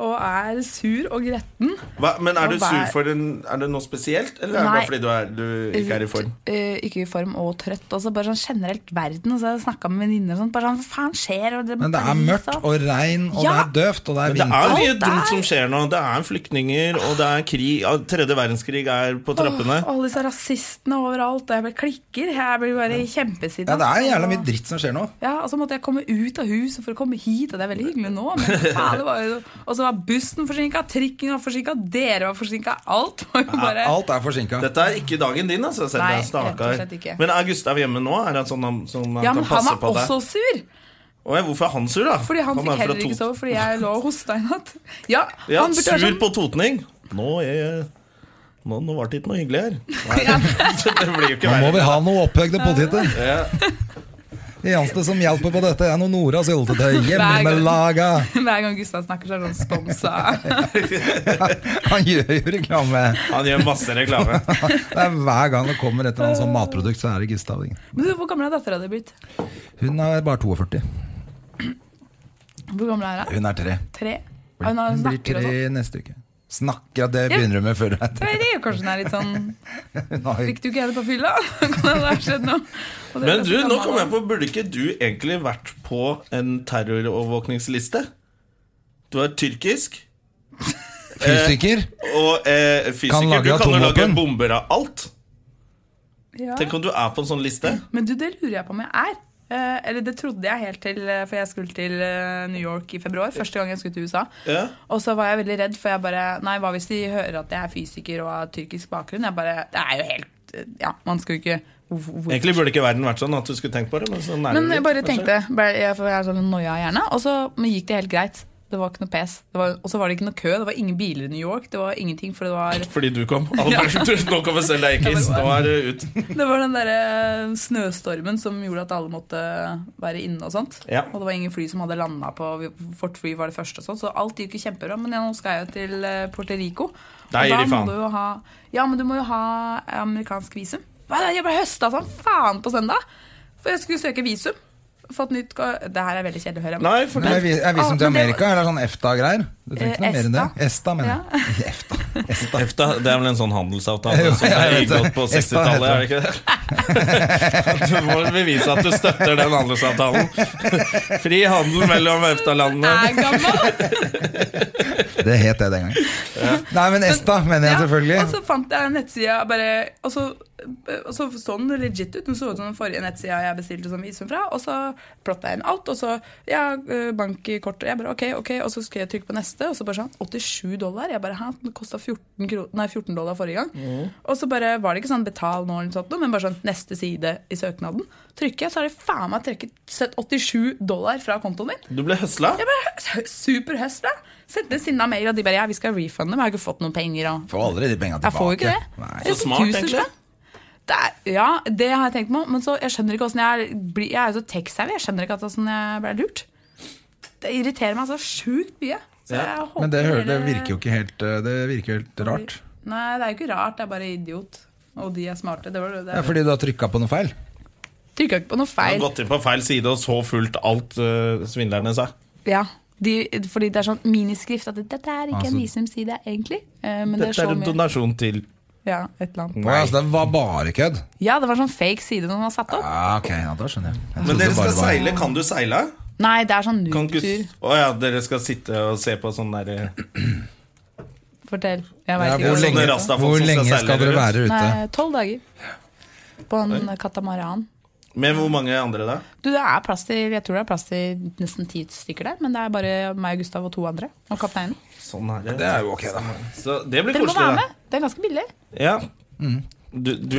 [SPEAKER 3] Og er sur og gretten.
[SPEAKER 1] Hva, men er du
[SPEAKER 3] Og
[SPEAKER 1] sur
[SPEAKER 3] hver-
[SPEAKER 1] for en, Er det noe spesielt, eller er det
[SPEAKER 3] Nei.
[SPEAKER 1] bare fordi du, er, du ikke er i form?
[SPEAKER 3] Eh, ikke i form og trøtt. Altså bare sånn generelt verden. Og så har jeg snakka med venninner og sånn. Bare sånn, hva faen skjer? Og
[SPEAKER 2] Men det er mørkt og regn, og det
[SPEAKER 3] Ja.
[SPEAKER 2] er døvt, og det er
[SPEAKER 1] Men det
[SPEAKER 2] vinter.
[SPEAKER 1] er mye
[SPEAKER 3] Alt er-
[SPEAKER 1] dumt som skjer nå. Det er flyktninger, og det er krig. Ja, Tredje verdenskrig er på trappene.
[SPEAKER 3] Alle disse rasistene overalt. Og jeg ble klikker. Jeg blir bare kjempesinna.
[SPEAKER 2] Ja, det er jævla mye dritt som skjer nå.
[SPEAKER 3] Ja, og så måtte jeg komme ut av huset for å komme hit, og det er veldig hyggelig nå. Men faen, det var jo Og så var bussen forsinka, trikken var forsinka, dere var forsinka. Alt var jo bare
[SPEAKER 2] Alt er forsinka.
[SPEAKER 1] Dette er ikke dagen din, altså. Selda.
[SPEAKER 3] Nei, rett og
[SPEAKER 1] Stakkar.
[SPEAKER 3] slett ikke.
[SPEAKER 1] Men er Gustav hjemme nå? Er han sånn han, sånn han
[SPEAKER 3] Ja,
[SPEAKER 1] kan
[SPEAKER 3] men han
[SPEAKER 1] passe
[SPEAKER 3] var
[SPEAKER 1] på deg?
[SPEAKER 3] også sur!
[SPEAKER 1] Å ja, hvorfor er han sur, da?
[SPEAKER 3] Fordi han,
[SPEAKER 1] er
[SPEAKER 3] fikk
[SPEAKER 1] fra
[SPEAKER 3] heller
[SPEAKER 1] Tot-
[SPEAKER 3] ikke sove fordi jeg lå og hosta i natt. Ja,
[SPEAKER 1] Ja,
[SPEAKER 3] han burde
[SPEAKER 1] sur
[SPEAKER 3] vært sånn
[SPEAKER 1] på totning. Nå er jeg nå, nå var det ikke noe hyggelig her. Så det blir jo ikke
[SPEAKER 2] Nå må vi
[SPEAKER 1] verre.
[SPEAKER 2] ha noe opphøgde poteter.
[SPEAKER 1] Ja.
[SPEAKER 2] Det eneste som hjelper på dette, er noe Nora syltetøy. Hjemmelaga.
[SPEAKER 3] Hver gang Gustav snakker, så er det sånn sponsa.
[SPEAKER 2] Han gjør jo reklame.
[SPEAKER 1] Han gjør masse reklame.
[SPEAKER 2] Det er Hver gang det kommer et eller annet sånt matprodukt, så er det Gustav. Ingen.
[SPEAKER 3] Men du, hvor gammel er dattera di blitt?
[SPEAKER 2] Hun er bare 42.
[SPEAKER 3] Hvor gammel er hun?
[SPEAKER 2] Hun er tre.
[SPEAKER 3] Tre? Ja, Hun har
[SPEAKER 2] Hun blir
[SPEAKER 3] snakker og sånn.
[SPEAKER 2] tre neste uke. Snakker, ja, det begynner hun med før hun er tre.
[SPEAKER 3] Jeg vet ikke, Kanskje hun er litt sånn
[SPEAKER 2] Hun har jo-
[SPEAKER 3] Fikk du ikke henne på fylla? Kan det ha skjedd noe? Og det er
[SPEAKER 1] Men du,
[SPEAKER 3] ganske
[SPEAKER 1] nå
[SPEAKER 3] gammel,
[SPEAKER 1] kom jeg
[SPEAKER 3] da.
[SPEAKER 1] på Burde ikke du egentlig vært på en terrorovervåkningsliste? Du er tyrkisk
[SPEAKER 2] Fysiker?
[SPEAKER 1] og eh, fysiker.
[SPEAKER 2] Kan lage
[SPEAKER 1] du kan jo lage
[SPEAKER 2] atomvåpen.
[SPEAKER 1] bomber av alt. Tenk
[SPEAKER 3] ja.
[SPEAKER 1] om du er på en sånn liste.
[SPEAKER 3] Men du, det lurer jeg på om jeg er. Eh, eller det trodde jeg helt til eh, For jeg skulle til eh, New York i februar. Første gang jeg skulle til USA.
[SPEAKER 1] Ja.
[SPEAKER 3] Og så var jeg veldig redd, for jeg bare Nei, hva hvis de hører at jeg er fysiker og har tyrkisk bakgrunn? Jeg bare Det er jo helt eh, Ja, man skal jo ikke hvor-
[SPEAKER 1] Egentlig burde ikke verden vært sånn at du skulle tenkt på det. Men sånn er det
[SPEAKER 3] Men jeg
[SPEAKER 1] vel,
[SPEAKER 3] bare
[SPEAKER 1] kanskje.
[SPEAKER 3] tenkte bare, jeg, for jeg er sånn noia i hjernen. Og så men gikk det helt greit. Det var ikke noe pes. Det var- Og så var det ikke noe kø. Det var ingen biler i New York. Det var ingenting, for det var
[SPEAKER 1] Fordi du kom. Alle bare, Nå kommer selv deg ikke Nå er det ut.
[SPEAKER 3] Det var den derre eh, snøstormen som gjorde at alle måtte eh, være inne og sånt.
[SPEAKER 1] Ja.
[SPEAKER 3] Og det var ingen fly som hadde landa på Vårt fly var det første og sånn, så alt gikk jo kjempebra. Men ja, nå skal jeg jo til eh, Puerto Rico. Og
[SPEAKER 1] Der gir de faen.
[SPEAKER 3] må du jo ha Ja, men du må jo ha eh, amerikansk visum. Hva er det? Jeg ble høsta som faen på søndag! For jeg skulle søke visum. Fått nytt ka- Det her er veldig kjedelig å høre.
[SPEAKER 1] Nei, for
[SPEAKER 2] Men er vi- er visum til
[SPEAKER 3] Ah, men det
[SPEAKER 2] Amerika, eller sånn EFTA-greier? Du trenger ikke noe
[SPEAKER 3] Eh,
[SPEAKER 2] mer enn det.
[SPEAKER 3] ESTA.
[SPEAKER 2] ESTA, mener jeg. EFTA. EFTA.
[SPEAKER 1] EFTA, det er vel en sånn handelsavtale
[SPEAKER 2] Jo,
[SPEAKER 1] som
[SPEAKER 2] jeg
[SPEAKER 1] er
[SPEAKER 2] vet det.
[SPEAKER 1] inngått på
[SPEAKER 2] EFTA
[SPEAKER 1] 60-tallet, er det ikke det? Du må bevise at du støtter den handelsavtalen. Fri handel mellom EFTA-landene.
[SPEAKER 3] Er gammel!
[SPEAKER 2] Det het det den gangen. Nei, men ESTA mener jeg
[SPEAKER 3] Ja, altså- og
[SPEAKER 2] selvfølgelig.
[SPEAKER 3] så fant jeg nettsida bare Og så, og så så den legit ut. Den så ut som den forrige nettsida jeg bestilte som visum fra. Og så plotta jeg inn alt, og så ja, eh, bankkort og Jeg bare OK, OK. Og så skulle jeg trykke på neste, og så bare sånn 87 dollar. Jeg bare hæ, den kosta 14, kro- nei, 14 dollar forrige gang. Og så bare var det ikke sånn betal nå eller noe sånt, noe, men bare sånn neste side i søknaden. Trykker jeg, så har de faen meg trekket sett 87 dollar fra kontoen min.
[SPEAKER 1] Du ble høsla.
[SPEAKER 3] Jeg bare superhøsla. Sendte en sinna mail, og de bare ja, vi skal refunde, men jeg har ikke fått noen penger. og
[SPEAKER 2] Får aldri de penga tilbake.
[SPEAKER 3] jeg får jo ikke det.
[SPEAKER 2] Nei.
[SPEAKER 3] Det er
[SPEAKER 1] Så smart,
[SPEAKER 3] tusen
[SPEAKER 1] egentlig.
[SPEAKER 3] spenn. Det er, ja, det har jeg tenkt på, men så, jeg skjønner ikke hvordan jeg blir Jeg er jo så tech-savvy, jeg skjønner ikke at det er sånn jeg ble lurt. Det irriterer meg så sjukt mye. Så
[SPEAKER 1] Ja.
[SPEAKER 3] jeg håper
[SPEAKER 2] Men det, hører- det virker jo ikke helt eh, Det virker jo helt rart.
[SPEAKER 3] Nei, det er jo ikke rart, det er bare idiot. Og de er smarte. Det var det.
[SPEAKER 2] Ja,
[SPEAKER 3] det.
[SPEAKER 2] fordi du har trykka på noe feil?
[SPEAKER 3] Trykka ikke på noe
[SPEAKER 1] Du har
[SPEAKER 3] feil.
[SPEAKER 1] gått inn på feil side og så fullt alt eh, svindlerne sa.
[SPEAKER 3] Ja, de, fordi det er sånn miniskrift at dette er ikke
[SPEAKER 2] Altså-
[SPEAKER 3] en visumside, egentlig. Eh, Men det er
[SPEAKER 1] Dette
[SPEAKER 3] så
[SPEAKER 1] er en
[SPEAKER 3] mye
[SPEAKER 1] donasjon til
[SPEAKER 3] Ja, et eller annet.
[SPEAKER 2] Nei. Altså, det var bare kødd?
[SPEAKER 3] Ja, det var sånn fake side som var satt opp.
[SPEAKER 2] Ja, ok, ja, da skjønner jeg. jeg
[SPEAKER 1] Men
[SPEAKER 2] trodde
[SPEAKER 1] dere skal
[SPEAKER 2] bare var-
[SPEAKER 1] seile. Kan du seile?
[SPEAKER 3] Nei, det er sånn
[SPEAKER 1] Kan ikke
[SPEAKER 3] nutur.
[SPEAKER 1] Å ja, dere skal sitte og se på sånn derre
[SPEAKER 3] Fortell. Jeg
[SPEAKER 2] Ja,
[SPEAKER 3] vet
[SPEAKER 2] hvor
[SPEAKER 3] ikke.
[SPEAKER 1] Sånne
[SPEAKER 2] lenge,
[SPEAKER 1] rastafolk
[SPEAKER 2] hvor
[SPEAKER 1] som skal
[SPEAKER 2] lenge
[SPEAKER 1] seile
[SPEAKER 2] skal dere
[SPEAKER 1] rundt.
[SPEAKER 2] være ute?
[SPEAKER 3] Nei, tolv dager. På en katamaran.
[SPEAKER 1] Med hvor mange andre da?
[SPEAKER 3] Du, det er plass til, Jeg tror det er plass til nesten ti stykker der, men det er bare meg og Gustav og to andre. Og kapteinen.
[SPEAKER 1] Sånn er
[SPEAKER 2] Det er jo ok, da.
[SPEAKER 1] Så det blir
[SPEAKER 3] Dere må
[SPEAKER 1] koselig,
[SPEAKER 3] være
[SPEAKER 1] da.
[SPEAKER 3] med! Det er ganske billig.
[SPEAKER 1] Ja. Du, du
[SPEAKER 2] Mm. Vi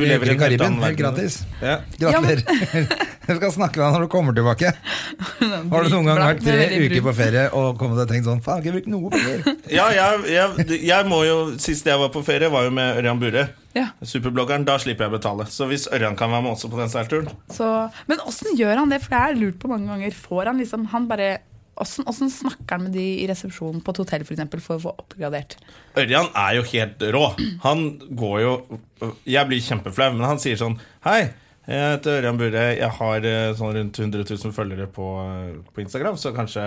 [SPEAKER 1] lever i
[SPEAKER 2] lever i
[SPEAKER 1] en helt
[SPEAKER 2] Karibien,
[SPEAKER 1] annen
[SPEAKER 2] helt
[SPEAKER 1] verden.
[SPEAKER 2] gratis.
[SPEAKER 1] Ja.
[SPEAKER 2] Gratulerer. Jeg skal snakke med deg når du kommer tilbake. Har du noen gang vært tre uker på ferie og kommet og tenkt sånn Faen, jeg har ikke brukt noe penger.
[SPEAKER 1] ja, jeg, jeg, jeg må jo Sist jeg var på ferie, var jo med Ørjan Bure.
[SPEAKER 3] Ja,
[SPEAKER 1] Superbloggeren. Da slipper jeg å betale. Så hvis Ørjan kan være med også på den seilturen
[SPEAKER 3] så, Men åssen gjør han det? For jeg har lurt på mange ganger. Får han liksom Han bare Åssen åssen snakker han med de i resepsjonen på et hotell for, eksempel, for å få oppgradert?
[SPEAKER 1] Ørjan er jo helt rå. Han går jo Jeg blir kjempeflau, men han sier sånn Hei, jeg heter Ørjan Bure. Jeg har eh, sånn rundt 100 000 følgere på, eh, på Instagram, så kanskje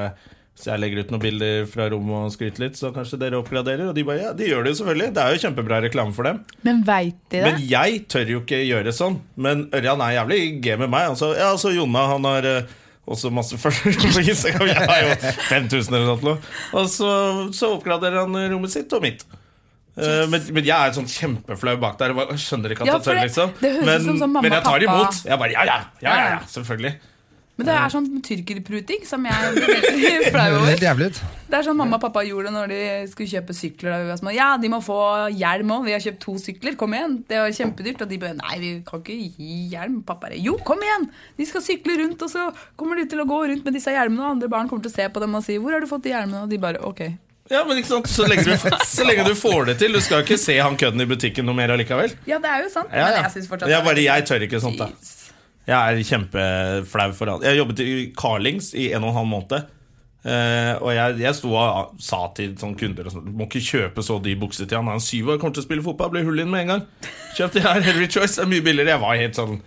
[SPEAKER 1] hvis jeg legger ut noen bilder fra rommet og skryter litt, så kanskje dere oppgraderer. Og de bare ja, de gjør det jo selvfølgelig. Det er jo kjempebra reklame for dem.
[SPEAKER 3] Men veit de det?
[SPEAKER 1] Men jeg tør jo ikke gjøre sånn. Men Ørjan er jævlig G med meg. Altså, ja, altså Jonna han har eh, også masse følgere på Instagram. Jeg har jo 5000 eller noe. Og så, så oppgraderer han rommet sitt og mitt. Eh, men, men jeg er sånn kjempeflau bak der. Jeg bare, skjønner ikke at
[SPEAKER 3] Ja,
[SPEAKER 1] jeg
[SPEAKER 3] for
[SPEAKER 1] tør,
[SPEAKER 3] det-
[SPEAKER 1] liksom.
[SPEAKER 3] det høres
[SPEAKER 1] men,
[SPEAKER 3] ut som sånn mamma
[SPEAKER 1] men jeg tar
[SPEAKER 3] og pappa.
[SPEAKER 1] imot. Jeg bare ja, ja, ja, ja, ja selvfølgelig.
[SPEAKER 3] Men det er sånn tyrkerpruting som jeg blir veldig
[SPEAKER 2] Det
[SPEAKER 3] flau
[SPEAKER 2] høres
[SPEAKER 3] over.
[SPEAKER 2] helt jævlig ut.
[SPEAKER 3] Det er sånn mamma og pappa gjorde når de skulle kjøpe sykler. Da vi var små. Ja, de må få hjelm òg. Vi har kjøpt to sykler. Kom igjen. Det var kjempedyrt. Og de bare Nei, vi kan ikke gi hjelm. Pappa bare Jo, kom igjen! De skal sykle rundt, og så kommer de til å gå rundt med disse hjelmene, og andre barn kommer til å se på dem og si Hvor har du fått de hjelmene? Og de bare Ok.
[SPEAKER 1] Ja, men ikke sant? Så lenge, du, så lenge du får det til. Du skal jo ikke se han kødden i butikken noe mer allikevel.
[SPEAKER 3] Ja, det er jo sant.
[SPEAKER 1] Ja, ja.
[SPEAKER 3] Men jeg syns fortsatt
[SPEAKER 1] jeg, bare, jeg tør ikke sånt, da.
[SPEAKER 3] Jeez.
[SPEAKER 1] Jeg er kjempeflau for alt. Jeg jobbet i Carlings i en og en halv måned. Eh, og jeg, jeg sto og sa til sånne kunder og sånn, Du må ikke kjøpe så dyr bukse til han. Han er syv år, kommer til å spille fotball, blir hull inn med en gang. Kjøp de her, Henry Choice er mye billigere. Jeg var helt sånn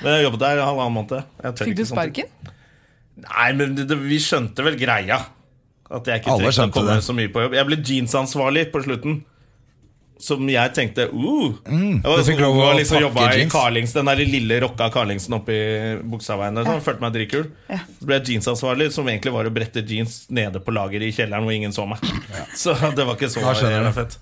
[SPEAKER 1] Men jeg jobbet der i halvannen måned. Jeg tør
[SPEAKER 3] Fikk du
[SPEAKER 1] ikke sånt.
[SPEAKER 3] sparken?
[SPEAKER 1] Nei, men det, det, vi skjønte vel greia. At jeg ikke
[SPEAKER 2] Alle
[SPEAKER 1] trengte å
[SPEAKER 2] skjønte
[SPEAKER 1] komme
[SPEAKER 2] det.
[SPEAKER 1] så mye på jobb. Jeg ble jeansansvarlig på slutten. Som jeg tenkte uh, Jeg var
[SPEAKER 2] Mm, du fikk
[SPEAKER 1] så ung
[SPEAKER 2] lov å
[SPEAKER 1] og liksom
[SPEAKER 2] pakke
[SPEAKER 1] jobba i
[SPEAKER 2] jeans.
[SPEAKER 1] Carlings, den der lille rocka Carlingsen oppi Buksaveien. der, Sånn. Følte meg dritkul. Så ble jeg jeansansvarlig, som egentlig var å brette jeans nede på lageret i kjelleren hvor ingen så meg. Så det var ikke så
[SPEAKER 2] Da skjønner
[SPEAKER 1] jævla
[SPEAKER 2] du.
[SPEAKER 1] fett.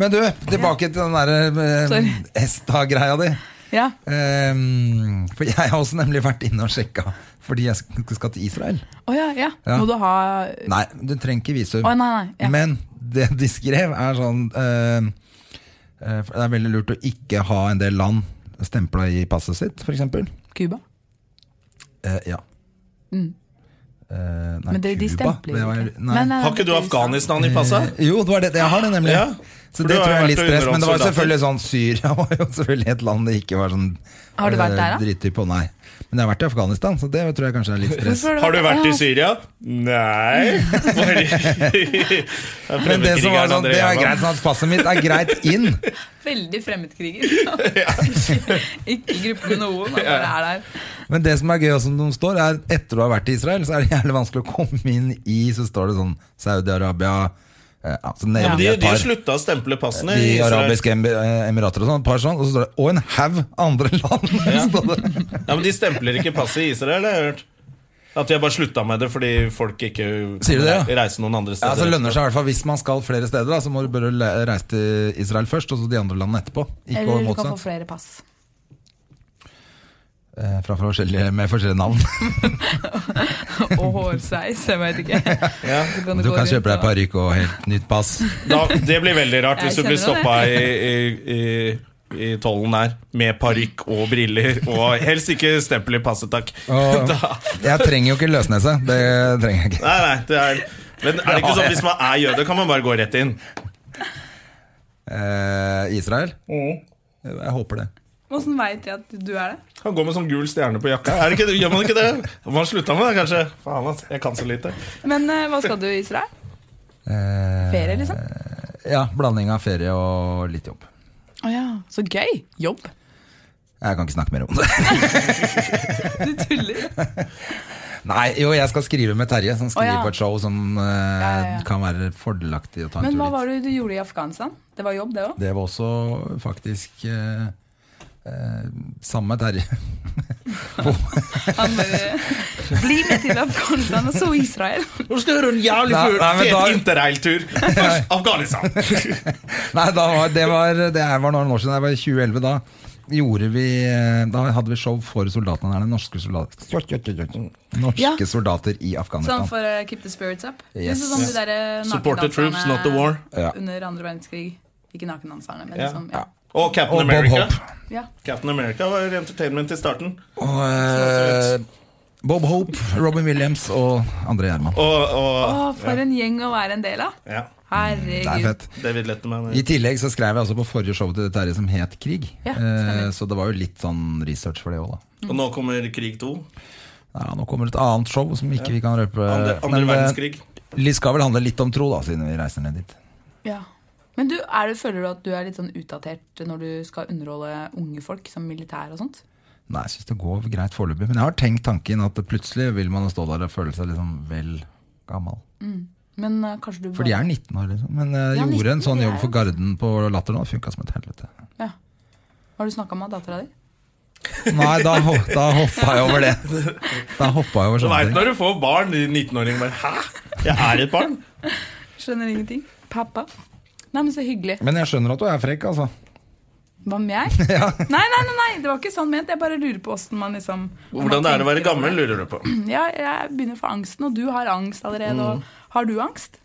[SPEAKER 2] Men du, tilbake til den derre
[SPEAKER 3] Sorry.
[SPEAKER 2] Esta-greia di.
[SPEAKER 3] Ja.
[SPEAKER 2] Ehm, for jeg har også nemlig vært inne og sjekka fordi jeg sk- skal til Israel.
[SPEAKER 3] Å ja, ja.
[SPEAKER 2] Ja.
[SPEAKER 3] Må du ha Å
[SPEAKER 2] Nei, du trenger ikke visum.
[SPEAKER 3] nei, nei. Ja.
[SPEAKER 2] Men det de skrev, er sånn ehm, eh, for Det er veldig lurt å ikke ha en del land stempla i passet sitt, f.eks.
[SPEAKER 3] Cuba.
[SPEAKER 2] Eh, ja.
[SPEAKER 3] Mm.
[SPEAKER 2] Eh, nei,
[SPEAKER 3] Men det, de
[SPEAKER 2] Cuba,
[SPEAKER 3] stempler
[SPEAKER 2] det
[SPEAKER 3] jo
[SPEAKER 2] var-
[SPEAKER 3] ikke.
[SPEAKER 2] Nei.
[SPEAKER 3] Nei, nei,
[SPEAKER 1] Har ikke
[SPEAKER 3] det
[SPEAKER 1] du
[SPEAKER 3] er sant.
[SPEAKER 1] Afghanistan i passet?
[SPEAKER 2] Eh, Jo, det var det, jeg har det nemlig.
[SPEAKER 1] Ja, for
[SPEAKER 2] Så det
[SPEAKER 1] du har
[SPEAKER 2] tror jeg er
[SPEAKER 1] vært
[SPEAKER 2] litt
[SPEAKER 1] og
[SPEAKER 2] stress. Men det var
[SPEAKER 1] underholdt
[SPEAKER 2] selvfølgelig sånn Syria var jo selvfølgelig et land det ikke var sånn
[SPEAKER 3] Har du vært
[SPEAKER 2] eh,
[SPEAKER 3] der, da?
[SPEAKER 2] dritdyp på, nei. Men jeg har vært i Afghanistan, så det tror jeg kanskje er litt stress.
[SPEAKER 3] Hvorfor
[SPEAKER 1] Har du vært i
[SPEAKER 3] Ja.
[SPEAKER 1] Syria? Nei.
[SPEAKER 2] Men det som var sånn, det er greit sånn at passet mitt er greit inn.
[SPEAKER 3] Veldig fremmedkriger. ikke, ikke i gruppe med noen, han bare er der.
[SPEAKER 2] Men det som er gøy, og som de står, er etter du har vært i Israel, så er det jævlig vanskelig å komme inn i Så står det sånn Saudi-Arabia eh, altså,
[SPEAKER 1] Ja, men
[SPEAKER 2] nevner
[SPEAKER 1] de,
[SPEAKER 2] et
[SPEAKER 1] de
[SPEAKER 2] par-
[SPEAKER 1] slutta å stemple passene.
[SPEAKER 2] De
[SPEAKER 1] i Israel.
[SPEAKER 2] arabiske em- eh, emirater og sånn, et par sånn, og så står det 'og en haug andre land'. står det.
[SPEAKER 1] Ja, men De stempler ikke passet i Israel, det har jeg hørt. At de har bare slutta med det fordi folk ikke
[SPEAKER 2] Sier du det, ja?
[SPEAKER 1] reiser noen andre
[SPEAKER 2] Ja,
[SPEAKER 1] steder.
[SPEAKER 2] så lønner det seg i hvert fall Hvis man skal flere steder, da, så må du bare le- reise til Israel først, og så de andre landene etterpå. Ikke over
[SPEAKER 3] Eller du kan få
[SPEAKER 2] motsatt.
[SPEAKER 3] flere pass.
[SPEAKER 2] Eh, Fra forskjellige, med forskjellige navn.
[SPEAKER 3] Og hårsveis, jeg vet ikke.
[SPEAKER 1] Ja.
[SPEAKER 3] Så kan
[SPEAKER 2] Du
[SPEAKER 3] gå
[SPEAKER 2] kan
[SPEAKER 3] rundt
[SPEAKER 2] kjøpe deg
[SPEAKER 3] og-
[SPEAKER 2] parykk og helt nytt pass.
[SPEAKER 1] Da, det blir veldig rart
[SPEAKER 3] Jeg
[SPEAKER 1] hvis du blir
[SPEAKER 3] kjenner det.
[SPEAKER 1] stoppa i, i, i, i tollen der med parykk og briller og helst ikke stempel i passet, takk.
[SPEAKER 2] Og
[SPEAKER 1] Da,
[SPEAKER 2] jeg trenger jo ikke løsnese. Det trenger jeg ikke.
[SPEAKER 1] nei, nei, det er, men er det ikke sånn hvis man er jøde, kan man bare gå rett inn?
[SPEAKER 2] Eh, Israel?
[SPEAKER 1] Mm.
[SPEAKER 2] Jeg håper det.
[SPEAKER 3] Hvordan veit jeg at du er det?
[SPEAKER 1] Han går med sånn gul stjerne på jakka. Er det ikke, gjør man ikke det? Man slutta med det, kanskje? Faen, ass. Jeg kan så lite.
[SPEAKER 3] Men eh, hva skal du i Israel?
[SPEAKER 2] Eh,
[SPEAKER 3] Ferie, liksom?
[SPEAKER 2] Ja, blanding av ferie og litt jobb.
[SPEAKER 3] Å ja, så gøy. Jobb.
[SPEAKER 2] Jeg kan ikke snakke mer om det.
[SPEAKER 3] Du tuller.
[SPEAKER 2] Nei, jo, jeg skal skrive med Terje, som skriver
[SPEAKER 3] Å, ja.
[SPEAKER 2] på et show som eh,
[SPEAKER 3] Ja, ja, ja.
[SPEAKER 2] kan være fordelaktig å ta en
[SPEAKER 3] Men
[SPEAKER 2] tur
[SPEAKER 3] hva
[SPEAKER 2] dit.
[SPEAKER 3] var det du gjorde i Afghanistan? Det var jobb, det òg?
[SPEAKER 2] Det var også faktisk eh, eh, samme Terje.
[SPEAKER 3] Han bare Bli med til Afghanistan, og så Israel.
[SPEAKER 1] Nå skal du høre en jævlig
[SPEAKER 2] Nei,
[SPEAKER 1] full
[SPEAKER 2] nei, men
[SPEAKER 1] fet
[SPEAKER 2] da-
[SPEAKER 1] interrailtur. Først Afghanistan.
[SPEAKER 2] Nei, da var, det var, det her var noen år siden. Jeg var i 2011. Da gjorde vi eh, Da hadde vi show for soldatene der. nede, Norske soldater Norske
[SPEAKER 3] Ja.
[SPEAKER 2] soldater i
[SPEAKER 3] Sånn
[SPEAKER 2] Afghanistan.
[SPEAKER 3] for å keep the spirits up.
[SPEAKER 2] Yes.
[SPEAKER 3] Liksom som de der eh,
[SPEAKER 1] Support the troops, not the war.
[SPEAKER 2] Ja.
[SPEAKER 3] under andre verdenskrig. Ikke nakendanserne, men
[SPEAKER 1] Ja.
[SPEAKER 3] liksom ja.
[SPEAKER 1] Og Captain
[SPEAKER 2] Og Bob
[SPEAKER 1] America.
[SPEAKER 2] Hope.
[SPEAKER 3] ja.
[SPEAKER 1] Captain America var entertainment i starten.
[SPEAKER 2] Og, eh, Bob Hope, Robin Williams og André Gjerman.
[SPEAKER 1] Og, og
[SPEAKER 3] Å, for en gjeng å være en del av.
[SPEAKER 1] ja,
[SPEAKER 2] Det er
[SPEAKER 3] Herregud.
[SPEAKER 2] fett.
[SPEAKER 1] David Letterman.
[SPEAKER 2] I tillegg så skrev jeg også på forrige show til Terje som het Krig.
[SPEAKER 3] Ja,
[SPEAKER 2] eh,
[SPEAKER 3] stemmer.
[SPEAKER 2] så det var jo litt sånn research for det òg, da.
[SPEAKER 1] Og nå kommer Krig 2.
[SPEAKER 2] Ja, nå kommer et annet show som ikke vi kan røpe.
[SPEAKER 1] Andre, andre
[SPEAKER 2] men, eh,
[SPEAKER 1] verdenskrig.
[SPEAKER 2] Det skal vel handle litt om tro, da, siden vi reiser ned dit.
[SPEAKER 3] Ja. Men du, er du, føler du at du er litt sånn utdatert når du skal underholde unge folk som militær og sånt?
[SPEAKER 2] Nei, jeg syns det går greit foreløpig. Men jeg har tenkt tanken at plutselig vil man stå der og føle seg liksom vel gammel.
[SPEAKER 3] Men eh, kanskje du
[SPEAKER 2] For de er 19 år, liksom. Men jeg
[SPEAKER 3] Ja, 19,
[SPEAKER 2] gjorde en sånn
[SPEAKER 3] de er
[SPEAKER 2] jobb for Garden på Latter nå. Funka som et helvete.
[SPEAKER 3] ja. Har du snakka med dattera di?
[SPEAKER 2] Nei, da, ho- da hoppa jeg over det. Da hoppa jeg over
[SPEAKER 1] Du veit
[SPEAKER 2] sånne ting.
[SPEAKER 1] når du får barn, de 19-åringene bare Hæ? Jeg er et barn?
[SPEAKER 3] Skjønner ingenting. Pappa. Nei, men så hyggelig.
[SPEAKER 2] Men jeg skjønner at du er frekk, altså.
[SPEAKER 3] Hva med jeg? Nei, nei, nei, nei, det var ikke sånn ment. Jeg bare lurer på åssen man liksom
[SPEAKER 1] Hvordan det er å være gammel, lurer du på.
[SPEAKER 3] Ja, jeg begynner å få angsten, og du har angst allerede.
[SPEAKER 2] Mm.
[SPEAKER 3] Og har du angst?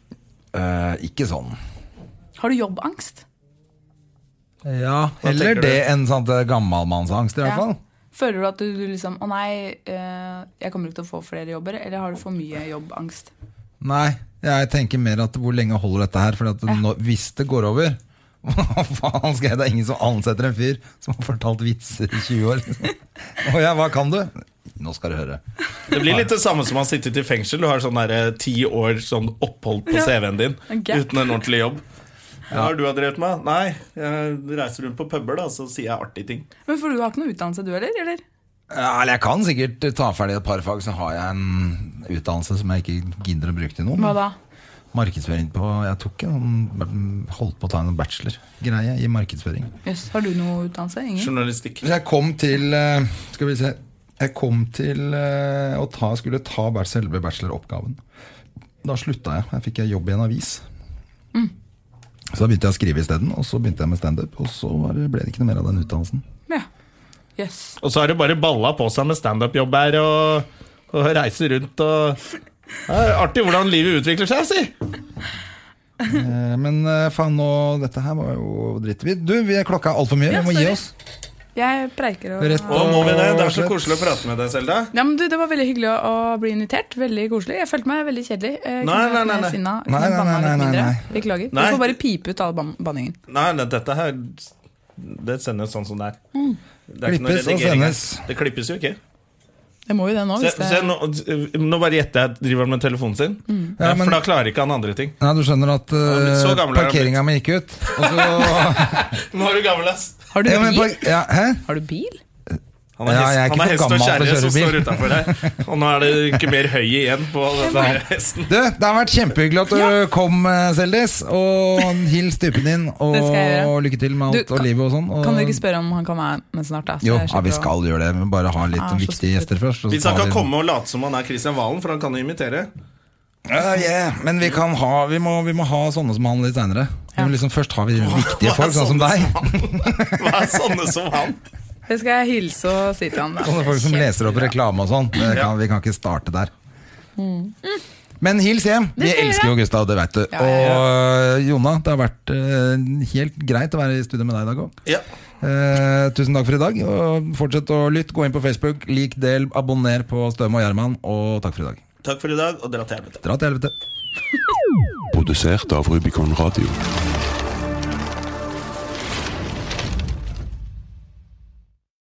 [SPEAKER 2] Eh, ikke sånn.
[SPEAKER 3] Har du jobbangst?
[SPEAKER 2] Ja,
[SPEAKER 1] tenker
[SPEAKER 2] Heller
[SPEAKER 1] du?
[SPEAKER 2] det enn sånn at det er gammalmannsangst, i
[SPEAKER 3] Ja.
[SPEAKER 2] hvert fall.
[SPEAKER 3] Føler du at du liksom Å nei, eh, jeg kommer ikke til å få flere jobber. Eller har du for mye jobbangst?
[SPEAKER 2] Nei, jeg tenker mer at hvor lenge holder dette her? For at nå, hvis det går over hva faen skal jeg? Det er ingen som ansetter en fyr som har fortalt vitser i 20 år. Å ja, hva kan du? Nå skal du høre.
[SPEAKER 1] Det blir litt det samme som å ha sittet i fengsel. Du har sånn derre ti år sånn opphold på
[SPEAKER 3] Ja.
[SPEAKER 1] CV-en din
[SPEAKER 3] En gap.
[SPEAKER 1] uten en ordentlig jobb. Hva har du har drevet med? Nei, jeg reiser rundt på puber, da, så sier jeg artige ting.
[SPEAKER 3] Men for du har ikke noe utdannelse, du heller? eller?
[SPEAKER 2] Ja, eller jeg kan sikkert ta ferdig et par fag, så har jeg en utdannelse som jeg ikke gidder å bruke til
[SPEAKER 3] Hva
[SPEAKER 2] noen.
[SPEAKER 3] da?
[SPEAKER 2] Markedsføring på Jeg tok en holdt på å ta en bachelor-greie i markedsføring.
[SPEAKER 3] Jøss, har du noe utdannelse? Ingen?
[SPEAKER 1] Journalistikk.
[SPEAKER 2] Jeg kom til eh, Skal vi se Jeg kom til eh, å ta, skulle ta bæ- selve bacheloroppgaven. Da slutta jeg. Jeg fikk jeg jobb i en avis.
[SPEAKER 3] Mm.
[SPEAKER 2] Så da begynte jeg å skrive isteden, og så begynte jeg med standup. Og så var det- ble det ikke noe mer av den utdannelsen.
[SPEAKER 3] Ja. Jøss.
[SPEAKER 1] Og så har det bare balla på seg med standup-jobb her og, og reise rundt og det er Artig hvordan livet utvikler seg, si!
[SPEAKER 2] Eh, Men eh, faen, nå, dette her var jo dritt. Vi- Du, vi, klokka er altfor mye.
[SPEAKER 3] Ja,
[SPEAKER 2] vi må gi
[SPEAKER 3] sorry.
[SPEAKER 2] oss.
[SPEAKER 3] Jeg preiker å
[SPEAKER 2] Rett på-
[SPEAKER 1] Og må vi det? Det er så
[SPEAKER 2] Slett.
[SPEAKER 1] koselig å prate med deg, Selda.
[SPEAKER 3] ja, men du, Det var veldig hyggelig å, å bli invitert. Veldig koselig. Jeg følte meg veldig kjedelig. Eh,
[SPEAKER 1] Nei,
[SPEAKER 3] kunne
[SPEAKER 1] nei,
[SPEAKER 3] vært
[SPEAKER 1] nei,
[SPEAKER 3] mer
[SPEAKER 1] nei.
[SPEAKER 3] Sinna,
[SPEAKER 2] Nei,
[SPEAKER 3] kunne
[SPEAKER 2] nei,
[SPEAKER 3] banna
[SPEAKER 2] nei,
[SPEAKER 3] litt
[SPEAKER 2] nei,
[SPEAKER 3] mindre.
[SPEAKER 2] nei.
[SPEAKER 3] Beklager.
[SPEAKER 1] Nei.
[SPEAKER 3] Du får bare pipe ut all ban banningen.
[SPEAKER 1] Nei, nei, dette her Det sendes sånn som det er. Det er ikke noe
[SPEAKER 2] Klippes og
[SPEAKER 1] redigering her.
[SPEAKER 2] sendes.
[SPEAKER 1] Det klippes jo ikke.
[SPEAKER 3] Jeg må jo det nå.
[SPEAKER 1] Se,
[SPEAKER 3] Hvis det,
[SPEAKER 1] se, nå, nå bare gjetter jeg at driver han med telefonen sin. Ja,
[SPEAKER 2] Ja, men-
[SPEAKER 1] For da klarer ikke han andre ting.
[SPEAKER 2] Nei, du skjønner at eh,
[SPEAKER 1] blitt så gammel,
[SPEAKER 2] parkeringa mi gikk ut. Og så
[SPEAKER 1] Nå er du gammel, ass!
[SPEAKER 3] har, du
[SPEAKER 2] ja, men,
[SPEAKER 3] bil?
[SPEAKER 2] par- ja, Hæ?
[SPEAKER 3] Har du bil?
[SPEAKER 1] Han er
[SPEAKER 2] Ja,
[SPEAKER 1] hest,
[SPEAKER 2] jeg er ikke
[SPEAKER 1] han er
[SPEAKER 2] for
[SPEAKER 1] hest og
[SPEAKER 2] gammel til å
[SPEAKER 1] kjerre som
[SPEAKER 2] kjøre
[SPEAKER 1] står
[SPEAKER 2] bil.
[SPEAKER 1] utafor her. Og nå er det ikke mer høy igjen på denne hesten.
[SPEAKER 2] Du, det har vært kjempehyggelig at du kom, eh, Seldis. Og hils typen din, og,
[SPEAKER 3] Det skal jeg gjøre.
[SPEAKER 2] lykke til med
[SPEAKER 3] Du,
[SPEAKER 2] alt
[SPEAKER 3] kan-
[SPEAKER 2] og livet og sånn. Og,
[SPEAKER 3] Kan du ikke spørre om han kan være med snart? Da? Så
[SPEAKER 2] jo,
[SPEAKER 3] jeg
[SPEAKER 2] ja, vi
[SPEAKER 3] slipper å-
[SPEAKER 2] skal gjøre det, men bare ha litt
[SPEAKER 3] Ah,
[SPEAKER 2] om
[SPEAKER 3] så
[SPEAKER 2] viktige
[SPEAKER 3] stupid.
[SPEAKER 2] gjester først. og så
[SPEAKER 1] Hvis han
[SPEAKER 2] tar
[SPEAKER 1] kan
[SPEAKER 2] vi-
[SPEAKER 1] komme og late som han er Christian Valen, for han kan jo imitere.
[SPEAKER 2] Ja, yeah, Men vi, kan ha, vi, må, vi må ha sånne som han litt seinere.
[SPEAKER 3] Ja.
[SPEAKER 2] Liksom, først har vi viktige folk, sånn som
[SPEAKER 1] Hva
[SPEAKER 2] deg.
[SPEAKER 1] er han? Hva er sånne som han?
[SPEAKER 3] Det skal jeg hilse og si til han. da.
[SPEAKER 2] Sånne folk som leser opp reklame og sånn. Det kan,
[SPEAKER 1] Ja.
[SPEAKER 2] Vi kan ikke starte der. Men hils hjem! Vi
[SPEAKER 3] Mm. skal jeg
[SPEAKER 2] elsker jo Gustav, det vet du.
[SPEAKER 3] Ja, ja,
[SPEAKER 2] Og øh, Jonna, det har vært øh, helt greit å være i studio med deg i dag òg.
[SPEAKER 1] Ja.
[SPEAKER 2] Eh, tusen takk for i dag. Og fortsett å lytte. Gå inn på Facebook, lik, del, abonner på Støme og Gjerman. Og takk for i dag.
[SPEAKER 1] Takk for i dag, og dra til helvete.
[SPEAKER 2] Dra til helvete.
[SPEAKER 4] produsert av Rubicon Radio.